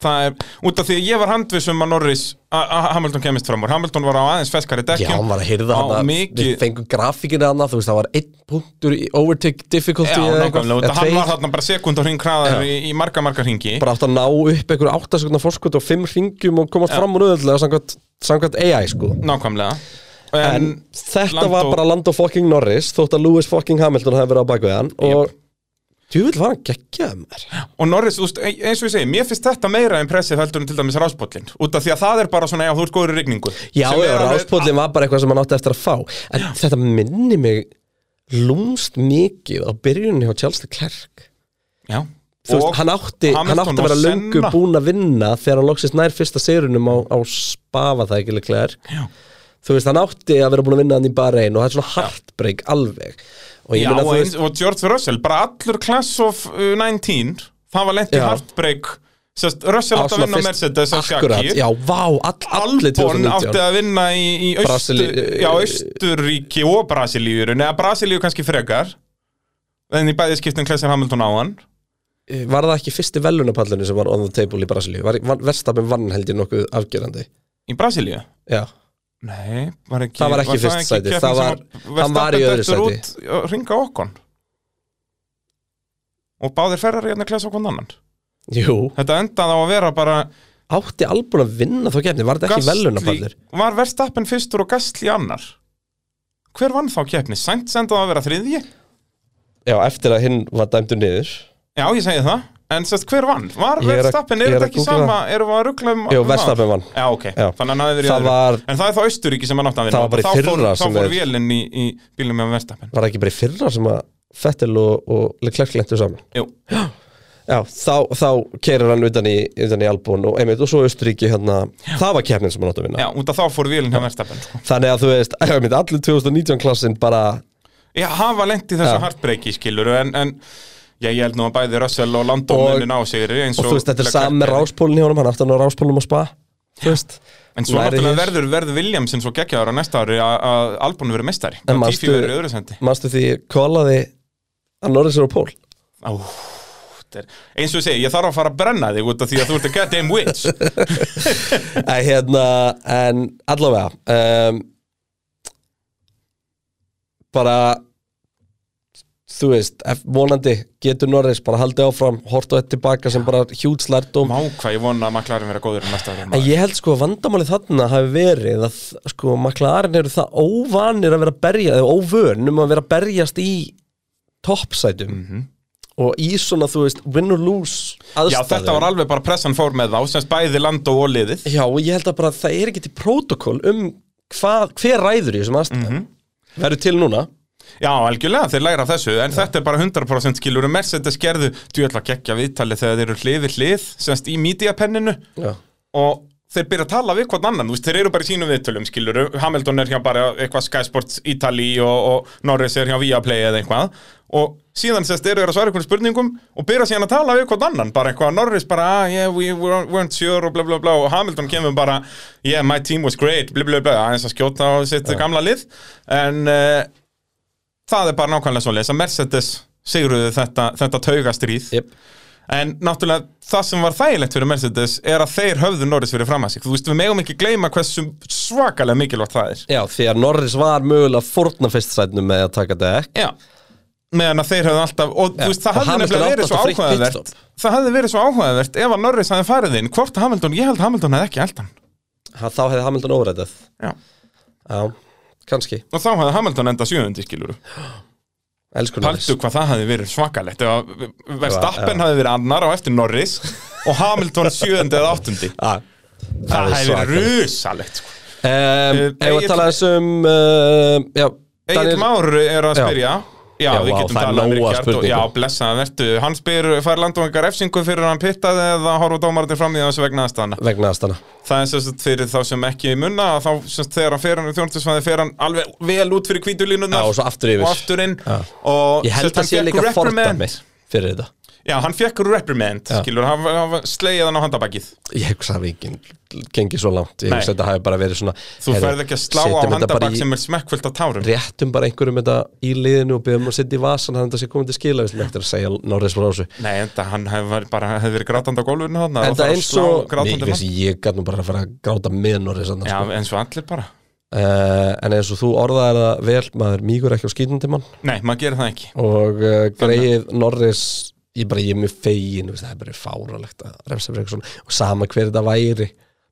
Speaker 2: það er, út af því að ég var handvissum að Norris, að að Hamilton kemist fram úr Hamilton var á aðeins feskari
Speaker 6: já,
Speaker 2: dekkjum
Speaker 6: hann var að hyrða
Speaker 2: á
Speaker 6: hann við
Speaker 2: mikið,
Speaker 6: fengum grafíkina hann þú veist, það var einn punktur í overtake difficulty
Speaker 2: já,
Speaker 6: eða eitthvað,
Speaker 2: nákvæmlega út
Speaker 6: eða
Speaker 2: af hann
Speaker 6: tveir.
Speaker 2: var þarna bara sekund og hring hraðar í, í marga marga hringi
Speaker 6: bara átt að ná upp einhver áttasekundar fórskot og fimm ringjum og komast fram úr öðvöldlega samkvæmt, samkvæmt AI sko
Speaker 2: nákvæmlega
Speaker 6: en
Speaker 2: en,
Speaker 6: þetta
Speaker 2: Lando-
Speaker 6: var bara Lando fucking Norris þótt að Lewis fucking Hamilton hefði verið á bakvið hann og djúvill var hann geggjað mér
Speaker 2: og Norris, úst, eins og ég segi, mér finnst þetta meira impressið heldur en til dæmis ráspóllin út af því að það er bara svona, já, þú ert góður í rigningu
Speaker 6: já,
Speaker 2: Sem
Speaker 6: já,
Speaker 2: er alveg-
Speaker 6: ráspóllin var bara eitthvað sem hann átti eftir að fá en þetta minni mig lúmst mikið á byrjunni hjá Charles de Klerk
Speaker 2: já,
Speaker 6: þú veist,
Speaker 2: Og
Speaker 6: hann átti, hann
Speaker 2: Hamilton
Speaker 6: átti að
Speaker 2: og
Speaker 6: vera löngu
Speaker 2: Senna.
Speaker 6: búin að vinna þegar hann loksist nær fyrsta segrunum á, á spafa það ekki
Speaker 2: Já.
Speaker 6: líklega þú veist, hann átti að vera búin að vinna hann í bara einu og það er svona heartbreak alveg og ég
Speaker 2: já,
Speaker 6: meina
Speaker 2: og,
Speaker 6: þú
Speaker 2: eins,
Speaker 6: veist,
Speaker 2: og George Russell, bara allur class of uh, 19, það var lent í
Speaker 6: Já.
Speaker 2: heartbreak Sest, Russell
Speaker 6: á
Speaker 2: átti að
Speaker 6: svona
Speaker 2: vinna
Speaker 6: fyrst-
Speaker 2: Mercedes og
Speaker 6: akkurat,
Speaker 2: Sjaki
Speaker 6: já, vá, all, allir
Speaker 2: Albon
Speaker 6: 2019
Speaker 2: átti að vinna í, í austur,
Speaker 6: Brasilíu- eh,
Speaker 2: já, Austuríki og Brasilíu í rauninni, eða Brasilíu kannski frekar en í bæði skiptum Klessin Hamilton á hann
Speaker 6: Eh, var það ekki fyrsti velunapallinu sem var on the table í Brasilíu var, var, Verstapin vann held ég nokkuð afgjörandi
Speaker 2: í Brasilíu
Speaker 6: já,
Speaker 2: Nei, var ekki,
Speaker 6: Það var ekki í fyrsta sæti, það var- hann var í öðru
Speaker 2: sæti Ringa okkon og báðir ferrar hérna Kless okkon annan
Speaker 6: jú,
Speaker 2: Þetta endaði á að vera bara
Speaker 6: átti Albon að vinna þá kefni var þetta ekki velunapallur
Speaker 2: var verðstappin fyrstur og Gastli annar Hver vann þá keppni? Sainz endaði á að vera þriðji?
Speaker 6: já, eftir að hinn var dæmdur niður
Speaker 2: Já, ég segi það, en sérst hver vann? Var
Speaker 6: Ég er að-
Speaker 2: Verstappen, er
Speaker 6: ég er
Speaker 2: þetta
Speaker 6: að
Speaker 2: ekki
Speaker 6: googla.
Speaker 2: sama? Erum við að ruggla um
Speaker 6: Jú,
Speaker 2: um
Speaker 6: Verstappen
Speaker 2: það?
Speaker 6: vann.
Speaker 2: Já, ok, þannig
Speaker 6: Já.
Speaker 2: að hann hafi verið í
Speaker 6: Það
Speaker 2: öðru.
Speaker 6: var-
Speaker 2: En það er þá Austuríki sem hann átti að vinna
Speaker 6: Það var bara í
Speaker 2: Þá fór-
Speaker 6: fyrra sem
Speaker 2: Þá fór
Speaker 6: er-
Speaker 2: vélinn í, í bílum með Verstappen
Speaker 6: var það ekki bara í fyrra sem að Fettel og, og Leclerc lentu saman
Speaker 2: Jú,
Speaker 6: já, þá, þá keirir hann utan í, utan í Albon og einmitt og svo Östuríki hérna, það var kefnin sem hann átti að vinna
Speaker 2: já, út af þá fór vélinn hjá Verstappen sko.
Speaker 6: þannig að þú veist, *laughs* einmitt allir 2019 klassin bara
Speaker 2: Já, hann var lent í
Speaker 6: Já.
Speaker 2: þessu hartbreyki, skilur en, en já, ég held nú að bæði Russell og Landó
Speaker 6: Og-
Speaker 2: munin á sigri eins
Speaker 6: og
Speaker 2: og
Speaker 6: þú veist, þetta er
Speaker 2: Leclerc
Speaker 6: sami
Speaker 2: gerði.
Speaker 6: ráspólun hjá honum hann átti að ná ráspólunum á spa þú veist
Speaker 2: En svo
Speaker 6: Læri
Speaker 2: náttúrulega
Speaker 6: hér.
Speaker 2: verður verð Williamson svo geggjaður á næsta ári að að Albon verið mestari
Speaker 6: En
Speaker 2: og
Speaker 6: manstu-
Speaker 2: Tífi verið öðru sendi
Speaker 6: Manstu því ég kólaði að Norris er á pól
Speaker 2: Ó, þetta er, eins og ég segi, ég þarf að fara að brenna þig út af því að þú ert að goddamn
Speaker 6: *laughs*
Speaker 2: witch
Speaker 6: Æ, hérna, En allavega um, Bara Þú veist, ef- vonandi getur Norris bara haldið áfram hort og þetta tilbaka sem bara hjúts lærdóm
Speaker 2: Má hvað ég vona að maklarinn vera góður um næsta ári
Speaker 6: En ég held sko að vandamálið þarna hafi verið að sko maklarinn eru það óvanir að vera að berja eða óvön um að vera að berjast í toppsætum og í svona, þú veist, win or lose aðstæðum.
Speaker 2: Mhm. Já, þetta var alveg bara pressan fór með þá semst bæði land og liðið
Speaker 6: Já, og ég held að bara það er ekki til protokól um hvað, hver ræður í þessum aðstæðum
Speaker 2: Mhm.
Speaker 6: verður til núna
Speaker 2: Já, algjörlega, þeir læra af þessu En þetta er bara 100% skilur um Mercedes gerðu Þú ætla að gegja viðtali þegar þeir eru hlið við hlið Semst í mídíapenninu
Speaker 6: Já,
Speaker 2: Og þeir byrja að tala við hvort annan þú veist, Þeir eru bara í sínum viðtölum skilur Hamilton er hjá bara eitthvað Sky Sports Italy Og, og Norris er hjá Viaplay eða eitthvað Og síðan semst eru þeir að svara einhvern spurningum Og byrja síðan að tala við hvort annan Bara eitthvað Norris bara, ah, yeah, we weren't sure Og bla bla bla Og Hamilton kemur bara, yeah, my team was great Bla bla bla, aðeins að skjóta á sitt gamla lið En... Uh, það er bara nákvæmlega svo leys að Mercedes sigruðu þetta, þetta taugastríð
Speaker 6: yep.
Speaker 2: en náttúrulega það sem var þægilegt fyrir Mercedes er að þeir höfðu Norris fyrir fram að sig þú veist við megum ekki gleyma hversu svakalega mikilvægt það er
Speaker 6: Já því að Norris var mögulega fórna festsætnum með að taka dekk
Speaker 2: Já. meðan að þeir höfðu alltaf og
Speaker 6: Já.
Speaker 2: þú veist það
Speaker 6: Og
Speaker 2: hafði
Speaker 6: Hamilton
Speaker 2: nefnilega
Speaker 6: átti
Speaker 2: verið svo
Speaker 6: alltaf frítt
Speaker 2: áhugavert
Speaker 6: pitstop.
Speaker 2: það hafði verið svo áhugavert ef að Norris hafði farið inn hvort að Hamilton, ég held að Hamilton hafði ekki eldan
Speaker 6: Ha, þá hefði Hamilton óræðið
Speaker 2: Já.
Speaker 6: Já, kannski,
Speaker 2: og þá hafði Hamilton enda sjöfundi skilur
Speaker 6: elsku Norris
Speaker 2: Paldu hvað það hafi verið svakalegt ef að Verstappen
Speaker 6: Já.
Speaker 2: hafi verið annar á eftir Norris og Hamilton sjöfundi eða áttundi
Speaker 6: ah,
Speaker 2: Það hefði
Speaker 6: svakalegt.
Speaker 2: verið rusalegt sko.
Speaker 6: um,
Speaker 2: Eh,
Speaker 6: Ef við
Speaker 2: Egill-
Speaker 6: tala þessum uh, Já,
Speaker 2: Egil Már er að
Speaker 6: Já.
Speaker 2: spyrja Já,
Speaker 6: Já,
Speaker 2: við
Speaker 6: vá,
Speaker 2: getum
Speaker 6: það er
Speaker 2: talað um
Speaker 6: nóg af
Speaker 2: Ríkjart og,
Speaker 6: spurningum.
Speaker 2: Já, blessaða vertu Hann spyr, fær landvangar refsingu fyrir að hann pittaði eða horfa dómarinn fram í þessu vegna aðstæðana
Speaker 6: vegna aðstana
Speaker 2: Það er sem sagt fyrir þá sem ekki munna að þá sem sagt þegar hann fer hann í þjónustisfæði fer hann alveg vel út fyrir
Speaker 6: Já,
Speaker 2: kvítulínunnar
Speaker 6: og svo aftur yfir.
Speaker 2: og aftur inn
Speaker 6: Já.
Speaker 2: og
Speaker 6: Ég held
Speaker 2: sem
Speaker 6: að
Speaker 2: sagt,
Speaker 6: sé
Speaker 2: hann
Speaker 6: líka
Speaker 2: fékk reprimand.
Speaker 6: fordæmi fyrir þetta
Speaker 2: Já, hann fekk reprimand,
Speaker 6: Já.
Speaker 2: skilur, hann, hann slegið hann á handabakið
Speaker 6: Ég hugsa að enginn gengið svo langt Ég
Speaker 2: Nei.
Speaker 6: hugsa að þetta hafi bara verið svona
Speaker 2: Þú
Speaker 6: heyrðu,
Speaker 2: ferð ekki að slá á
Speaker 6: setjum þetta bara
Speaker 2: handabak
Speaker 6: í-
Speaker 2: sem er smekkfullt af tárum
Speaker 6: réttum bara einhverjum þetta í liðinu og byrjum að setja í vasan þannig að þetta sé komið til skila við slum eftir að segja Norris frá þessu
Speaker 2: Nei, enda hann hefði bara hefði verið grátandi á gólfinu hann
Speaker 6: en það eins og ég
Speaker 2: grátandi
Speaker 6: veist
Speaker 2: mann
Speaker 6: ég gæt nú bara að fara að gráta með Norris annars,
Speaker 2: Já,
Speaker 6: sko.
Speaker 2: eins og allir bara
Speaker 6: uh, en eins og þú orðaðir það vel maður mýgur ekki á skýtandi mann
Speaker 2: Nei, maður gerir það ekki
Speaker 6: og uh, greið Norris ég bara ég er mjög fegin veist, það er bara fáralegt að refsa fyrir eitthvað svona og sama hver þetta væri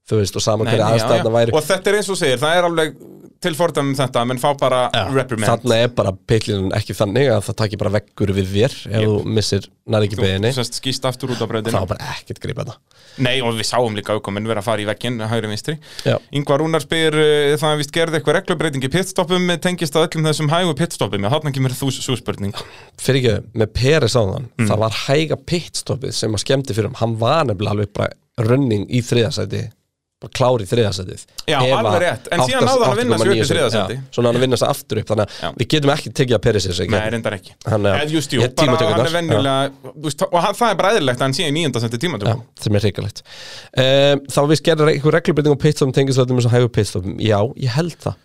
Speaker 6: þú veist og sama
Speaker 2: Nei,
Speaker 6: hver
Speaker 2: nei, já, já.
Speaker 6: aðstæðna væri
Speaker 2: Og þetta er eins og segir, það er alveg til fordæmi um þetta, menn fá bara reprimand
Speaker 6: þannig er bara pillin ekki þannig að það takir bara veggur við þér ef þú missir nær ekki
Speaker 2: Þú hérna-
Speaker 6: beðinni
Speaker 2: sest skýst aftur út á
Speaker 6: það
Speaker 2: bröðinu
Speaker 6: var bara ekkert gripa þetta
Speaker 2: Nei, og við sáum líka aukominn vera að fara í vegginn hægri vinstri
Speaker 6: Já.
Speaker 2: Yngvar Rúnar spyr, uh, það er vist gerði eitthvað reglubreiting í pitstoppum, eh, tengist að öllum þessum hægu pitstoppum, já, þarna kemur þú svo spurning
Speaker 6: fyrir ekki með Peres á þann
Speaker 2: Mm.
Speaker 6: það var hæga pitstoppið sem að skemmti fyrir hann hann var nefnilega alveg bara running í þriðasæti bara klár í þriðasætið
Speaker 2: Já,
Speaker 6: Ef
Speaker 2: alveg
Speaker 6: að
Speaker 2: rétt. En síðan
Speaker 6: átta-
Speaker 2: náði hann að vinna sig upp í
Speaker 6: 8,9 sekúndur.
Speaker 2: þriðja sæti.
Speaker 6: Já, svona hann að vinna sig aftur upp þannig
Speaker 2: Já.
Speaker 6: að við getum ekki tekið að Peres þessu
Speaker 2: Nei, reyndar ekki
Speaker 6: Hann er-
Speaker 2: Eð, just, jú,
Speaker 6: Ég-
Speaker 2: bara,
Speaker 6: tímatökurnar.
Speaker 2: hann er venjulega, þú veist, og hann, það er bara eðlilegt að hann sé í nýjunda senti
Speaker 6: Já,
Speaker 2: tímatökum
Speaker 6: sem er hrikalegt um, Þá við skerðum einhver reglubending á pitstopum tengist þetta með svo hægur pitstopum Já, ég held það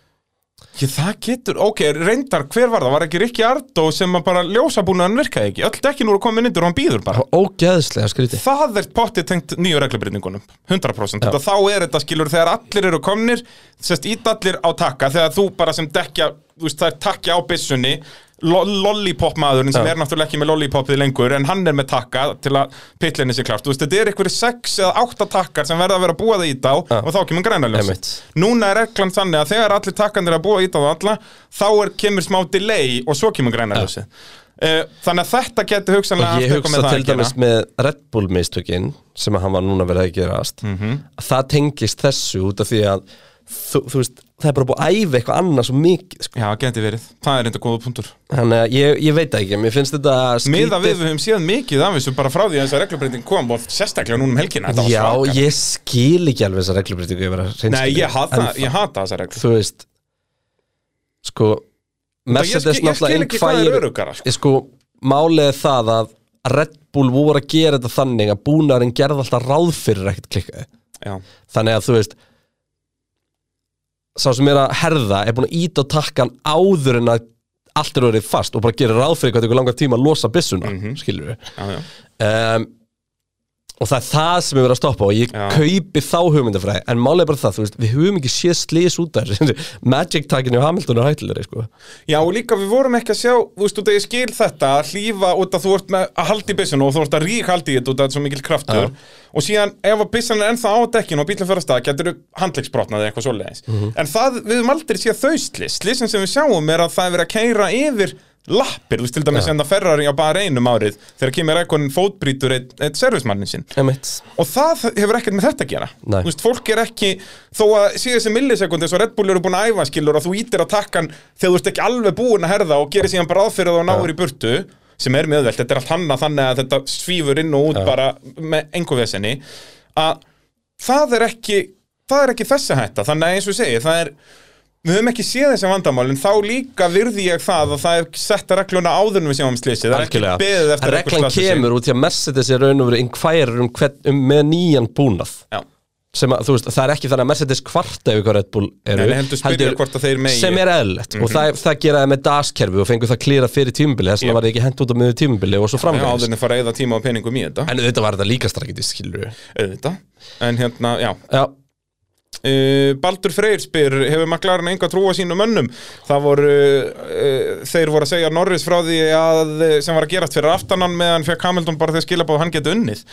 Speaker 2: Ég, það getur, ok, reyndar, hver var það? Var ekki Rikki Ardó sem að bara ljósabúnaðan virkaði ekki? Öll dekkin voru komin yndur og hann býður bara.
Speaker 6: Það var ógeðslega skrítið
Speaker 2: Það er pottið tengt nýju reglubrytningunum, 100%. Þetta þá er þetta skilur þegar allir eru komnir, sérst ídallir á takka, þegar þú bara sem dekja, þú veist, það er takja á byssunni, lo- lollipop maðurinn sem
Speaker 6: Já.
Speaker 2: er náttúrulega ekki með lollipopið lengur, en hann er með takka til að pitlinni sé klart. Þú veist, þetta er einhverjir sex eða átta takkar sem verða að vera búaða í þá
Speaker 6: Já.
Speaker 2: og þá kemur grænaljósið.
Speaker 6: Einmitt.
Speaker 2: Núna er reglan þannig að þegar allir takkandir er að búa í það á alla þá er, kemur smá delay og svo kemur græna ljósið uh, Þannig að þetta getur hugsanlega
Speaker 6: og ég
Speaker 2: haft eitthvað
Speaker 6: hugsa
Speaker 2: með það
Speaker 6: til
Speaker 2: að
Speaker 6: dæmis
Speaker 2: gera.
Speaker 6: með Red Bull mistökin sem að hann var núna verið að gerast
Speaker 2: Mhm.
Speaker 6: að það tengist þessu út af því að þú, þú veist, það er bara búið að æfa eitthvað annað svo mikið sko.
Speaker 2: Já, getur verið, það er enda góða punktur
Speaker 6: þannig að ég, ég veit það ekki, mér finnst þetta
Speaker 2: Miða við
Speaker 6: skrítið
Speaker 2: við höfum séð mikið af þessu bara frá því að þessa reglubreiting kom og sérstaklega núna um helgina þetta var
Speaker 6: Já,
Speaker 2: svakalegt.
Speaker 6: ég skil ekki alveg þessar reglubrytingu yfir að reynskilja
Speaker 2: Nei, ég hata, ég hata þessa reglu
Speaker 6: Þú veist sko,
Speaker 2: ég
Speaker 6: Mercedes
Speaker 2: skil- ég skil
Speaker 6: náttúrulega
Speaker 2: ekki hvað er
Speaker 6: inquire-
Speaker 2: öruggara, sko.
Speaker 6: Ég sko, málið er það að Red Bull voru að gera þetta þannig að búnaðurinn gerði alltaf ráð fyrir ekkert klikkaði
Speaker 2: Já,
Speaker 6: þannig að þú veist sá sem er að herða er búin að íta og takka hann áður en að allt er orðið fast og bara gerir ráð fyrir hvað tekur langan tíma að losa byssuna mm
Speaker 2: Mhm.
Speaker 6: skilur við
Speaker 2: já, já
Speaker 6: um, og það er það sem við verðum að stoppa og ég
Speaker 2: Já.
Speaker 6: kaupi þá hugmyndafræði en málega bara það, þú veist, við höfum ekki séð slis út af þessu *laughs* Magic takkinu á Hamilton og hættilegri sko.
Speaker 2: Já, og líka við vorum ekki að sjá, þú veist, út að ég skil þetta að hlýfa út að þú ert með að halda í byssuna og þú ert að rík haldi í þetta út að þetta er svo mikil kraftur og síðan ef að byssan er ennþá á dekkinu og bílum fyrir að stað, getur þú handlegsbrotnað eða eitthvað svoleiðis. En það, við höfum aldrei séð þau slis, slisin sem við sjáum er að það er verið að keira yfir lappir, þú veist til dæmis enda Ferrari á bara einum árið þegar kemur ekkonin fótbrítur eitt, eitt servismannin sinn
Speaker 6: Emitt
Speaker 2: og það hefur ekkert með þetta að gera
Speaker 6: Nei.
Speaker 2: Þú veist, fólk er ekki, þó að síðan þessi millisekund eins og Red Bull eru búin að æfa skilur og þú ítir að takkan þegar þú ert ekki alveg búin að herða og gerir síðan bara ráð fyrir það og náir í burtu sem er mjög öðvelt, þetta er allt hanna þannig að þetta svífur inn og út bara með engu vesenni að það er ekki það er ekki þessi hætta, þannig að eins og ég segi það er Við höfum ekki séð þessi vandamál, en þá líka virði ég það að það er setta regluna áður en við sjáum slysið, það er ekki
Speaker 6: Algjörlega.
Speaker 2: beðið
Speaker 6: En
Speaker 2: eftir að einhver
Speaker 6: reglan
Speaker 2: slasi sig.
Speaker 6: kemur út í að Mercedes er raun og verið inquirer um hvern, um, með nýjan búnað
Speaker 2: Já.
Speaker 6: sem að, þú veist, það er ekki þannig að Mercedes kvarta yfir hvað Red Bull eru
Speaker 2: Nei, nei, heldur spyrja hvort að þeir megi. Mhm.
Speaker 6: sem er eðlilegt og það, það gera það með daskerfi og fengur það klýra fyrir tímubili þess
Speaker 2: Já.
Speaker 6: vegna var það ekki hent út á miður tímubili og svo
Speaker 2: Já, áður
Speaker 6: framgæðis
Speaker 2: en að fara að eyða tíma og peningum í þetta
Speaker 6: en þetta var þetta líka strategist, skilur við
Speaker 2: auðvitað, Eh, en hérna, já
Speaker 6: já,
Speaker 2: uh, Baldur Freyr spyr, hefur maklarinn enga trú á sínum mönnum? Það voru uh, þeir voru að segja Norris frá því að eh, sem var að gerast fyrir aftanan meðan fekk Hamilton bara þegar skilabóð hann geti unnið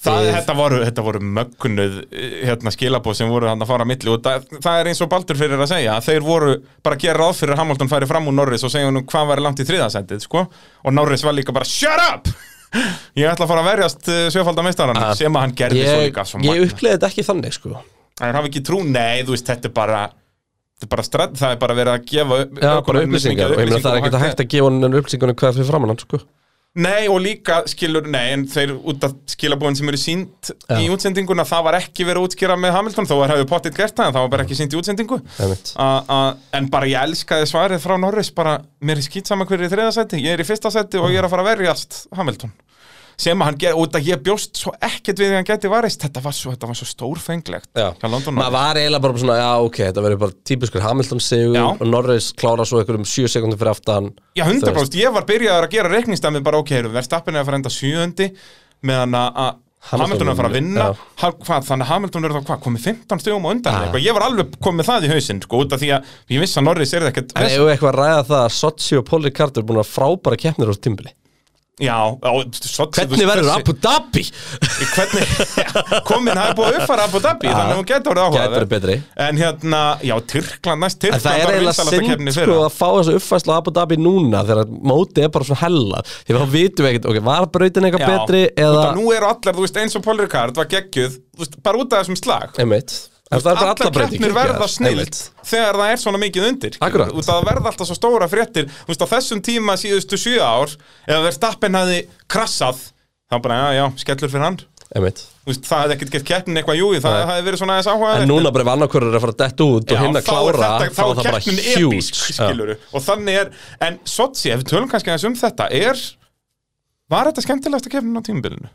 Speaker 2: það,
Speaker 6: Eh.
Speaker 2: þetta, voru, þetta voru mögnuð eh, hérna, skilabóð sem voru hann að fara á milli og það, það er eins og Baldur Freyr er að segja að þeir voru bara að gera ráð fyrir að Hamilton færi fram úr Norris og segja hann hvað væri langt í þriðasendið sko? og Norris var líka bara shut up *laughs* Ég ætla að fara að verjast eh, sjöfaldameistarhann
Speaker 6: Ah.
Speaker 2: sem að hann gerði svo
Speaker 6: ég,
Speaker 2: líka svo
Speaker 6: ég
Speaker 2: magnað.
Speaker 6: uppleiði þetta ekki þannig sko
Speaker 2: Það hafa ekki trú, nei, þú veist, þetta er bara þetta er bara strætt, það er bara verið að gefa upp-
Speaker 6: já, bara
Speaker 2: ökunum
Speaker 6: upplýsingar, og ég meina það er
Speaker 2: og
Speaker 6: ekki hægt að gefa hann upplýsingunum hvað er fyrir framann hann, sko
Speaker 2: Nei, og líka skilur, nei, en þeir út af skilabóin sem eru sínt í
Speaker 6: Já.
Speaker 2: útsendinguna það var ekki verið að útskýra með Hamilton þó að hefðu pottitt gert það, en það var bara ekki sínt í útsendingu
Speaker 6: Einmitt.
Speaker 2: A- a- En bara ég elskaði svarið frá Norris, bara mér er skýt saman hverju í þriðasæti, ég er í fyrsta sæti og ég er að fara að verjast Hamilton sem að hann gerði, út af ég bjóst svo ekkert við því hann gæti varist, þetta var svo, þetta var svo stórfenglegt
Speaker 6: Já,
Speaker 2: hjá London
Speaker 6: maður var eiginlega bara svona, já ok, þetta verður bara típiskur Hamilton sigur
Speaker 2: Já.
Speaker 6: og Norris klára svo einhverjum 7 sekundum fyrir aftan
Speaker 2: Já,
Speaker 6: Þú veist,
Speaker 2: 100% ég var byrjaður að gera reikningstæmi bara ok, erum verðstappin er að fara að enda sjöundi meðan að
Speaker 6: Hamilton
Speaker 2: Hamilton, Hamilton er að fara að vinna
Speaker 6: já.
Speaker 2: ha, hvað, þannig að Hamilton er þá hvað, komið 15 stugum og undan
Speaker 6: Já.
Speaker 2: ah. eitthvað, ég var alveg komið það í hausinn sko, út af því að ég vissi að Norris er ekkert
Speaker 6: En
Speaker 2: vesen.
Speaker 6: eigum við eitthvað að ræða það að Sochi og Polly Carter er búin að frábæra keppnir á þessu tímbili
Speaker 2: Já, á, svo,
Speaker 6: Hvernig verður Abu Dhabi?
Speaker 2: Hvernig, *laughs* komin, það er búið að uppfara Abu Dhabi, þannig að hún getur orðið áhuga
Speaker 6: Ah. Gæti verið betri
Speaker 2: En hérna, já, Tyrkland næst
Speaker 6: En það
Speaker 2: Tyrkland
Speaker 6: er
Speaker 2: var
Speaker 6: eiginlega
Speaker 2: vinsalasta
Speaker 6: synd
Speaker 2: keppni
Speaker 6: sko
Speaker 2: fyrra.
Speaker 6: að fá þessu uppfæslu á Abu Dhabi núna þegar mótið er bara svona hella því þá vitum við ekkert, ok, var brautin
Speaker 2: Já,
Speaker 6: eitthvað betri
Speaker 2: út
Speaker 6: eða,
Speaker 2: af Nú eru allar, þú veist, eins og Paul Ricard var geggjuð, þú veist, bara út af þessum slag
Speaker 6: einmitt En það er bara alla
Speaker 2: allar
Speaker 6: breyting
Speaker 2: keppnir verða snild
Speaker 6: Einmitt.
Speaker 2: þegar það er svona mikið undir
Speaker 6: Akkurat.
Speaker 2: út af að verða alltaf svo stóra fréttir þú veist á þessum tíma síðustu sjö ár ef Verstappen hafði krassað þá bara, já, já, skellur fyrir hann Þú
Speaker 6: Einmitt
Speaker 2: veist, það hefði ekkert gett keppnin eitthvað júi það
Speaker 6: Nei.
Speaker 2: hefði verið svona aðeins áhuga
Speaker 6: En núna bara ef annarkvörður er að fara að detta út og hinn að klára
Speaker 2: þá er
Speaker 6: það bara
Speaker 2: keppnin episk,
Speaker 6: huge. Já.
Speaker 2: skiluru og þannig er, en Sotsi, ef við tölum kannski aðeins um þetta er, var þetta skemmtilegasta keppnin á tímabilinu?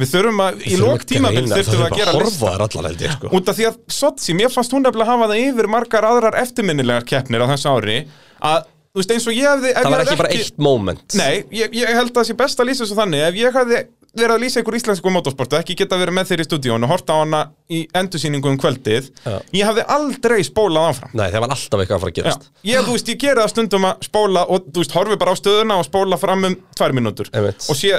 Speaker 2: Við þurfum að, í
Speaker 6: Þurfum
Speaker 2: lok
Speaker 6: að
Speaker 2: tímabil
Speaker 6: greina,
Speaker 2: þurfum við að gera
Speaker 6: Það þurfum
Speaker 2: lista
Speaker 6: að horfa þær allar held ég sko
Speaker 2: Út af því að Sotsi, mér fannst hún nefnilega hafa það yfir margar aðrar eftirminnilegar keppnir á þessu ári að, þú veist, eins og ég hefði ef
Speaker 6: Það
Speaker 2: ég
Speaker 6: var
Speaker 2: hefði
Speaker 6: ekki bara eitt moment
Speaker 2: Nei, ég, ég held að það sé best að lýsa þessu þannig ef ég hefði verið að lýsa ykkur íslensku motorsportu ekki geta verið með þeir í stúdíón og horta á hana í endursýningu um kvöldið
Speaker 6: Já.
Speaker 2: ég hefði aldrei spólað áfram
Speaker 6: Nei, það var alltaf eitthvað að fara
Speaker 2: Já,
Speaker 6: að gerast
Speaker 2: ég, þú veist, ég gera það stundum að spóla og þú veist, horfi bara á stöðuna og spóla fram um tvær mínútur
Speaker 6: Einmitt.
Speaker 2: og sé,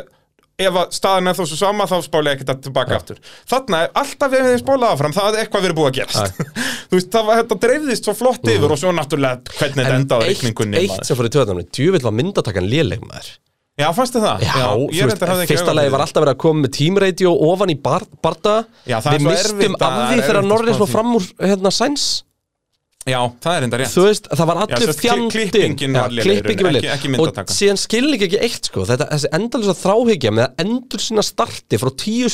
Speaker 2: ef að staðan er þó svo sama þá spóla ég ekkert að tilbaka aftur þarna, ef alltaf ef ég spólaði áfram, það hefði eitthvað verið búið að gerast *laughs* þú veist, það var, þetta dreifðist svo flott yfir og svo náttúrulega hvernig þetta endaði á
Speaker 6: Mhm. eitt,
Speaker 2: reikningunni
Speaker 6: eitt sem fór í töðanum Djúvill var myndatakan léleg maður
Speaker 2: já, fannstu það?
Speaker 6: Já, þú
Speaker 2: ég
Speaker 6: veist,
Speaker 2: reyndar hafði ekki
Speaker 6: fyrsta
Speaker 2: augun
Speaker 6: lagi
Speaker 2: fyrir
Speaker 6: var alltaf verið að koma með tímradio ofan í bar, barda
Speaker 2: Já, það er
Speaker 6: Við
Speaker 2: svo
Speaker 6: mistum
Speaker 2: erfitt að-
Speaker 6: af
Speaker 2: það er
Speaker 6: því þegar
Speaker 2: erfitt að
Speaker 6: Norris
Speaker 2: spá
Speaker 6: var
Speaker 2: því.
Speaker 6: fram úr hérna sæns
Speaker 2: því. já, það er enda rétt
Speaker 6: Þú veist, það var
Speaker 2: Já,
Speaker 6: allur
Speaker 2: sem sagt, kli-
Speaker 6: þjandinn
Speaker 2: klippingin var léleg í
Speaker 6: klippingin var
Speaker 2: rauninni,
Speaker 6: léleg.
Speaker 2: ekki- ekki myndatakan.
Speaker 6: Og síðan skilning ekki eitt sko þetta, Þessi endalisa þráhyggja með að endur sína starti frá tíu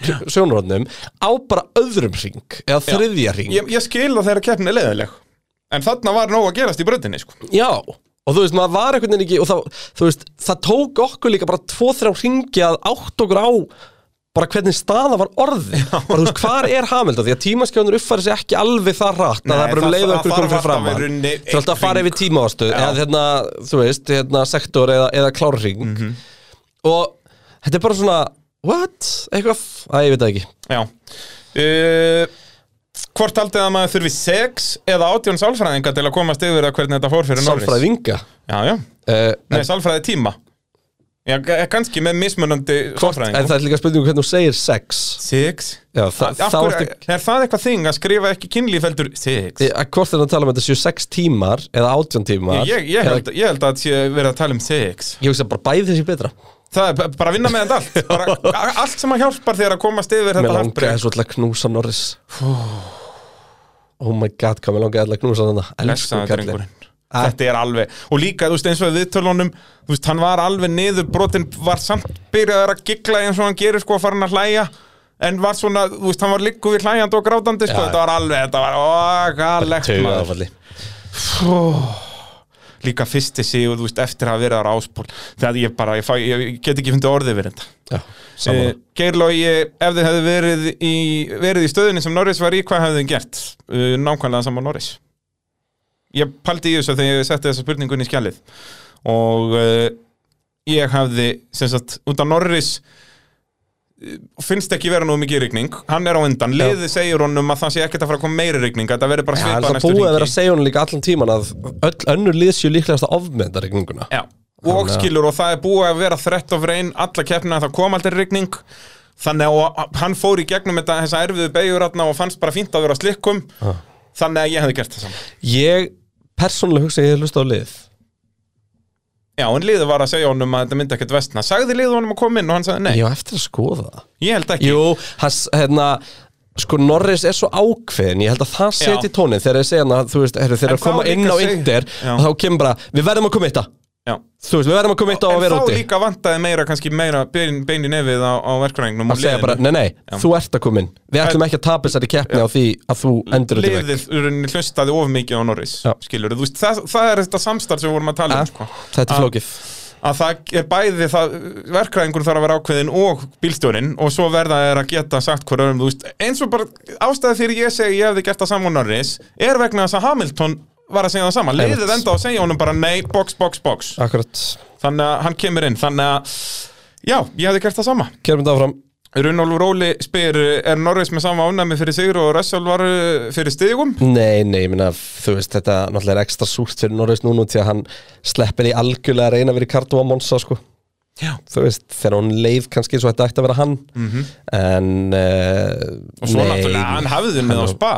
Speaker 6: sjónurhörnum á bara öðrum ring eða þriðja ring
Speaker 2: ég, ég skil að þeirra keppni er leiðileg en þarna var nóg að gerast í bröndinni sko.
Speaker 6: Já, og þú veist, maður var einhvern veginn ekki og það, þú veist, það tók okkur líka bara tvo, þrjá hringi að átt okkur á bara hvernig staða var orði bara þú veist, hvar er Hamilton því að tímaskjáðunir uppfæri sig ekki alveg það rætt að
Speaker 2: Nei,
Speaker 6: það er bara um
Speaker 2: það-
Speaker 6: leiðu
Speaker 2: það
Speaker 6: okkur
Speaker 2: þarf alltaf
Speaker 6: komið fyrir fram
Speaker 2: í
Speaker 6: hann.
Speaker 2: rauninni
Speaker 6: þú ætti að
Speaker 2: einn
Speaker 6: fara
Speaker 2: hring.
Speaker 6: yfir tímaástuð
Speaker 2: Já.
Speaker 6: eða hérna, þú veist, hérna sektor eða, eða klárhring
Speaker 2: Mhm.
Speaker 6: og þetta er bara svona what, eitthvað, að ég veit það ekki
Speaker 2: Já uh, Hvort haldið að maður þurfi 6 eða 18 sálfræðinga til að komast yfir að hvernig þetta fór fyrir Norris?
Speaker 6: sálfræði vinga
Speaker 2: Já, já,
Speaker 6: uh,
Speaker 2: nei, sálfræði tíma Já, ga- eh, kannski með mismunandi
Speaker 6: En það
Speaker 2: sáfræðingum
Speaker 6: er líka spurning um hvernig þú segir sex
Speaker 2: Six
Speaker 6: Já, þa-
Speaker 2: Af
Speaker 6: þá
Speaker 2: hverju-
Speaker 6: ertu-
Speaker 2: Er það eitthvað þing að skrifa ekki kynlífeldur Six
Speaker 6: Að hvort er það að tala um þetta séu sex tímar eða átján tímar
Speaker 2: Ég, ég, held, ég held að það sé verið að tala um six
Speaker 6: Ég hugsa bara bæði þessi betra
Speaker 2: Það er b- bara að vinna með þetta allt
Speaker 6: *laughs*
Speaker 2: bara, a- Allt sem að hjálpar þér að komast yfir
Speaker 6: Mér
Speaker 2: þetta
Speaker 6: langaði
Speaker 2: hartbreyk
Speaker 6: svo til að knúsa Norris Oh my god, hvað mér langaði til að knúsa þannig Elsku
Speaker 2: Blessaður
Speaker 6: kalli
Speaker 2: drengurinn. Þetta er alveg Og líka, þú veist, eins og viðtölunum Þú veist, hann var alveg niður brotin Var samt byrjaður að gigla eins og hann gerir sko Farin að hlæja En var svona, þú veist, hann var líku við hlæjandi og grátandi sko,
Speaker 6: Já.
Speaker 2: Þetta var alveg, þetta var ógalegt
Speaker 6: Tauga
Speaker 2: maður.
Speaker 6: áfalli
Speaker 2: Líka fyrsti sigur, þú veist, eftir að vera á áspól Þegar ég bara, ég, fæ, ég get ekki fundið orðið verið þetta
Speaker 6: Já,
Speaker 2: Eh,
Speaker 6: saman
Speaker 2: Geirlogi, ef þið hefði verið í, verið í stöðunni sem Norris var í, hvað hefði þið gert? Eh, Nákvæmlega saman Norris Ég paldi í þessu þegar ég setti þessa spurningun í skjalið og uh, ég hefði, sem sagt, út af Norris eh, finnst ekki vera nú mikið rigning, hann er á undan liðið segir honum að það sé ekkert að fara að koma meiri rigning að það verði bara
Speaker 6: Já, það er
Speaker 2: svipað
Speaker 6: það
Speaker 2: næstu
Speaker 6: búið að vera að
Speaker 2: ringi
Speaker 6: segja hún líka allan tíman að öll önnur lið séu líklegast að ofmynda regninguna
Speaker 2: Já, og skilur og það er búið að vera þrett of reyn alla keppna það kom aldrei rigning þannig að og hann fór í gegnum þetta þessa erfiðu beigur atna, og fannst bara fínt að vera slikkum þannig að ég hefði gert það saman
Speaker 6: Ég persónulega hugsa að ég hef hlusta á lið
Speaker 2: Já, en liðið var að segja honum að þetta myndi ekkert vestna sagði liðið honum að koma inn og hann sagði nei
Speaker 6: Ég á eftir að skoða það
Speaker 2: ég held ekki,
Speaker 6: Jú, hans, hérna Sko Norris er svo ákveðin, ég held að það seti
Speaker 2: Já.
Speaker 6: tónin þegar ég segja hann að þú veist, heru, þegar
Speaker 2: En
Speaker 6: að koma
Speaker 2: þá
Speaker 6: inn
Speaker 2: líka
Speaker 6: á
Speaker 2: seg-
Speaker 6: Inder
Speaker 2: Já.
Speaker 6: og þá kemur bara, við verðum að koma eitt
Speaker 2: já
Speaker 6: þú veist, við verðum að koma eitt á að
Speaker 2: en
Speaker 6: vera
Speaker 2: þá
Speaker 6: úti
Speaker 2: líka vantaði meira, kannski meira bein, bein í nefið á, á verkvæðingnum
Speaker 6: að segja bara, nei, nei, þú ert að koma inn við ætlum ekki að tapa þessari keppni á því að þú endur út í vegg
Speaker 2: liðið í rauninni hlustaði of mikið á Norris
Speaker 6: Já.
Speaker 2: skilur, þú veist, það, það er þetta samstarf sem við vorum að tala
Speaker 6: Ja,
Speaker 2: um sko.
Speaker 6: þetta
Speaker 2: Að-
Speaker 6: er flókið
Speaker 2: að það er bæði það, verkræðingur þarf að vera ákveðin og bílstjórinn og svo verða er að geta sagt hver öðrum þú veist, eins og bara ástæði fyrir ég segi ég hefði gert það saman Norris er vegna þess að Hamilton var að segja það sama
Speaker 6: Einmitt.
Speaker 2: liðið enda á að segja honum bara nei, box, box, box
Speaker 6: akkurat,
Speaker 2: þannig að hann kemur inn, þannig að já, ég hefði gert það sama
Speaker 6: kerum þetta áfram
Speaker 2: Runolfur Óli spyr, er Norris með sama ánæmi fyrir sigur og Russell var uh, fyrir stigum?
Speaker 6: nei, nei, ég minna, þú veist, þetta náttúrulega er ekstra súrt fyrir Norris núna því að hann sleppir í algjörlega að reyna að vera í kartu á Monsa sko.
Speaker 2: Já.
Speaker 6: þú veist, þegar hún leið kannski svo þetta ætti að vera hann -hmm. en uh,
Speaker 2: Mhm. og svo náttúrulega, hann hafði unnið á spa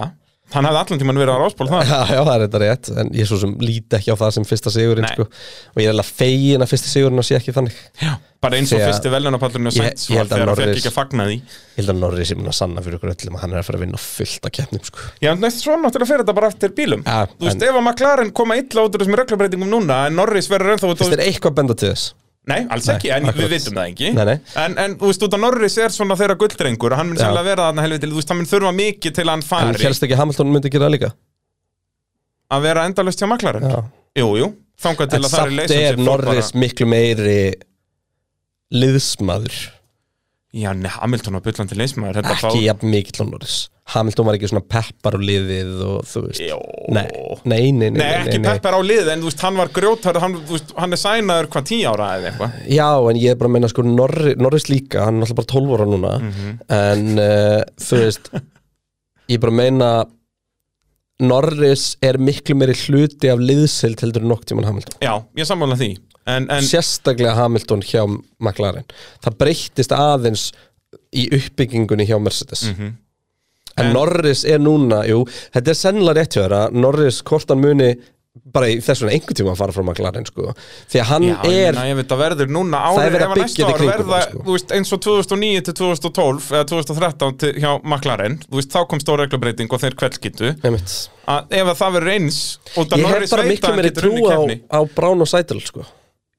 Speaker 2: hann hafði allan tímann verið á ráspól það
Speaker 6: *laughs* Já, já, það er þetta rétt, en ég svo sem líti ekki á það sem fyrsta sigurinn,
Speaker 2: Nei.
Speaker 6: sko og ég er alveg fegin að fyrsta sigurinn og sé ekki þannig
Speaker 2: Já, bara eins og
Speaker 6: Þegar-
Speaker 2: fyrsti veljónapallurinn og
Speaker 6: Ég-
Speaker 2: Sainz
Speaker 6: ég
Speaker 2: var
Speaker 6: held að
Speaker 2: þegar hann fekk
Speaker 6: Norris-
Speaker 2: ekki að fagna því
Speaker 6: Ég held að Norris er mun að sanna fyrir okkur öllum að hann er að fara að vinna fullt að keppnum, sko
Speaker 2: Já, en næst svo náttúrulega fyrir þetta bara eftir bílum
Speaker 6: Ja,
Speaker 2: Þú veist,
Speaker 6: en-
Speaker 2: ef að McLaren koma illa út úr þessum reglubreitingum núna en Norris verður ennþá út
Speaker 6: Þetta er eitthvað að benda til þess
Speaker 2: Nei, alls
Speaker 6: Nei,
Speaker 2: ekki, en
Speaker 6: akkurat.
Speaker 2: við vitum það ekki
Speaker 6: Nei, nei.
Speaker 2: En, en þú veist, út að Norris er svona þeirra gulddrengur og hann mun
Speaker 6: Já.
Speaker 2: sannlega vera þarna helviti þú veist, hann mun þurfa mikið til að hann
Speaker 6: En
Speaker 2: fari
Speaker 6: helst ekki að Hamilton myndi gera það líka
Speaker 2: að vera endalaust hjá McLaren
Speaker 6: Já.
Speaker 2: Jú, jú, þangað til
Speaker 6: En
Speaker 2: að það er
Speaker 6: samt er
Speaker 2: leysum
Speaker 6: Norris miklu meiri liðsmaður
Speaker 2: Já, nei, Hamilton var byllandi leysmaður Þetta
Speaker 6: Ekki jafn mikill og Norris Hamilton var ekki svona peppar og liðið og þú veist
Speaker 2: Jó.
Speaker 6: Nei, nei, nei, nei,
Speaker 2: Nei,
Speaker 6: nei,
Speaker 2: ekki
Speaker 6: nei, nei.
Speaker 2: peppar á lið, en þú veist, hann var grjótar, hann, þú veist, hann er sænaður hvað tíu ára eða eitthvað.
Speaker 6: Já, en ég er bara að meina sko Norris, Norris líka, hann er alltaf bara 12 ára núna
Speaker 2: Mhm.
Speaker 6: En uh, þú veist Ég er bara að meina Norris er miklu meiri hluti af liðsild heldur en nokk tímann Hamilton
Speaker 2: Já, ég sammála því. En, en,
Speaker 6: sérstaklega Hamilton hjá McLaren það breyttist aðeins í uppbyggingunni hjá Mercedes en,
Speaker 2: Mhm. En-
Speaker 6: Norris er núna jú, þetta er sennilega rétt hjá þér að Norris hvort hann muni bara í þess vegna einhvern tíma að fara frá McLaren sko. því að hann
Speaker 2: Já, ég,
Speaker 6: er
Speaker 2: meina, ég veit að verður núna
Speaker 6: Það er
Speaker 2: árið,
Speaker 6: verið
Speaker 2: ef
Speaker 6: að
Speaker 2: að
Speaker 6: byggja
Speaker 2: næsta
Speaker 6: þetta í
Speaker 2: ár
Speaker 6: kringum
Speaker 2: verða,
Speaker 6: það, sko.
Speaker 2: þú veist, eins og 2009 til 2012 eða 2013 til, hjá McLaren þú veist, þá kom stóra reglabreiting og þeir kveldskittu
Speaker 6: einmitt,
Speaker 2: að ef að það verður eins og
Speaker 6: ég
Speaker 2: að
Speaker 6: hef
Speaker 2: Norris
Speaker 6: bara
Speaker 2: veit
Speaker 6: miklu
Speaker 2: að hann
Speaker 6: meiri
Speaker 2: getur
Speaker 6: trú
Speaker 2: unni
Speaker 6: á,
Speaker 2: kefni
Speaker 6: á Brown og Seidel sko.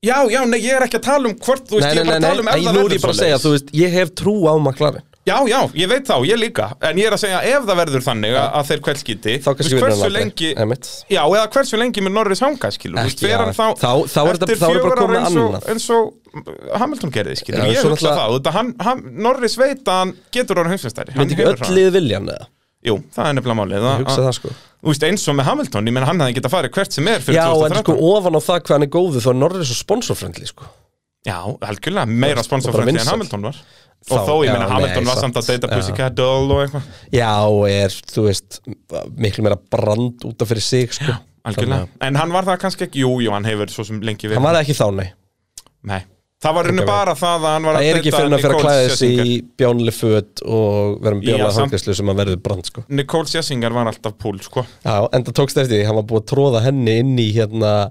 Speaker 2: Já, já, nei, ég er ekki að tala um hvort, þú veist,
Speaker 6: nei,
Speaker 2: ég er
Speaker 6: nei,
Speaker 2: bara
Speaker 6: nei,
Speaker 2: að
Speaker 6: nei,
Speaker 2: tala um
Speaker 6: nei,
Speaker 2: ef
Speaker 6: nú
Speaker 2: það
Speaker 6: er ég
Speaker 2: verður
Speaker 6: bara að segja þú
Speaker 2: svoleiðis.
Speaker 6: veist, ég hef trú á McLaren
Speaker 2: Já, já, ég veit þá, ég líka en ég er að segja ef það verður þannig að, að þeir kveldskitti
Speaker 6: þá kannski vinnur
Speaker 2: hversu
Speaker 6: hann
Speaker 2: lengi
Speaker 6: aldrei Einmitt.
Speaker 2: Já, eða hversu lengi með Norris hanga, skilur þú veist,
Speaker 6: Ekki,
Speaker 2: fer
Speaker 6: já,
Speaker 2: hann þá,
Speaker 6: þá- þá er þetta-
Speaker 2: eftir
Speaker 6: þá er bara
Speaker 2: fjögur ár
Speaker 6: komið
Speaker 2: eins og-
Speaker 6: annað.
Speaker 2: eins og Hamilton gerði, skilur já,
Speaker 6: Já,
Speaker 2: ég
Speaker 6: svo
Speaker 2: hugsa
Speaker 6: náttúrulega-
Speaker 2: það, þetta hann, hann, Norris veit að hann getur orðin heimsveistari
Speaker 6: myndi ekki öll lið vilja hann eða
Speaker 2: Jú, það er nefnilega málið
Speaker 6: ég
Speaker 2: að-
Speaker 6: hugsa
Speaker 2: að-
Speaker 6: það sko
Speaker 2: Þú veist, eins og með Hamilton, ég menn hann hefði getað farið hvert sem er fyrir
Speaker 6: Já,
Speaker 2: 2013
Speaker 6: en sko ofan á það hvað hann er góðu þá er Norris svo sponsorfriendly sko.
Speaker 2: Já, algjörlega, meira
Speaker 6: Og bara
Speaker 2: sponsorfrætti en
Speaker 6: vinsæll.
Speaker 2: Hamilton var
Speaker 6: Þá-
Speaker 2: Og þó, ég
Speaker 6: já,
Speaker 2: menna, Hamilton
Speaker 6: nei,
Speaker 2: var
Speaker 6: samt.
Speaker 2: samt að deyta
Speaker 6: Já.
Speaker 2: Pussycat Doll og eitthvað
Speaker 6: Já, og er, þú veist, miklu meira brand út af fyrir sig sko. Já,
Speaker 2: Algjörlega, en hann var það kannski ekki, jú, jú, hann hefur svo sem lengi verið
Speaker 6: Hann var það ekki þá, nei
Speaker 2: Nei, Það var rauninu
Speaker 6: Ok,
Speaker 2: bara það að hann var
Speaker 6: Það er ekki fyrir hann að fyrir að
Speaker 2: Nicole
Speaker 6: klæða sig í
Speaker 2: Scherzinger.
Speaker 6: bjónli föt og vera með
Speaker 2: Já,
Speaker 6: bjónlega
Speaker 2: samt-
Speaker 6: hangislu sem að verður brand sko.
Speaker 2: Nicole Sessinger var alltaf púl, sko
Speaker 6: Já, enda tókst eftir því, hann var búið að tróða henni inn í hérna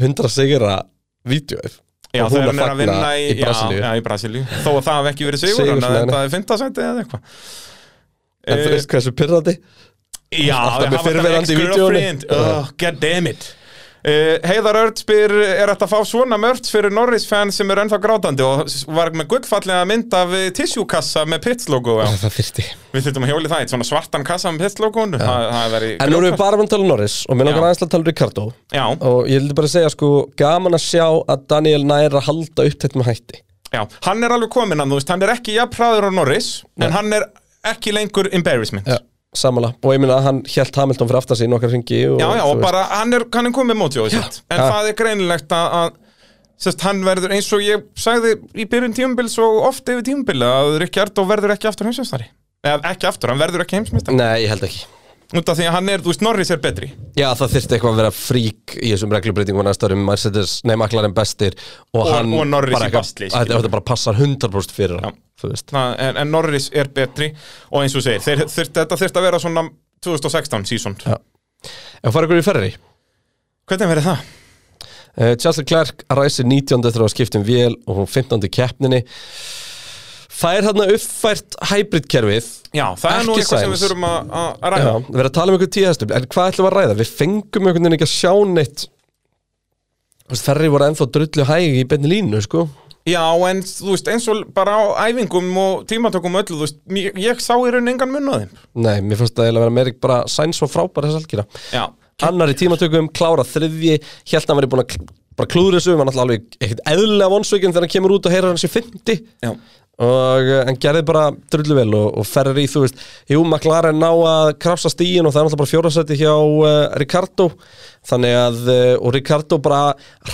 Speaker 6: 100 sigra vídjóið
Speaker 2: Já,
Speaker 6: og
Speaker 2: þegar
Speaker 6: hún að
Speaker 2: hann er að
Speaker 6: fagna
Speaker 2: vinna í,
Speaker 6: í Brasilíu
Speaker 2: Já, já, í Brasilíu Þó að það hafi ekki verið sigur
Speaker 6: Sigur
Speaker 2: Þannig að
Speaker 6: fyrir
Speaker 2: þetta er fintasæti eða eitthvað
Speaker 6: En þú
Speaker 2: Eh,
Speaker 6: veist hversu pyrrandi?
Speaker 2: Já, þeir
Speaker 6: alltaf með
Speaker 2: hafa þetta
Speaker 6: fyrrverandi í
Speaker 2: ex-girlfriend.
Speaker 6: vídeóinu.
Speaker 2: Ugh, God damn it Uh, Heiðar Örd spyr, er þetta að fá svona mörgt fyrir Norris-fan sem er ennþá grátandi og s- var með gullfallega mynd af eh, tissue-kassa með Pits-logo á.
Speaker 6: Það þyrfti
Speaker 2: Við þurfum að hjóli það, eitt svona svartan kassa með Pits-logoinu, það það er verið
Speaker 6: En nú erum við bara með að tala um Norris og mér langar
Speaker 2: Já.
Speaker 6: aðeins að tala um Ricardo
Speaker 2: Já,
Speaker 6: og ég vildi bara segja sko gaman að sjá að Daniel nær að halda upp þetta með hætti
Speaker 2: já, hann er alveg kominn hann, þú veist, hann er ekki jafn hraður á Norris en hann er ekki lengur embarrassment
Speaker 6: Já, samanlega og ég minna að hann hjælt Hamilton fyrir aftan sín okkar hringi og,
Speaker 2: Já, já,
Speaker 6: þú
Speaker 2: og
Speaker 6: veist.
Speaker 2: bara, hann er, hann er komið mótjóð sitt, en
Speaker 6: Já.
Speaker 2: það er greinilegt að, að sérst, hann verður eins og ég sagði í byrjun tímubils og oft yfir tímubil að Rikjardó verður ekki aftur heimsmeistari eða ekki aftur, hann verður ekki heimsmeistari
Speaker 6: Nei, ég held ekki
Speaker 2: út af því að hann er, þú veist, Norris er betri
Speaker 6: Já, það þyrfti eitthvað að vera frík í þessum reglubreitingum næsta árum, Mercedes, nei, McLaren bestir og,
Speaker 2: Og-
Speaker 6: hann
Speaker 2: og Norris
Speaker 6: bara
Speaker 2: í
Speaker 6: eitthvað-
Speaker 2: basli,
Speaker 6: að Þetta
Speaker 2: skilur.
Speaker 6: þetta bara passar 100% fyrir hann, þú veist
Speaker 2: Þa, en, en Norris er betri og eins og þú segir, þeir, þeir, þetta þurft að vera svona 2016 season
Speaker 6: Já. Ef fara ykkur í ferri
Speaker 2: Hvernig verður það?
Speaker 6: uh, Charles Leclerc ræsir 19. eftir að skipta um vél og hún 15. í keppninni Fær hann að uppfært hybridkerfið
Speaker 2: Já, það er nú
Speaker 6: Ekki
Speaker 2: eitthvað sem
Speaker 6: Sainz.
Speaker 2: við þurfum að, að að
Speaker 6: Já,
Speaker 2: ræða
Speaker 6: við erum að tala um einhver tíðhestum En hvað ætlum við að ræða? Við fengum einhvern veginn ekki að sjá neitt Þú veist, Ferri voru ennþá drullu hæg í beinni línu, sko
Speaker 2: Já, en þú veist, eins og bara á æfingum og tímatökum og öllu, þú veist, ég, ég sá í raun engan mun á þeim
Speaker 6: Nei, mér finnst það eiginlega að vera meira bara sæns og frábæra þess algjöra
Speaker 2: Já,
Speaker 6: Annar í tímatökum, klára þriðji Hjælt hann verið búin að kl- bara klúður þessu Var náttúrulega alveg ekkert eðlilega vonsveikinn Þegar hann kemur út og heyrar hans í 50
Speaker 2: já
Speaker 6: og eh, hann gerði bara drullu vel og, og ferrir í, þú veist, jú, McLaren ná að krafsa stíin og það er náttúrulega bara fjórasæti hjá uh, Ricardo þannig að, uh, og Ricardo bara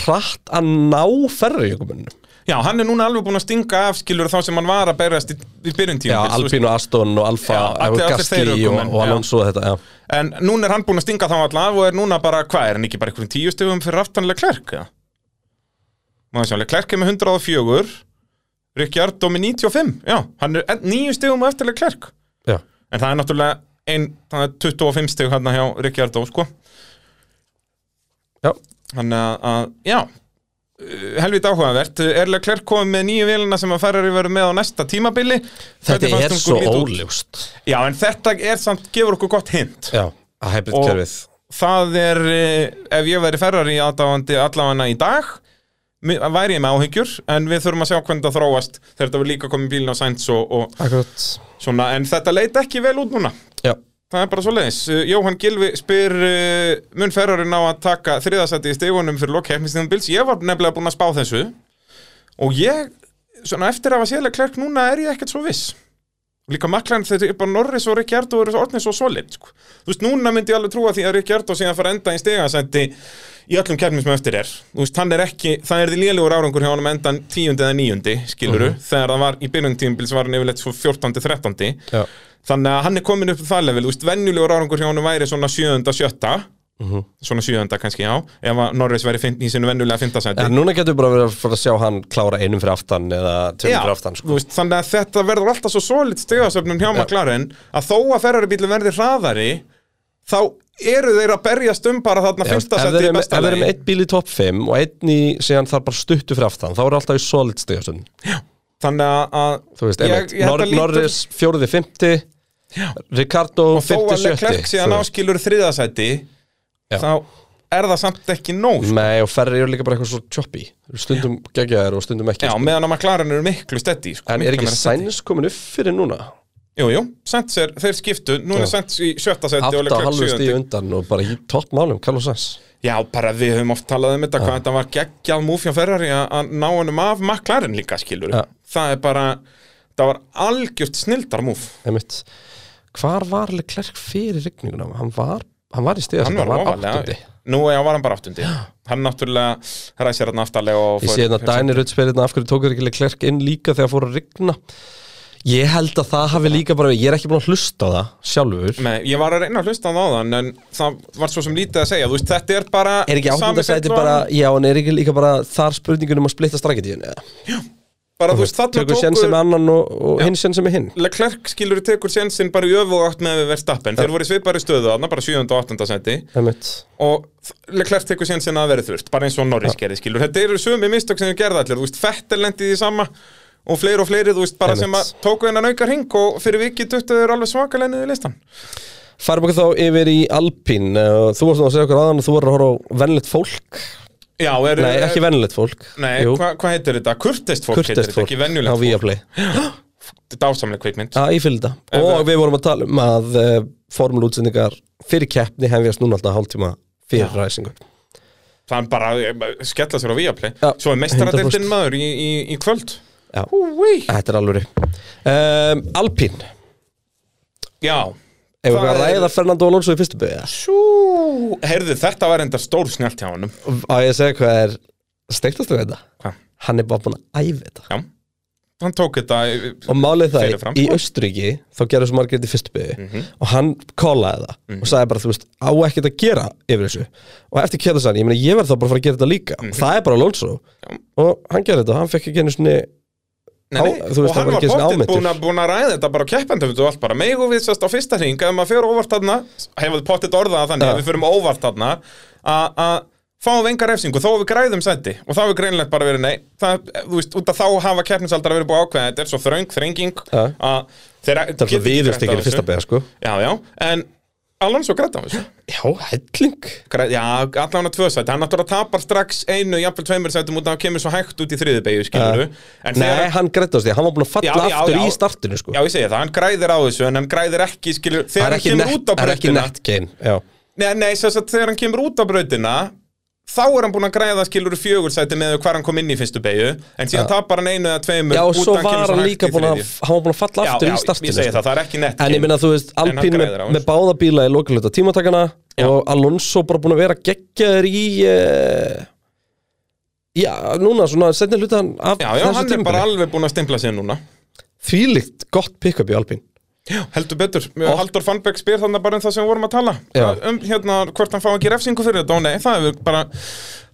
Speaker 6: hratt að ná ferri ykkur munnu,
Speaker 2: Já, hann er núna alveg búinn að stinga af skilur þá sem hann var að berjast í, í byrjun
Speaker 6: já,
Speaker 2: tíma
Speaker 6: Alpín og Aston og Alfa,
Speaker 2: Já,
Speaker 6: eh,
Speaker 2: allir- allir þeir
Speaker 6: Gasly og,
Speaker 2: ökumenn,
Speaker 6: og
Speaker 2: já.
Speaker 6: Alonso og þetta, já
Speaker 2: En núna er hann búinn að stinga þá alltaf af og er núna bara, hvað er hann ekki bara einhverjum tíu stöfum fyrir aftanlega klærk? Ja? Maður sjálf, klærk er með 104 Rikjard og með 95 Já, hann er en- níu stöfum eftirlega klærk
Speaker 6: Já.
Speaker 2: En það er náttúrulega ein, það er 25 stöf hann hjá Rikjard og sko
Speaker 6: Já.
Speaker 2: Þannig að, að, já Uh, helviti áhugavert, erlega klærk komið með nýju vélina sem að ferrar verið með á næsta tímabili
Speaker 6: þetta
Speaker 2: Hvernig fannst
Speaker 6: er
Speaker 2: ykkur
Speaker 6: svo
Speaker 2: líta út?
Speaker 6: óljóst
Speaker 2: Já, en þetta er samt, gefur okkur gott hint
Speaker 6: já, að hybridkerfið
Speaker 2: Það er, eh, ef ég væri ferrar í aðdáandi allavega í dag mi- væri ég með áhyggjur, en við þurfum að sjá hvernig það þróast þegar þetta var líka komið bílinn á Sainz og, og
Speaker 6: akkurat,
Speaker 2: svona, en þetta leit ekki vel út núna
Speaker 6: já
Speaker 2: Það er bara svo leiðis. Jóhann Gilvi spyr uh, mun ferrarinn á að taka þriðasætti í stegunum fyrir lokkeppnistíðanbils. Ég var nefnilega búinn að spá þessu og ég, svona eftir að hafa séðlega klerk núna er ég ekkert svo viss. Líka maklan þegar bara Norris og Ricciardo eru svo orðnið svo solid. Sko. Þú veist, núna myndi ég alveg trúa því að Ricciardo síðan fara að enda í stegasætti í öllum keppnum sem eftir er. Þú veist, hann er ekki, það er því lélugur árangur hjá hann að enda tíundi eða níundi, skiluru, þegar það var í byrjun tíumbils var hann yfirleitt svo 14. 13.
Speaker 6: Já.
Speaker 2: Þannig að hann er komin upp það level, þú veist, venjulegur árangur hjá hann væri svona sjöunda, sjötta
Speaker 6: Mhm.
Speaker 2: Svona sjöunda kannski, já Ef að Norris væri finn, í sinu venjulega fintasæti
Speaker 6: En núna getur við bara verið að fara að sjá hann klára einum fyrir aftan eða tveim fyrir aftan sko.
Speaker 2: þú veist, þannig að þetta verður alltaf svo solid stegasöfnum hjá McLaren Að þó að ferraribílum verði hraðari Þá eru þeir að berjast um bara þarna
Speaker 6: Já, veist, Ef
Speaker 2: fintasæti
Speaker 6: þeir
Speaker 2: í
Speaker 6: eru með-
Speaker 2: besta
Speaker 6: ef þeir eru
Speaker 2: lagi
Speaker 6: með eitt bíl í topp 5 og einn í, segjan þar bara stuttu fyrir aftan þá eru alltaf í solid stigastund
Speaker 2: Þannig að, að
Speaker 6: þú veist,
Speaker 2: Ég-
Speaker 6: einmitt,
Speaker 2: ég held
Speaker 6: Nor
Speaker 2: að lítur-
Speaker 6: Norris fjóruði 50 Ricardo
Speaker 2: og þó að
Speaker 6: 50
Speaker 2: Leclerc
Speaker 6: 70
Speaker 2: síðan
Speaker 6: þú veist.
Speaker 2: áskilur þriðasæti
Speaker 6: Já.
Speaker 2: Þá er það samt ekki nóg sko.
Speaker 6: Nei, og ferri eru líka bara eitthvað svo choppy Þeir eru stundum geggjaðir og stundum ekki
Speaker 2: Já,
Speaker 6: sko.
Speaker 2: meðan að McLaren eru miklu steady sko,
Speaker 6: en
Speaker 2: miklu
Speaker 6: er ekki
Speaker 2: meira steady.
Speaker 6: Sainz komin upp fyrir núna
Speaker 2: Jú, jú, Sainz er, þeir skiptu, núna
Speaker 6: Já.
Speaker 2: er Sainz í sjötta seti og
Speaker 6: 8,5
Speaker 2: Leclerc
Speaker 6: stíð
Speaker 2: sjöndi.
Speaker 6: undan og bara í topp málum Carlos Sainz
Speaker 2: Já, bara við höfum oft talað um þetta, hvað þetta var geggjað múf hjá Ferrari að- að ná honum af McLaren líka, skilur.
Speaker 6: Já.
Speaker 2: Það er bara, það var algjört snildar múf.
Speaker 6: einmitt. hvar var Leclerc fyrir rigninguna hann var, hann var í stigastund,
Speaker 2: Hann var
Speaker 6: áttundi.
Speaker 2: ofalega. Nú, já, var hann bara áttundi. Hann náttúrulega ræsir hann aftalega og...
Speaker 6: Ég
Speaker 2: fór-
Speaker 6: sé hérna Dænir Rutt spyrir hérna af hverju tókur ekki Leclerc inn líka þegar fór að rigna Ég held að það hafi líka bara Ég er ekki búin að hlusta á það sjálfur
Speaker 2: Nei, ég var að reyna að hlusta á það áðan en það var svo sem lítið að segja Þú veist, þetta er bara
Speaker 6: Er ekki
Speaker 2: sami
Speaker 6: ákvæmt að segja
Speaker 2: fulltrúan,
Speaker 6: þetta bara Já, en er ekki líka bara þar spurningunum að splitta strategiðin
Speaker 2: bara, þú veist, þarna
Speaker 6: Tökum sjenn sem
Speaker 2: tókur
Speaker 6: annan og, og hinn sjenn sem er hinn
Speaker 2: Leclerc skilur tekur sjensin bara í öfu og átt með við verðstappen Þeir voru í svipari stöðu þarna, bara 7. og 8. seti
Speaker 6: Einmitt.
Speaker 2: og Leclerc tekur síðan sinna að vera þurft bara eins og Norris gerði skilur þetta eru sumi mistök sem við gerði allir þú veist Fettel lendi í því sama og fleiri og fleiri þú veist bara
Speaker 6: Einmitt.
Speaker 2: sem að tóku hennan aukar hring og fyrir vikið duttu þeir alveg svakalegni í listan
Speaker 6: Farum okkur þá yfir í Alpín uh, Þú varst nú að segja okkur aðan og þú var að horfa á venlegt fólk
Speaker 2: já er
Speaker 6: Nei, ekki venlegt fólk
Speaker 2: eh, nei
Speaker 6: Jú,
Speaker 2: hvað hva heitir þetta kurtist fólk heitir
Speaker 6: kurteist
Speaker 2: þetta
Speaker 6: fólk
Speaker 2: ekki
Speaker 6: á
Speaker 2: venjulegt fólk
Speaker 6: Viaplay
Speaker 2: dásamleg kvikmynd
Speaker 6: Já, ég fylgði
Speaker 2: En
Speaker 6: það Og
Speaker 2: það-
Speaker 6: við vorum að tala um að uh, formúlútsendingar fyrir keppni hefjast núna alltaf hálftíma fyrir ræsingu
Speaker 2: það er bara eh, skella sér á Viaplay
Speaker 6: Já,
Speaker 2: svo er
Speaker 6: 100%.
Speaker 2: mestaradeltinn maður í, í, í kvöld
Speaker 6: Já,
Speaker 2: Húi.
Speaker 6: þetta er alvöru um, Alpín
Speaker 2: já
Speaker 6: Ef við
Speaker 2: Það
Speaker 6: að
Speaker 2: er-
Speaker 6: ræða Fernando Alonso í fyrstu byggja
Speaker 2: Sú, heyrðu þetta var enda stór snjált hjá honum
Speaker 6: Á ég að segja hvað er steiktast við þetta
Speaker 2: Hvað?
Speaker 6: Hann er bara búin að æfa þetta
Speaker 2: já hann tók þetta eh,
Speaker 6: Og málið það
Speaker 2: Fyrirfram.
Speaker 6: í Austuríki þá gerðu svo margir þetta í fyrstu byggju
Speaker 2: Mhm.
Speaker 6: og hann kólaði það og sagði bara, þú veist, á ekkert að gera yfir þessu og eftir kjæða sann, ég meina, ég verð þá bara að fara að gera þetta líka og það er bara Alonso
Speaker 2: Mhm. Já.
Speaker 6: og hann gerði þetta, og hann fekk ekki einu sinni
Speaker 2: Nei, nei,
Speaker 6: Á- þú
Speaker 2: og
Speaker 6: veist, það
Speaker 2: hann
Speaker 6: var
Speaker 2: var
Speaker 6: ekki einu sinni
Speaker 2: bóttið
Speaker 6: áminntur.
Speaker 2: búin, að- búin að ræða þetta bara á keppendum og allt bara megu við sérst á fyrsta hring ef maður fyrir óvart þarna, hefur pottit orðað það þannig
Speaker 6: Já.
Speaker 2: ef við fyrir óvart þarna að að fáum við enga refsingu þó að við græðum sendi og þá er greinlegt bara verið nei það, þú veist, út af þá hafa keppnisaldar verið búið ákveða þetta er svo þröng, þrenging
Speaker 6: Já.
Speaker 2: að þeirra
Speaker 6: Það er alltaf viðurstekir í fyrsta beða, sko
Speaker 2: Já, já, en Alonso græðt á þessu
Speaker 6: Já, helling
Speaker 2: Græð, já, allan að tvö sæti, hann náttúrulega tapar strax einu, jafnvel tveimur sætum út að hann kemur svo hægt út í þriði beigju, skilur En
Speaker 6: Nei,
Speaker 2: þegar-
Speaker 6: hann grættast því, hann var búin að falla
Speaker 2: Já, já,
Speaker 6: aftur
Speaker 2: já.
Speaker 6: í startinu, sko
Speaker 2: Já, ég segi það, hann græðir á þessu en hann græðir ekki, skilur,
Speaker 6: Það
Speaker 2: þegar
Speaker 6: er
Speaker 2: hann
Speaker 6: ekki
Speaker 2: kemur
Speaker 6: nett-
Speaker 2: út á
Speaker 6: það er ekki
Speaker 2: brautina
Speaker 6: nett gain Já,
Speaker 2: Nei, nei, sem sagt, þegar hann kemur út á brautina þá er hann búin að græða, skilur, fjögur sæti með hvar hann kom inn í fyrstu beigju en síðan tapar hann einu eða tveimur
Speaker 6: já og
Speaker 2: út
Speaker 6: svo
Speaker 2: að kemur
Speaker 6: var hann
Speaker 2: hægt
Speaker 6: líka
Speaker 2: í
Speaker 6: búin að
Speaker 2: þriðju.
Speaker 6: hann var búin að falla
Speaker 2: Já,
Speaker 6: aftur
Speaker 2: já,
Speaker 6: í startinu
Speaker 2: ég segi
Speaker 6: sko.
Speaker 2: það, það er ekki nett
Speaker 6: En ég
Speaker 2: gain.
Speaker 6: minna, þú veist,
Speaker 2: hann
Speaker 6: Alpín með,
Speaker 2: græðir á
Speaker 6: með báða bíla í lokaluta tímatakana og Alonso bara búin að vera geggjaður í uh, Já, núna, svona, setni hlutan af
Speaker 2: Já, já,
Speaker 6: þessu
Speaker 2: hann er bara
Speaker 6: tímabili.
Speaker 2: alveg búin að stimpla sér núna
Speaker 6: Þvílíkt gott pick-up í Alpín
Speaker 2: Heldur betur,
Speaker 6: Og-
Speaker 2: Haldur Fannberg spyr þannig bara um það sem við vorum að tala
Speaker 6: Já.
Speaker 2: um hérna hvort hann fá ekki refsingu fyrir þetta og nei, það hefur bara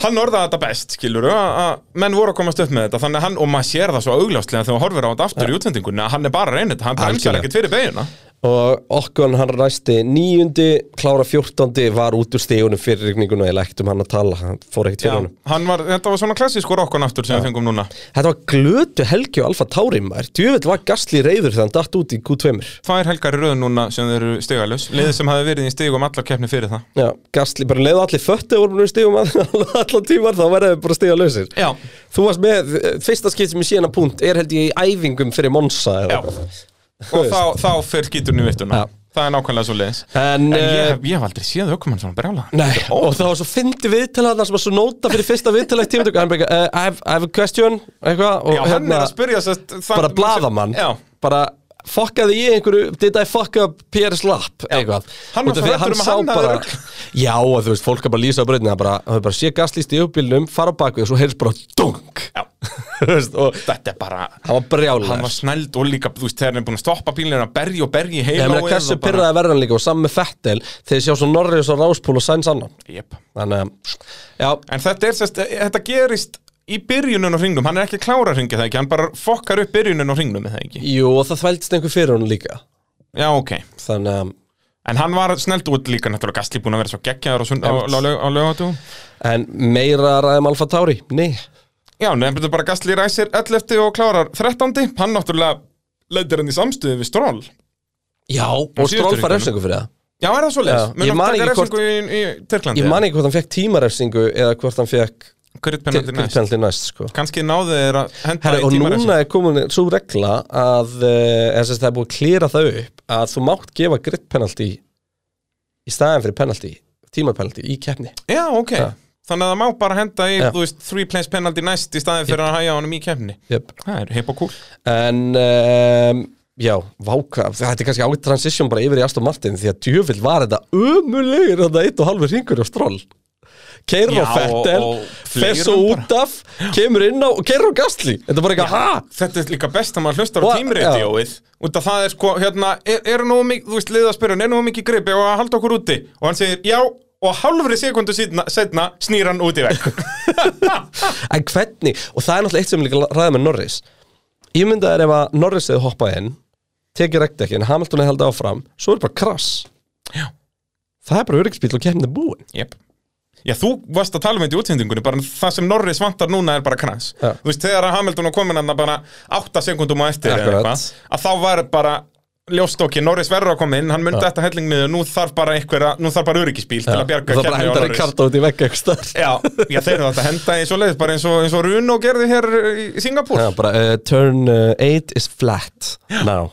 Speaker 2: hann orðaði þetta best, skilur að menn voru að komast upp með þetta þannig að hann, og maður sér það svo augljóslega þegar hann horfir á þetta aftur í útsendingunni að hann er bara að reyna þetta, hann bremsar
Speaker 6: Algjörlega.
Speaker 2: ekkert fyrir beginna
Speaker 6: og okkur hann ræsti níundi, klára fjórtandi var út úr stegunum fyrir rigninguna ég lektum hann að tala, hann fór ekkert fyrir hann
Speaker 2: hann var, þetta var svona klassískur okkon aftur sem við fengum núna
Speaker 6: Þetta var glötu helgi og alfa tárimar djöfell var gasli reyður þegar hann datt út í Q2
Speaker 2: Það er helgar í röð núna sem þeir eru stigalus liðið sem hafi verið í stigum allar keppni fyrir það
Speaker 6: Já, gasli, bara leiðu allir föttu voru búin í stigum um *laughs* allan tímar þá verða við bara stiga lausir
Speaker 2: Já.
Speaker 6: Þú varst með, eh, fyrsta skipt sem ég sé hennar punkt er held ég í æfingum fyrir Monsa eða
Speaker 2: Já. og þá, þá fyrir skíturinn í vittuna
Speaker 6: Já.
Speaker 2: það er nákvæmlega svo leiðis
Speaker 6: En,
Speaker 2: En ég
Speaker 6: eh,
Speaker 2: hef, ég hef aldrei séð aukumann svona brjálaðan.
Speaker 6: Nei, og það var svo fyndi viðtala þarna sem var svo nota fyrir fyrsta viðtala í tímatöku hann bara, uh, I, have- I have a question eitthvað og hérna,
Speaker 2: Já, hann er að spyrja sest, það,
Speaker 6: bara blaðamann
Speaker 2: Já,
Speaker 6: bara fokkaði ég einhverju did I fuck up Pierre Slapp eitthvað
Speaker 2: Hann var
Speaker 6: Út af
Speaker 2: svo
Speaker 6: því að
Speaker 2: hræddur um að
Speaker 6: sá
Speaker 2: hann hafi
Speaker 6: bara
Speaker 2: ruglað.
Speaker 6: já og þú veist fólk er bara að lýsa á breytinu það er bara, það er bara sé gaslýst í uppbílnum fara á bakvið og svo heyrst bara dunk
Speaker 2: já
Speaker 6: *laughs* Þú veist, og
Speaker 2: Þetta er bara
Speaker 6: hann var
Speaker 2: Hann
Speaker 6: brjálæður
Speaker 2: var snæld og líka, þú veist, þegar hann er búin að stoppa bílinn að berja og berja í
Speaker 6: Ég
Speaker 2: heila
Speaker 6: meina, hversu pyrraði verðan líka og saman með Fettel þegar sjá svo Norris og Ráspúl og Sainz annan
Speaker 2: yep.
Speaker 6: Þannig að, já,
Speaker 2: En þetta er sérst, þetta gerist í byrjunum á hringnum Hann er ekki að klára hringið það ekki Hann bara fokkar upp byrjunum á hringnum er það ekki
Speaker 6: jú, og það þvældist einhver fyrir hann líka
Speaker 2: Já, ok
Speaker 6: Þannig að,
Speaker 2: En hann var snæld út líka náttúrulega Gastli búin að vera svo geggjaður og svona á, á, laug- á lögatúum
Speaker 6: en meira ræðum Alfa Tauri, nei
Speaker 2: Já, nefnir bara Gastli ræsir 11 og klárar 13 Hann náttúrulega leitir hann í samstöðu við Stroll
Speaker 6: Já, og
Speaker 2: síðustu
Speaker 6: Stroll fær
Speaker 2: hringana.
Speaker 6: refsingu fyrir það
Speaker 2: Já, er það svo leiðis?
Speaker 6: Já, ég man ekki hvort-
Speaker 2: í, í Tyrklandi
Speaker 6: Ég man ekki hvort hann fekk tímarefsingu eða hvort hann fekk
Speaker 2: Hvernig næst?
Speaker 6: kvitpenaldi næst sko.
Speaker 2: kannski náðu þeir að henda
Speaker 6: Herra,
Speaker 2: í
Speaker 6: og
Speaker 2: tímarefsingu
Speaker 6: núna er komin svo regla að eh, eða sem sagt, það er búið að klýra það upp að þú mátt gefa grittpenaldi í staðan fyrir penaldi tímapenaldi í keppni
Speaker 2: já, ok,
Speaker 6: Já.
Speaker 2: þannig að það má bara henda í
Speaker 6: Já.
Speaker 2: þú veist, three place penalty næst í staðin fyrir að hæja honum í kefni
Speaker 6: yep.
Speaker 2: það er hip og cool
Speaker 6: en um, já, váka þetta er kannski ágætt transition bara yfir í Aston Martin því að djöfild var þetta umulegir þetta eitt og halvur ringur á stról keirur á
Speaker 2: Já,
Speaker 6: Fettel
Speaker 2: og- og
Speaker 6: fer
Speaker 2: fleirum
Speaker 6: svo
Speaker 2: bara.
Speaker 6: út af, kemur inn á og keirur á Gastli þetta er bara eitthvað, ha?
Speaker 2: Þetta er líka best að maður hlustar á
Speaker 6: Og-
Speaker 2: tímradióið Út af það er sko, hérna, er, er nú mikið, þú veist, liða að spyrja, hann, er nú mikið gripi og að halda okkur úti Og hann segir, já, og hálfri sekundu setna, setna snýr hann út í vekk
Speaker 6: En hvernig, og það er náttúrulega eitt sem líka ræða með Norris Ég myndi að ef að Norris hefði hoppað inn tekið rekdekkin, Hamilton hefði haldið áfram svo er bara krass Já. Það er bara öryggsbíl og kemni búin
Speaker 2: Jep Já, þú varst að tala um þetta í útsendingunni, bara það sem Norris vantar núna er bara krans.
Speaker 6: Já.
Speaker 2: Þú veist, þegar að Hamilton var komin hann bara 8 sekundum á eftir eða
Speaker 6: Akkurat.
Speaker 2: eitthvað, að þá var bara ljóst okki, Norris verður að koma inn, hann myndi þetta helling miður, nú þarf bara einhverja, nú þarf bara öryggisbíl til að bjarga
Speaker 6: Það bara
Speaker 2: keppni á
Speaker 6: hendar
Speaker 2: Norris.
Speaker 6: Ricardo út í vegg eitthvað staðar.
Speaker 2: Já, já, þeir eru þetta að henda eins og leiðis, bara eins og, eins og Runo gerði hér í Singapúr
Speaker 6: Já, bara uh, turn 8 is flat now,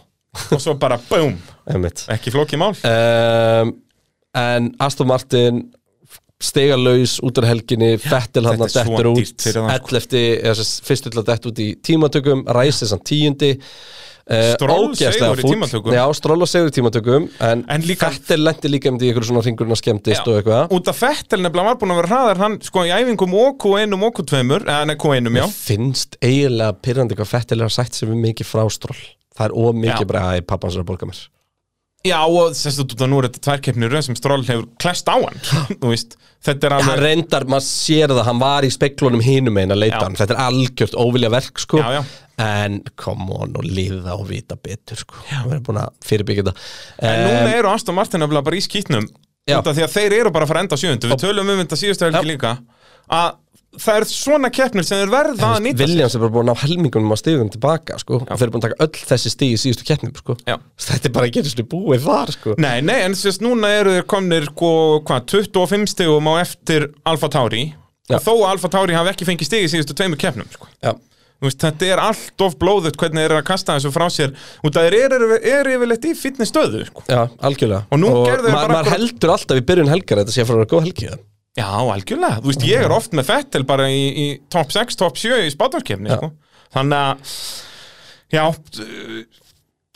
Speaker 2: og svo bara BOOM,
Speaker 6: einmitt
Speaker 2: ekki flókið mál.
Speaker 6: um, En Aston Martin stegar laus út úr helginni Fettil hann
Speaker 2: þetta
Speaker 6: að
Speaker 2: er svo
Speaker 6: dettur út
Speaker 2: dýrt fyrir hann, sko.
Speaker 6: 11 eða sem sagt, fyrst til að dett út í tímatökum Ræsir samt tíundi eh,
Speaker 2: Stroll
Speaker 6: ógeðslega
Speaker 2: sigur í
Speaker 6: fúll.
Speaker 2: tímatökum.
Speaker 6: Já, stról og segur í tímatökum En,
Speaker 2: En líka-
Speaker 6: Fettil lendi líka um því ykkur svona hringurinn að skemmtist og eitthvað
Speaker 2: Út af Fettel nefnilega var búin að vera hraðar, hann sko í æfingum og Q1 og Q2, eða nei, Q1, já.
Speaker 6: Mér finnst eiginlega pyrrandi hvað Fettil er að sagt sem er mikið frá stról Það er ómikið
Speaker 2: Já.
Speaker 6: bara að pappans er að borga mér
Speaker 2: Já, og sérstu út að nú er þetta tværkeppni í röð sem Stroll hefur klest á hann Þú veist, þetta er
Speaker 6: hann
Speaker 2: alveg
Speaker 6: reyndar, maður sér það, hann var í speklunum hinum einn að
Speaker 2: Já.
Speaker 6: leita hann, þetta er algjört óvilja verk sko,
Speaker 2: Já, já.
Speaker 6: en kom on og liða og vita betur sko, hann verður búin að fyrirbyggja þetta Eh,
Speaker 2: En núna eru Aston Martin nefnilega bara í skýtnum
Speaker 6: Já.
Speaker 2: Út af því að þeir eru bara að fara að enda á sjöundu Við tölum um þetta síðustu helgi líka Að það er svona keppnir sem þeir verða að nýta sér.
Speaker 6: Viljans er bara búin að ná helmingunum að stíðum tilbaka sko, og þeir eru búin að taka öll þessi stíð í síðustu keppnum sko,
Speaker 2: Já.
Speaker 6: þetta er bara að gera slu búið þar sko,
Speaker 2: Nei, nei, en sérst núna eru þeir komnir sko, hva, hva, 25 stigum á eftir Alfa Tauri
Speaker 6: Já.
Speaker 2: Og þó að Alfa Tauri hafi ekki fengið stig í síðustu tveimur keppnum sko.
Speaker 6: já,
Speaker 2: Þú veist, Þetta er allt of blóðut hvernig þeir eru að kasta þessu frá sér Út af þeir eru er yfirleitt í fitni stöðu sko.
Speaker 6: já algjörlega
Speaker 2: Og nú gerðu þeir
Speaker 6: ma-
Speaker 2: bara
Speaker 6: maður
Speaker 2: akkurat-
Speaker 6: heldur alltaf í byrjun helgar að þetta sé að fara að vera góð helgi það
Speaker 2: Já, algjörlega, þú veist, ég er oft með Fettel bara í, í top 6, top 7 í spátumskefni, sko Þannig að, já, d-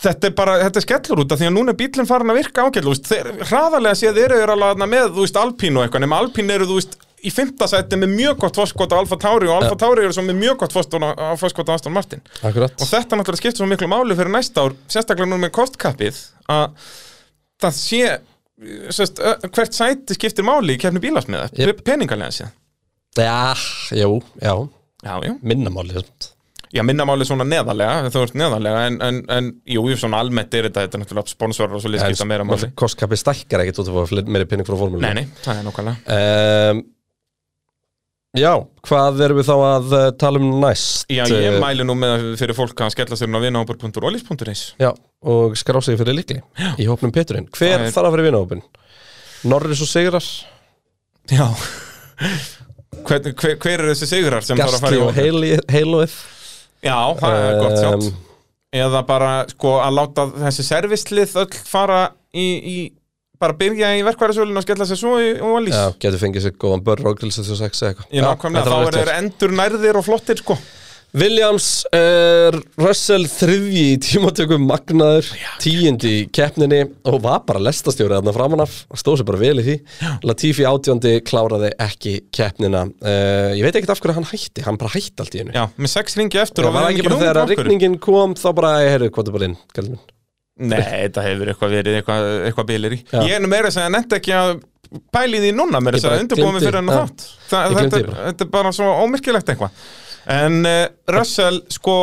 Speaker 2: þetta er bara, þetta er skellur út af því að núna er bílinn farin að virka ágætlega, þú veist, þeir, hraðarlega séð eru þeir alveg þarna með, þú veist, Alpín og eitthvað, nema Alpín eru, þú veist, í fymta sæti með mjög gott foskot á Alfa Tauri og Alfa Tauri eru svo með mjög gott foskot á, á, foskot á Aston Martin
Speaker 6: Akkurat,
Speaker 2: Og þetta náttúrulega skiptir svo miklu máli fyrir næsta ár, sérstaklega núna með kostkappið, að það sé, sérst, ö- hvert sæti skiptir máli í kefni bílasmiða,
Speaker 6: Jep.
Speaker 2: yep. peningalega séð.
Speaker 6: já, jú, já
Speaker 2: Já, já.
Speaker 6: minnamálið,
Speaker 2: Já, minna máli svona neðarlega, þú ert neðarlega, en, en, en jú, jú, svona almennt er þetta, þetta er náttúrulega sponsorar og svo lýst skipta meira máli.
Speaker 6: kostkapi stækkar ekkert út af að fá meiri pinning frá formúlu
Speaker 2: Nei, nei, það er nákvæmlega.
Speaker 6: um, Já, hvað erum við þá að uh, tala um næst?
Speaker 2: Já, ég mæli nú með fyrir fólk að skella sér inn á vinahópur.olis.is.
Speaker 6: Já, og skrá sig fyrir líkli í hópnum Peturinn. Hver
Speaker 2: Það er-
Speaker 6: þarf að vera í vinahópin? Norris og Sigrar,
Speaker 2: Já. Hver, hver, hver er þessi sigurar sem þarf að fara
Speaker 6: Gastli
Speaker 2: í
Speaker 6: og
Speaker 2: hópinn?
Speaker 6: Heili- Heiloið
Speaker 2: Já, það er gott sjátt.
Speaker 6: Um,
Speaker 2: eða bara sko að láta þessi servislið öll fara í, í bara byrja í verkværisölinu og skella sér svo í ólís
Speaker 6: Já, getur fengið sér góðan börn og grilsið þess að segja eitthvað
Speaker 2: Ég
Speaker 6: Já,
Speaker 2: nákvæmlega,
Speaker 6: þetta var
Speaker 2: þá
Speaker 6: rétt
Speaker 2: eru þeir
Speaker 6: hjá.
Speaker 2: endur nærðir og flottir sko
Speaker 6: Williams, uh, Russell þriðji í tímatökum magnaður, tíundi í keppninni og var bara lestastjórið þarna framan af, stóð sér bara vel í því Latifi átjóndi kláraði ekki keppnina, uh, ég veit ekkert af hverju hann hætti, hann bara hætti allt í hennu
Speaker 2: Já, með sex ringi eftir
Speaker 6: Það
Speaker 2: og
Speaker 6: var
Speaker 2: við
Speaker 6: ekki
Speaker 2: erum
Speaker 6: bara þegar
Speaker 2: hugmynd
Speaker 6: að
Speaker 2: af hverju.
Speaker 6: rigningin kom þá bara, heyrðu, hvað er bara inn, kallum minn
Speaker 2: Nei, þetta hefur eitthvað verið eitthvað, eitthvað bilir í
Speaker 6: Já.
Speaker 2: Ég er nú meira að segja nefnt ekki að pæli því núna meira
Speaker 6: Ég
Speaker 2: að segja
Speaker 6: bara
Speaker 2: undirbúið mig
Speaker 6: gleymdi,
Speaker 2: fyrir hennar
Speaker 6: já.
Speaker 2: þátt Það, þetta,
Speaker 6: Ég gleymdi
Speaker 2: er,
Speaker 6: því bara.
Speaker 2: þetta er bara svo ómyrkilegt eitthvað En uh, Russell, sko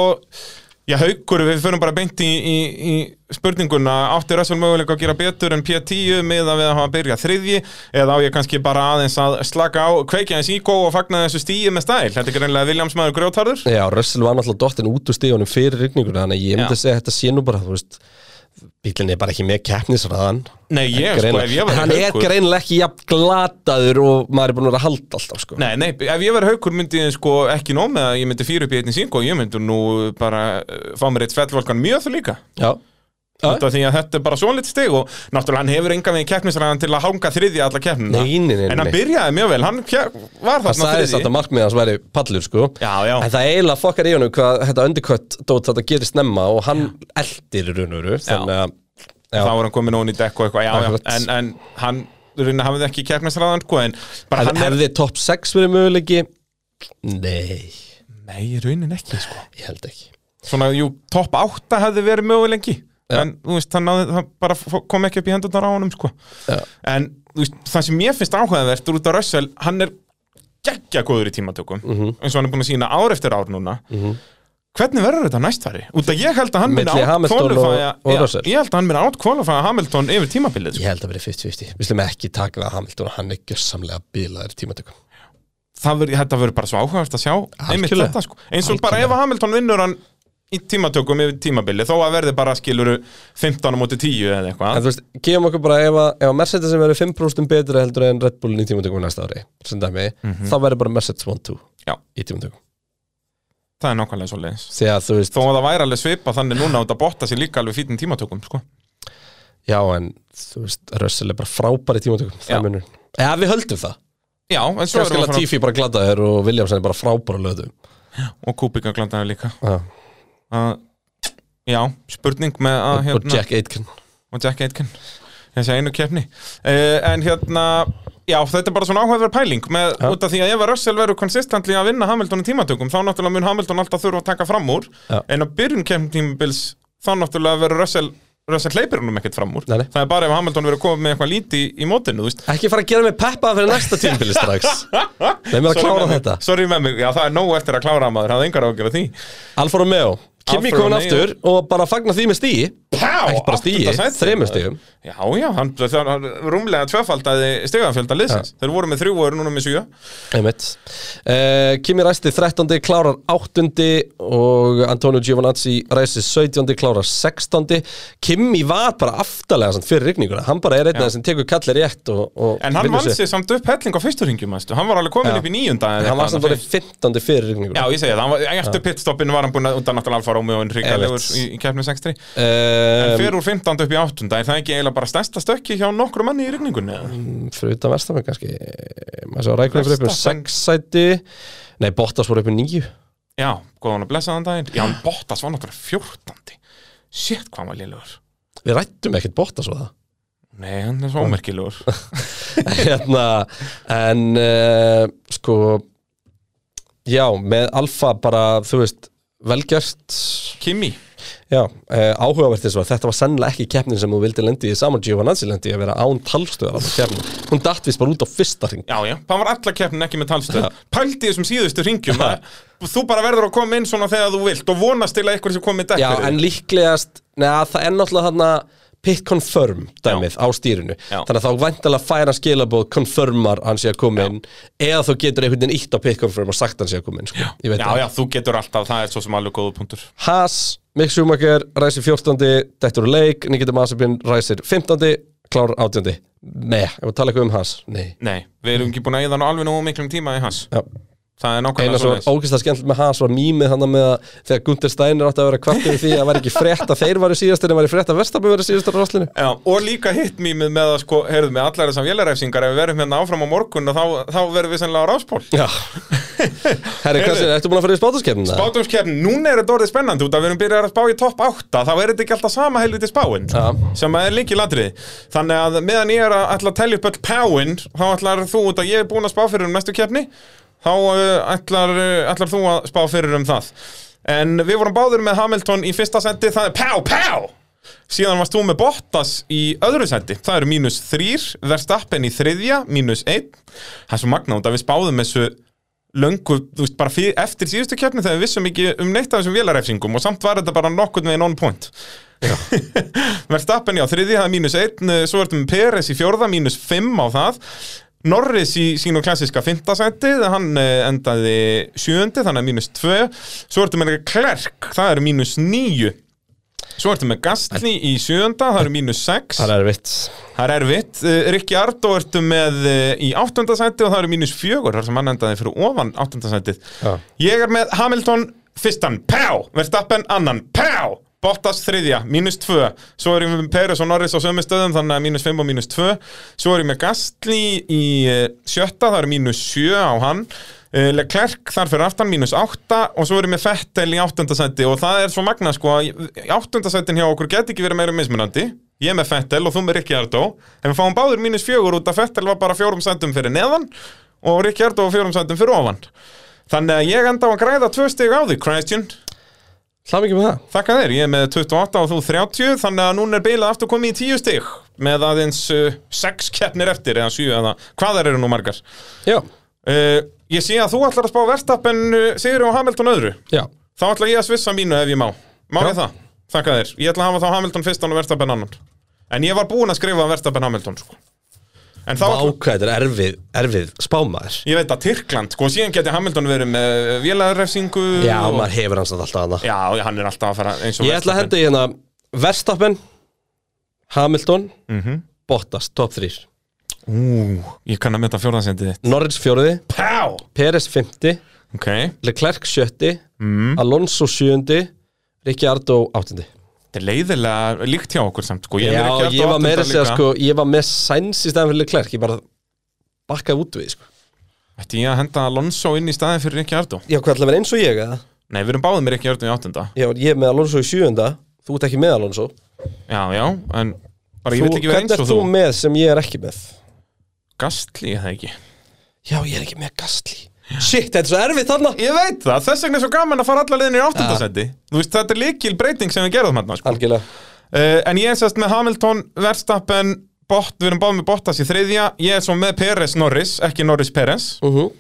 Speaker 2: Já, haukur, við förum bara beint í, í, í spurninguna Átti Russell möguleika að gera betur en P10 með að við að hafa byrjað þriðji eða á ég kannski bara aðeins að slaka á kveikja eins íkó og fagna þessu stíi með stæl Þetta er greinlega Williams maður grjótarður
Speaker 6: Já, Russell var náttúrulega dottin út úr stíðunum fyrir rigninguna, þannig að ég myndi
Speaker 2: Já.
Speaker 6: að segja að þetta sé nú bara, þú veist bílinn er bara ekki með keppnisraðan
Speaker 2: Nei, ég, sko, ef ég
Speaker 6: Greinilega-
Speaker 2: var
Speaker 6: hann er greinilega ekki jafn glataður og maður er búin að vera að halda alltaf sko.
Speaker 2: Nei, nei, ef ég verið haukur myndi ég sko ekki nóg með að ég myndi fyrir upp í einni síng og ég myndi nú bara eh, fá mér eitt fellvolkan mjög þú líka
Speaker 6: Já,
Speaker 2: Þetta því að þetta er bara svona lit stig og náttúrulega hann hefur enga veginn keppnisræðan til að hanga þriðja alla keppnina
Speaker 6: Nei, nei, nei, nei.
Speaker 2: En hann byrjaði mjög vel, hann ke- var
Speaker 6: það
Speaker 2: þarna
Speaker 6: sagði
Speaker 2: þriðji
Speaker 6: þetta markmið hans væri pallur sko
Speaker 2: Já, já.
Speaker 6: En það eiginlega fokkar í honum hvað þetta undercut dót þetta gerir snemma og hann eldir raunuru Þannig að, já,
Speaker 2: Þá var hann komin ón í dekk og eitthvað, já, já
Speaker 6: Akkurat.
Speaker 2: En, en hann rauninni hafði ekki keppnastræðan sko, en bara
Speaker 6: Hef,
Speaker 2: hann er
Speaker 6: Hefði top 6 verið möguleiki? Nei,
Speaker 2: nei, raunin ekki sko.
Speaker 6: ég held ekki
Speaker 2: svona, jú, topp 8 hefði verið möguleiki
Speaker 6: Já.
Speaker 2: en, þú veist, hann náði, það bara f- kom ekki upp í hendurnar á honum, sko
Speaker 6: Já.
Speaker 2: en, þú veist, það sem ég finnst áhugaðvert út af Russell, hann er geggja góður í tímatökum
Speaker 6: Mhm.
Speaker 2: eins og hann er búin að sína ár eftir ár núna hvernig verður þetta næstfæri? út af ég held að hann
Speaker 6: Milli
Speaker 2: minn
Speaker 6: Hamilton og-
Speaker 2: átkvalifæja
Speaker 6: og
Speaker 2: ég,
Speaker 6: Russell.
Speaker 2: ég held að hann minn átkvalifæja Hamilton yfir tímabilið, sko.
Speaker 6: Ég held að verið 50-50 Við slum ekki taka það að Hamilton og hann er gjörsamlega bílaður tímatökum
Speaker 2: það verður, þetta verður bara svo áhugavert að sjá einmitt
Speaker 6: Algjörlega.
Speaker 2: þetta, sko, eins og bara
Speaker 6: Algjörlega.
Speaker 2: ef að Hamilton vinnur hann í tímatökum yfir tímabilið, þó að verði bara skiluru 15 á móti 10 eða eitthvað
Speaker 6: En þú veist, gefum okkur bara ef að, ef að Mercedes sem verið 5% betra heldur en Red Bullin í tímatökum næsta ári sem dæmi, þá verður bara Mercedes 1-2
Speaker 2: Mhm. Já.
Speaker 6: í tímatökum
Speaker 2: Það er nákvæmlega svo leiðis
Speaker 6: Þegar þú veist,
Speaker 2: Þó að það væri alveg svipa þannig núna út að botta sér líka alveg fítin tímatökum sko.
Speaker 6: já en þú veist, Russell er bara frábær í tímatökum
Speaker 2: Já.
Speaker 6: Það munur Já, við höldum það
Speaker 2: Já, en svo
Speaker 6: Kannski
Speaker 2: erum við
Speaker 6: Latifi bara gladaður og Williamson er bara frábær á löðum
Speaker 2: frá Og Kubika glandaði líka
Speaker 6: Já.
Speaker 2: uh, Já, spurning með að
Speaker 6: og
Speaker 2: hérna,
Speaker 6: Jack Aitken
Speaker 2: og Jack Aitken Þessi einu keppni uh, En hérna, já, þetta er bara svona áhugaverð pæling með,
Speaker 6: Já.
Speaker 2: Út af því að ef að Russell verður konsistentli að vinna Hamilton í tímatökum Þá náttúrulega mun Hamilton alltaf þurfa að taka fram úr
Speaker 6: Já.
Speaker 2: En að byrjun keppni tímabils Þá náttúrulega verður Russell Russell hleypir húnum ekkert fram úr
Speaker 6: Nei, nei.
Speaker 2: Það er bara ef Hamilton verður komið með eitthvað líti í, í mótinu þú veist.
Speaker 6: Ekki fara að gera mig peppaða fyrir næsta tímabili
Speaker 2: *laughs*
Speaker 6: strax Nei, mér að
Speaker 2: Sorry
Speaker 6: klára
Speaker 2: með mig.
Speaker 6: þetta
Speaker 2: Sorry með mig, já það er nóg eftir að klára maður, hafði engar ágjör af því
Speaker 6: Alfa Romeo, Kimi
Speaker 2: Alfa
Speaker 6: komin
Speaker 2: Romeo.
Speaker 6: aftur og bara fagna því með stíi
Speaker 2: Pá,
Speaker 6: Ekki bara stíi,
Speaker 2: áttunda sæti.
Speaker 6: þremur stíum
Speaker 2: Já, já, hann, það, hann rúmlega tvöfaldaði stegafjölda liðsins Þeir voru með þrjú og eru núna með sjö
Speaker 6: Einmitt uh, Kimi ræsti 13. klárar 8. og Antonio Giovinazzi ræsti 17. klárar 16. Kimi var bara aftalega sann, fyrir rigninguna Hann bara er einn af þeim sem tekur kallir rétt og, og
Speaker 2: En hann
Speaker 6: vinnur
Speaker 2: vann sér samt upp helling á fyrstu ringjum, mæstu Hann var alveg komin
Speaker 6: Já.
Speaker 2: upp í nýjunda eða
Speaker 6: Hann var
Speaker 2: eitthvað
Speaker 6: samt bara
Speaker 2: annað.
Speaker 6: 15. fyrir
Speaker 2: Já,
Speaker 6: rigninguna
Speaker 2: ég segi það, hann var, eftir pitstoppin var hann búin að undan náttúrulega alfa rómi og hrikalegur í,
Speaker 6: Einmitt.
Speaker 2: í keppnum 63 En
Speaker 6: um,
Speaker 2: fyrir úr 15 upp í 8, er það ekki eiginlega bara stærsta stökki hjá nokkru manni í rigningunni? eða?
Speaker 6: Fyrir utan Vestamenn kannski Eh, Maður svo rækuna fyrir upp um
Speaker 2: Verstappen.
Speaker 6: 6 sæti Nei, Bottas voru upp um 9
Speaker 2: Já, góðan að blessa þann daginn Já, hann Bottas var náttúrulega 14 Shit, hvað hann var lélugur
Speaker 6: Við rættum ekkert Bottas og það
Speaker 2: Nei, hann er svo ómerkilegur *laughs*
Speaker 6: hérna, en uh, sko já, með Alfa bara, þú veist, velgjart
Speaker 2: Kimi
Speaker 6: já, uh, áhugavert þess að þetta var sennilega ekki keppnin sem þú vildi lendi í saman Giovanazzi lendi í að vera án talstöðar á þessum keppnin, hún datt vist bara út á fyrsta hring
Speaker 2: Já, já, það var alla keppnin ekki með talstöð Pældi í þessum síðustu ringjum að, Þú bara verður að koma inn svona þegar þú vilt Og vonast til að eitthvað sem komið dekk
Speaker 6: já, en líklegast, neða, það er náttúrulega þarna pit confirm dæmið á stýrinu,
Speaker 2: Já.
Speaker 6: þannig að þá væntalega fær hann skilabóð confirmar hann sé að koma inn eða þú getur einhvern veginn ítt á pit confirm og sagt hann sé að koma inn, sko, ég
Speaker 2: Já,
Speaker 6: veit það
Speaker 2: já, þú getur alltaf, það er svo sem alveg góðu punktur
Speaker 6: Haas, Mick Schumacher, ræsir 14. Dettur úr leik, Nikita Masabin ræsir 15. Klár 18. Nei, ef við tala eitthvað um Haas Nei
Speaker 2: Nei, við erum ekki búin að eða hann alveg nógu miklum tíma í hans
Speaker 6: Já.
Speaker 2: Það er
Speaker 6: Eina
Speaker 2: nákvæmlega
Speaker 6: sem
Speaker 2: svo
Speaker 6: var ógeðslega skemmtilegt með Haas var mýmið þannig með að þegar Gunther Steiner átti að vera kvart yfir því að það væri ekki frétt að þeir varu síðastir en væri frétt að Verstappen varu síðastir á rastlinu
Speaker 2: Já, og líka hitt mýmið með að sko, heyrðu með allar þessar vélaræfsingar, ef við verðum hérna áfram á morgun þá, þá verðum við sennilega á ráspól
Speaker 6: Já *laughs* Herri, hvað sér, ertu búin að fara í spátumskefnina?
Speaker 2: Spátumskeppn, núna er þetta orðið spennandi út að við erum byrjað að spá í topp 8 þá er þetta ekki alltaf sama helviti spáin
Speaker 6: Ja.
Speaker 2: sem að er líki ladrið þannig að meðan ég er að ætla að tellja upp öll páin þá ætlar þú út að ég er búin að spá fyrir um næstu keppni þá uh, ætlar, uh, ætlar þú að spá fyrir um það en við vorum báður með Hamilton í fyrsta sendi það er pá, pá síðan varst þú með Bottas í öðru sendi það eru mínus þrýr, Verstappen í þriðja mínus einn það er svo magna út að við spáðum þessu löngu, þú veist, bara fyrir, eftir síðustu keppni þegar við vissum ekki um neitt af þessum vélarefsingum og samt var þetta bara nokkurn veginn on point *laughs* Verstappen, já, þriði, það er mínus einn eh, svo ertum Peres í fjórða, mínus fimm á það Norris í sínu klassiska fintasæti, hann eh, endaði sjöundi, þannig að mínus tvö svo ertum með Klerk, það eru mínus níu Svo ertu með Gastli í sjöunda, það eru mínus 6
Speaker 6: Það er vitt
Speaker 2: Það er erfitt. Uh, Rikki Ardó ertu með uh, í áttundasæti og það eru mínus fjögur þar sem hann endaði fyrir ofan áttundasætið.
Speaker 6: Já.
Speaker 2: Ég er með Hamilton fyrstan, pá, Verstappen annan, pá, Bottas þriðja, mínus tvö. Svo erum við með Peres og Norris á sömu stöðum, þannig að mínus fimm og eh, mínus tvö. Svo erum við með Gastli í uh, sjötta, það eru mínus sjö á hann. Eh, Leclerc þar fyrir aftan mínus 8 og svo erum við Fettel í 8. seti og það er svo magna sko að 8. setin hjá okkur geti ekki verið meira mismunandi ég er með Fettel og þú með Ricciardo en við fáum báður mínus 4 út að Fettel var bara 4 setum fyrir neðan og Ricciardo var 4 setum fyrir ofan þannig að ég enda á að græða 2 stig á því Christian,
Speaker 6: Hlað mikið með það
Speaker 2: þakka þér, ég er með 28 og þú 30 þannig að núna er beilað aftur komið í 10 stig með aðeins 6 keppnir eftir eða 7 eða hvað þær eru nú margar
Speaker 6: Já,
Speaker 2: Uh, ég sé að þú ætlar að spá Verstappen uh, Sigur og Hamilton öðru
Speaker 6: já,
Speaker 2: Þá ætla ég að svissa mínu ef ég má Má
Speaker 6: Já.
Speaker 2: ég það? Þakka þér Ég ætla að hafa þá Hamilton fyrstan og Verstappen annan En ég var búinn að skrifa Verstappen Hamilton sko. En þá ætla,
Speaker 6: ákvæður erfið, erfið spámaður
Speaker 2: Ég veit að Tyrkland sko, Síðan geti Hamilton verið með vélaðurrefsingu
Speaker 6: Já,
Speaker 2: og...
Speaker 6: maður hefur hans alltaf hana
Speaker 2: Já, hann er alltaf að fara eins og
Speaker 6: Ég ætla
Speaker 2: Verstappen.
Speaker 6: að henda í hérna Verstappen, Hamilton
Speaker 2: Mhm.
Speaker 6: Bottas, top 3
Speaker 2: Ú, ég kann að meta fjórðansendi þitt
Speaker 6: Norris fjóruði,
Speaker 2: Pá!
Speaker 6: Peres 50
Speaker 2: Ok,
Speaker 6: Leclerc 70
Speaker 2: Mhm.
Speaker 6: Alonso 7 Ricciardo 8
Speaker 2: þetta er leiðilega líkt hjá okkur samt sko. er með
Speaker 6: Já,
Speaker 2: Ricciardo
Speaker 6: ég var
Speaker 2: áttunda
Speaker 6: meira að segja
Speaker 2: líka.
Speaker 6: sko, ég var með Sainz í stæðan fyrir Leclerc, ég bara bakkaði út við sko.
Speaker 2: Ætti ég að henda Alonso inn í staðin fyrir Rikki
Speaker 6: Já, hvað ætla að vera eins og ég eða?
Speaker 2: Nei, við erum báðið með Rikki í áttunda
Speaker 6: Já, ég er með Alonso í sjöunda, þú ert ekki með Alonso
Speaker 2: Já, já, en bara ég
Speaker 6: Þú-
Speaker 2: vil ekki vera
Speaker 6: Hvern
Speaker 2: eins
Speaker 6: er
Speaker 2: og
Speaker 6: þú
Speaker 2: þú
Speaker 6: með sem ég er ekki með?
Speaker 2: Gastli er það ekki
Speaker 6: Já, ég er ekki með Gastli Shit, þetta er svo erfitt þarna
Speaker 2: Ég veit það, þess vegna er svo gaman að fara alla leiðin í áttundasendi Þú veist, þetta er líkil breyting sem við gerðum hérna sko. uh,
Speaker 6: Algjörlega
Speaker 2: En ég er sérst með Hamilton, Verstappen Bott, við erum báðið með Bottas í þriðja Ég er svo með Peres Norris, ekki Norris Peres
Speaker 6: uh -huh.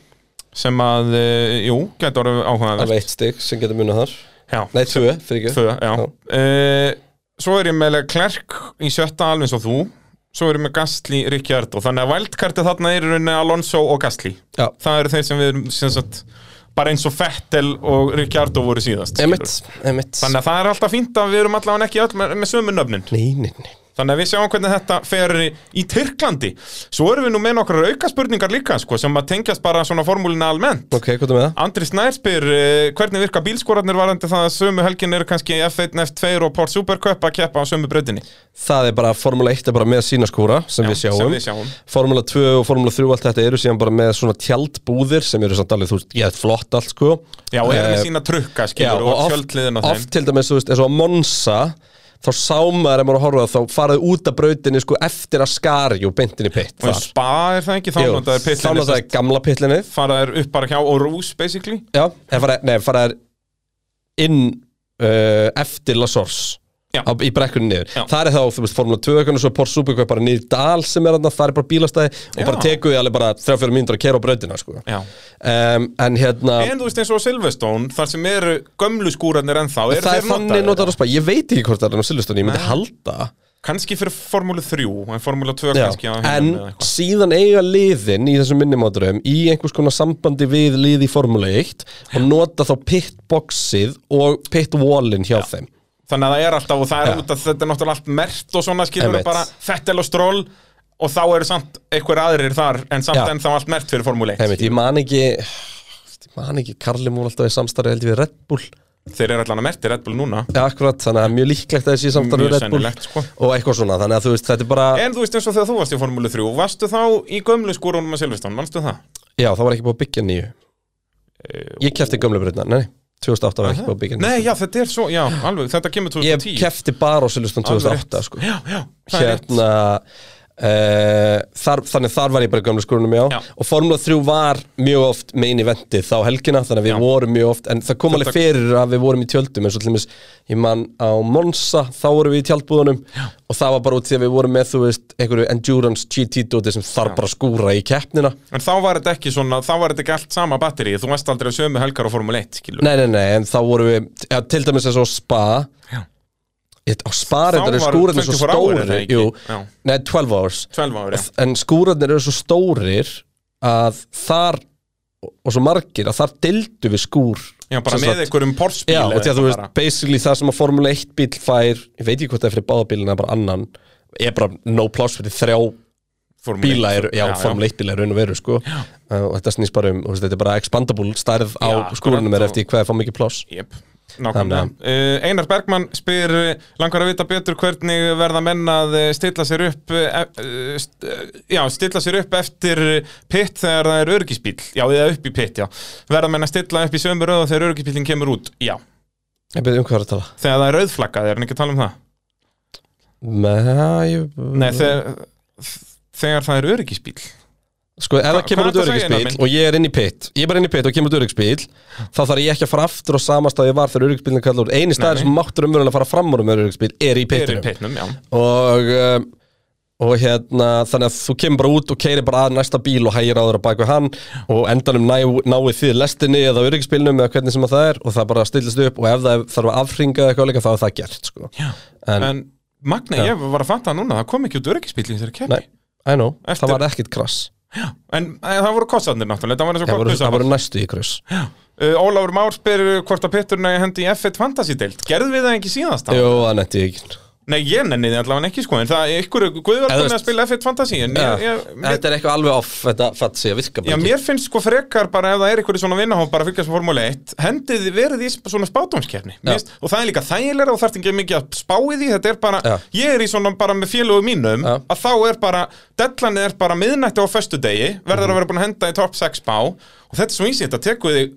Speaker 2: Sem að, uh, jú, getur orðið áhugað
Speaker 6: Alveg eitt stygg sem getur munið þar
Speaker 2: Já,
Speaker 6: Nei, tvö, fyrir ekki
Speaker 2: tvö, já uh, Svo er ég með Klerk í sjötta alveg eins og þú Svo erum við Gastli, Rikjard og þannig að vældkartið þarna er í rauninni Alonso og Gastli
Speaker 6: Já,
Speaker 2: það eru þeir sem við erum sem sagt, bara eins og Fettel og Ricciardo voru síðast
Speaker 6: emitt,
Speaker 2: skilur.
Speaker 6: emitt
Speaker 2: þannig að það er alltaf fínt að við erum allavega ekki öll með, með sömu nöfnin
Speaker 6: Nei, nei, nei
Speaker 2: þannig að við sjáum hvernig þetta fer í, í Tyrklandi svo erum við nú með nokkrar auka spurningar líka sko, sem að tengjast bara svona formúlina almennt
Speaker 6: Ok, hvað er með það?
Speaker 2: Andri Snær spyr eh, hvernig virka bílskorarnir varandi það að sömu helgin eru kannski F1, F2 og Port Supercup að keppa á sömu breytinni
Speaker 6: Það er bara, Formula 1 er bara með sína skóra sem,
Speaker 2: Já,
Speaker 6: við sjáum.
Speaker 2: sem við sjáum.
Speaker 6: Formula 2 og Formula 3 allt þetta eru síðan bara með svona tjaldbúðir sem eru samt alveg, þú veist, ég er flott allt sko
Speaker 2: Já, og erum
Speaker 6: Eh,
Speaker 2: við sína trukka
Speaker 6: já,
Speaker 2: skilur og, og tjöldliðin á þeim
Speaker 6: oft til dæmis, þú veist, eins og að Monza þá sá maður ef maður horfa þá faraði út af brautinni sko eftir að skari og beintinni pitt
Speaker 2: og í spa er það ekki, þá notaður
Speaker 6: þá
Speaker 2: pitlinni
Speaker 6: notaði gamla pittlinni
Speaker 2: fara þær upp bara hjá og rús basically
Speaker 6: já, en fara, nei, faraði inn uh, eftir Lasors
Speaker 2: Já.
Speaker 6: á, í brekkunni niður
Speaker 2: Já.
Speaker 6: það er þá, þú veist, Formula 2 og svo Port Supercup bara niður í dal sem er þarna, það er bara bílastæði og
Speaker 2: Já.
Speaker 6: bara tekuði alveg bara 3-4 mínútur að kera á brautina sko.
Speaker 2: Já.
Speaker 6: um, en hérna
Speaker 2: en þú veist eins og Silveston þar sem eru gömlu skúrarnir ennþá eru
Speaker 6: það
Speaker 2: þeir
Speaker 6: er þannig notar að spá, ég veit ekki hvort það er á Silveston, ég myndi
Speaker 2: Nei.
Speaker 6: halda
Speaker 2: kannski fyrir Formúlu 3 en Formúlu 2
Speaker 6: Já,
Speaker 2: kannski á
Speaker 6: en
Speaker 2: hinum eða eitthvað.
Speaker 6: síðan eiga liðin í þessum minnimáturum í einhvers konar sambandi við liði í Formule 1 og nota þá pitboxið og pitwallin hjá þeim
Speaker 2: þannig að það er alltaf og það er
Speaker 6: Já.
Speaker 2: út að þetta er náttúrulega allt mert og svona skilur
Speaker 6: Einmitt.
Speaker 2: Emmeit. bara fettel og stról og þá eru samt einhver aðrir þar en samt
Speaker 6: Já.
Speaker 2: ennþá allt mert fyrir Formúlu 1
Speaker 6: Heimitt, ég man ekki ég man ekki, Karli múl alltaf í samstarfi heldur við Red Bull
Speaker 2: þeir eru allan að merti Red Bull núna
Speaker 6: Já, akkurat, þannig að það er mjög líklegt að þessi
Speaker 2: Mjög
Speaker 6: samstarfi við Red Bull
Speaker 2: sennilegt, sko. Eh.
Speaker 6: og eitthvað svona, þannig að þú veist, þetta er bara
Speaker 2: en þú veist eins og þegar þú varst í Formúlu 3 varstu þá í gömlu skúrunum á Silveston, mannstu það?
Speaker 6: Já, það var ekki búið að byggja nýju Ég kefti gömlu breytna, nei, 2008 var ekki búið að byggja
Speaker 2: Eh, Nei,
Speaker 6: nýju
Speaker 2: já, þetta er svo, já, alveg, þetta kemur 2010
Speaker 6: Ég kefti bara á Silveston
Speaker 2: Alveg rétt.
Speaker 6: 2008 sko.
Speaker 2: Já, já, það er rétt.
Speaker 6: hérna uh, þar, þannig þar var ég bara í gömlu skrúnum já.
Speaker 2: Já.
Speaker 6: og Formula 3 var mjög oft main eventið þá helgina þannig að við
Speaker 2: Já.
Speaker 6: vorum mjög oft en það kom
Speaker 2: Þetta-
Speaker 6: alveg fyrir að við vorum í tjöldum eins og til dæmis ég man á Monza þá vorum við í tjaldbúðunum já. og það var bara út því að við vorum með þú veist einhverju endurance GT dóti sem þarf bara að skúra í keppnina
Speaker 2: En þá var þetta ekki svona, þá var þetta ekki allt sama batterið, þú varst aldrei að sömu helgar á Formule 1, skilur.
Speaker 6: nei nei nei en þá vorum við ja, til dæmis eins og Spa
Speaker 2: Já.
Speaker 6: Ég- á Spa reyndar er
Speaker 2: var
Speaker 6: skúrarnir svo
Speaker 2: 24 hour, er
Speaker 6: stóri
Speaker 2: það ekki?
Speaker 6: jú,
Speaker 2: Já.
Speaker 6: nei 12 hours
Speaker 2: 12 ári, já.
Speaker 6: en skúrarnir eru svo stórir að þar og svo margir að þar dildu við skúr
Speaker 2: Já, bara
Speaker 6: Sem
Speaker 2: með
Speaker 6: sagt-
Speaker 2: einhverjum porsbíl.
Speaker 6: Já, og því að þú veist, basically það sem að Formule 1 bíl fær, ég veit ekki hvort það er fyrir báðabílina eða bara annan, er bara no pláss fyrir þrjá bíla eru, já, Formule 1 bíla eru raun og veru, sko uh, og þetta snýst bara um, þú veist, þetta er bara expandable stærð á
Speaker 2: Já,
Speaker 6: skúrunum er
Speaker 2: akkurat,
Speaker 6: eftir hvað er fá mikið pláss
Speaker 2: Jep. Nákvæmlega.
Speaker 6: Þannig
Speaker 2: Uh, Einar Bergmann spyr uh, langar að vita betur hvernig verða menn að uh, stilla sér upp uh, uh, st- uh, já, stilla sér upp eftir uh, pitt þegar það er örgisbíl já, eða upp í pitt, já verða menn að stilla upp í sömu röðu þegar örgisbílinn kemur út já,
Speaker 6: Ég byrði um hvað er að tala
Speaker 2: þegar það er rauðflaggað, er hann ekki að tala um það?
Speaker 6: Nei, ég...
Speaker 2: Nei, þegar, þegar það er örgisbíl
Speaker 6: Sko, ef það kemur
Speaker 2: hvað
Speaker 6: út
Speaker 2: ertu að segja, Einar
Speaker 6: öryggsbíl
Speaker 2: minn?
Speaker 6: og ég er inn í pitt Ég er bara inn í pitt og kemur út öryggsbíl Þá þarf ég ekki að fara aftur á sama stað ég var þegar öryggsbílinn er kallar út Einu
Speaker 2: Nei,
Speaker 6: staður sem máttur umvörun að fara fram úr um öryggsbíl er í
Speaker 2: er í
Speaker 6: pittinum
Speaker 2: pittnum, já
Speaker 6: og, um, og hérna þannig að þú kemur bara út og keirir bara að næsta bíl og hægir á þér á baku hann og endanum ná, náið þið lestinni eða öryggsbílnum eða hvernig sem að það er og það bara stillist upp og ef það þarf að afringa eitthvað líka þá er það gert sko.
Speaker 2: en,
Speaker 6: en,
Speaker 2: Magna,
Speaker 6: Já.
Speaker 2: ég var að fatta það núna, það kom ekki út örgisbíl í þessari kemni
Speaker 6: nei, I know,
Speaker 2: Eftir-
Speaker 6: það var ekkit krass
Speaker 2: en, en það voru kostandir náttúrulega, það var eins og
Speaker 6: það voru,
Speaker 2: kokknusafall.
Speaker 6: það voru næstu í krass
Speaker 2: Uh, Ólafur Már spyr hvort að pitturinn eigi að hendi í F1 Fantasy-deild Gerðum við það ekki síðast þá?
Speaker 6: Jú, það netti ég ekki
Speaker 2: Nei, ég nenni þið allavega ekki sko En það er ykkur, Guðvar
Speaker 6: Eða
Speaker 2: kunni
Speaker 6: þú
Speaker 2: að
Speaker 6: veist-
Speaker 2: spila F1 Fantasy En
Speaker 6: Já,
Speaker 2: ég, ég, mér,
Speaker 6: Þetta er eitthvað alveg off Þetta fatt sig að virka
Speaker 2: já,
Speaker 6: bara
Speaker 2: mér finnst sko frekar bara ef það er ykkur í svona vinnahópar að fylgjast með Formule 1 Hendið verið í svona spátumskefni
Speaker 6: Já.
Speaker 2: Og það er líka þægilega og þarf ekki mikið að spá í því Þetta er bara,
Speaker 6: Já.
Speaker 2: ég er í svona bara með félögum mínum
Speaker 6: Já.
Speaker 2: Að þá er bara, dellanið er bara miðnætti á föstudegi Verður
Speaker 6: Mhm.
Speaker 2: að vera búin að henda í top 6 spá Og þetta er svo easy, þetta tekur þig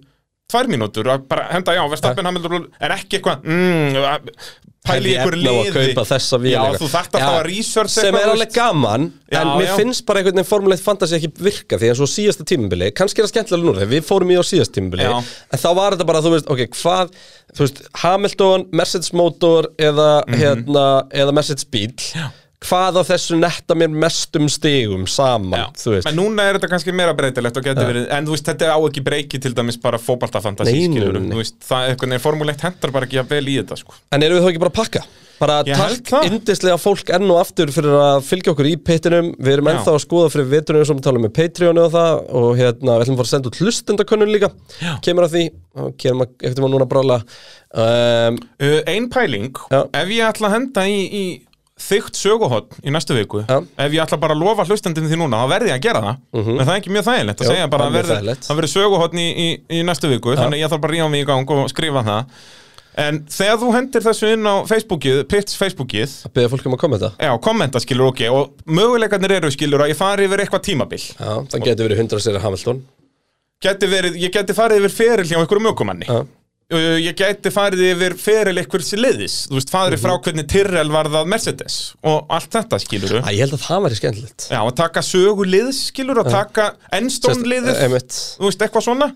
Speaker 2: tvær mínútur að bara henda já, Verstappen Hamilton en ekki eitthvað mm, að- pæli í
Speaker 6: Hefði
Speaker 2: einhverju
Speaker 6: efni á að
Speaker 2: liði
Speaker 6: kaupa þessa vél
Speaker 2: já,
Speaker 6: eitthvað.
Speaker 2: þú þarft alltaf
Speaker 6: Já,
Speaker 2: að research
Speaker 6: sem er
Speaker 2: þú
Speaker 6: alveg
Speaker 2: veist.
Speaker 6: gaman
Speaker 2: Já,
Speaker 6: en mér
Speaker 2: já.
Speaker 6: finnst bara einhvern veginn formulegt fantasi ekki virka því eins og síðasta tímabili, kannski er það skemmtilega núna þegar við fórum í á síðasta tímabili
Speaker 2: Já.
Speaker 6: en þá var þetta bara, þú veist, ok, hvað þú veist, Hamilton, Mercedes motor eða,
Speaker 2: Mhm.
Speaker 6: hérna, eða Mercedes bíl hvað af þessu netta mér mestum stigum saman,
Speaker 2: Já.
Speaker 6: þú veist
Speaker 2: en núna er þetta kannski meira breytilegt og getur verið en þú veist, þetta á ekki breyki til dæmis bara fótbaltafantasi
Speaker 6: Nei, nei,
Speaker 2: skilur
Speaker 6: nei.
Speaker 2: þú veist, það er eitthvað neður formulegt hendur bara ekki að vel í þetta sko
Speaker 6: En erum við þá ekki bara að pakka? Bara
Speaker 2: Ég held
Speaker 6: takk
Speaker 2: það.
Speaker 6: yndislega fólk enn og aftur fyrir að fylgja okkur í pittinum Við erum
Speaker 2: Já.
Speaker 6: ennþá að skoða fyrir veturinn sem við talum með Patreonu og það og hérna, við ætlum að fara að senda út hlustendakönnun líka Já. Kemur að því, og kemur að, eftir maður núna að brála um,
Speaker 2: uh, ein pæling,
Speaker 6: Já.
Speaker 2: ef ég ætla að henda í, í þygt söguhotn í næstu viku
Speaker 6: Já.
Speaker 2: ef ég ætla bara að lofa hlustendinu því núna þá verði ég að gera það, en það er ekki mjög þægilegt að
Speaker 6: Jú,
Speaker 2: segja bara
Speaker 6: það er
Speaker 2: að
Speaker 6: mjög
Speaker 2: verði,
Speaker 6: þægilegt.
Speaker 2: það verði söguhotn í, í, í næstu viku, þannig að ég þarf bara að ríða mig í gang og skrifa það en þegar þú hendir þessu inn á Facebookið, Pits Facebookið
Speaker 6: Að beða fólk um að kommenta
Speaker 2: já, kommenta skilur ok og möguleikarnir eru skilur að ég fari yfir eitthvað tímabil
Speaker 6: Já, það getur verið 100 sér Hamilton
Speaker 2: geti verið, ég geti farið yfir feril hjá einhverjum ökumanni
Speaker 6: Já.
Speaker 2: Uh, ég gæti farið yfir feril einhvers liðis þú veist, farið
Speaker 6: Mhm.
Speaker 2: frá hvernig Tyrrell var það Mercedes og allt þetta skilur
Speaker 6: Æ, ég held að það væri skemmtilegt
Speaker 2: já, að taka sögu liðs skilur og taka ennstón liðið
Speaker 6: Sérst- eh, einmitt.
Speaker 2: þú veist, eitthvað svona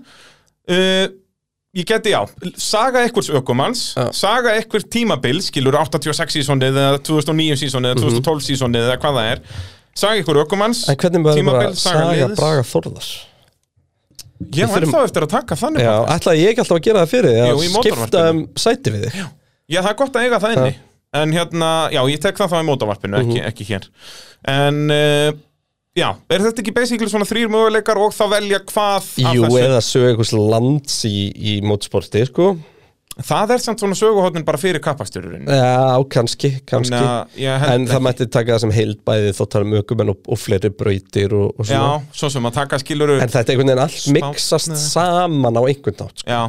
Speaker 2: uh, ég geti, já, saga einhvers ökumanns
Speaker 6: Já.
Speaker 2: saga einhver tímabil skilur 86 sísonið eða 2009 sísonið eða 2012 sísonið eða hvað það er saga einhver ökumanns,
Speaker 6: Mhm. En hvernig verður bara
Speaker 2: tímabil, saga,
Speaker 6: saga
Speaker 2: liðs
Speaker 6: Braga Þórðar
Speaker 2: ég
Speaker 6: Við
Speaker 2: var
Speaker 6: þurfum-
Speaker 2: ennþá eftir að taka þannig
Speaker 6: Já,
Speaker 2: podcast.
Speaker 6: ætlaði ég ekki alltaf að gera það fyrir
Speaker 2: Jú,
Speaker 6: því
Speaker 2: í
Speaker 6: að skipta um
Speaker 2: mótorvarpinu.
Speaker 6: sæti við þig
Speaker 2: Já, það er gott að eiga það inni En hérna, já, ég tek það þá í mótavarpinu, ekki,
Speaker 6: Mhm.
Speaker 2: ekki hér En, uh, já, er þetta ekki basically svona þrýr möguleikar og þá velja hvað af
Speaker 6: Jú,
Speaker 2: þessu?
Speaker 6: eða sögu einhvers lands í, í mótsporti, sko
Speaker 2: Það er samt svona söguhóttin bara fyrir kappastururinn
Speaker 6: Já, kannski, kannski En það
Speaker 2: En
Speaker 6: mætti taka það sem heild bæði þó tala um ökumenn og, og fleiri brautir og, og svona
Speaker 2: Já, svo sem að taka skiluru
Speaker 6: En þetta er einhvern veginn allt
Speaker 2: Spá-
Speaker 6: mixast saman á einhvern nátt sko.
Speaker 2: Já,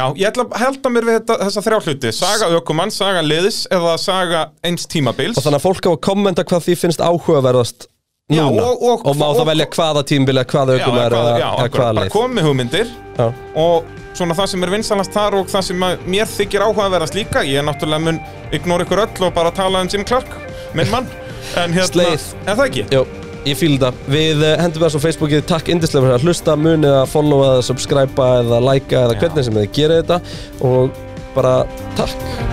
Speaker 2: já, ég ætla að held að mér við þetta, þessa þrjá hluti Saga ökumann, saga liðs eða saga eins tímabils
Speaker 6: Og þannig að fólk á að kommenta hvað því finnst áhugaverðast
Speaker 2: Já,
Speaker 6: núna
Speaker 2: og- og-
Speaker 6: má
Speaker 2: og-
Speaker 6: það velja hvaða tímbilja,
Speaker 2: Já,
Speaker 6: hvaða
Speaker 2: eða
Speaker 6: ökumenn
Speaker 2: hvað-
Speaker 6: eða
Speaker 2: já,
Speaker 6: eða
Speaker 2: akkurat,
Speaker 6: hvaða
Speaker 2: bara
Speaker 6: leið
Speaker 2: komi hugmyndir
Speaker 6: Já.
Speaker 2: og svona það sem er vinsalast þar og það sem að mér þykir áhuga að vera slíka ég er náttúrulega mun ignora ykkur öll og bara tala um Jim Clark, minn mann en hérna,
Speaker 6: Sleið.
Speaker 2: er það ekki?
Speaker 6: Jó, ég fíl það Við eh, hendum þessu á Facebookið Takk indislega fyrir að hlusta Munið að followa eða subscriba eða likea eða hvernig sem þið gerir þetta Og bara takk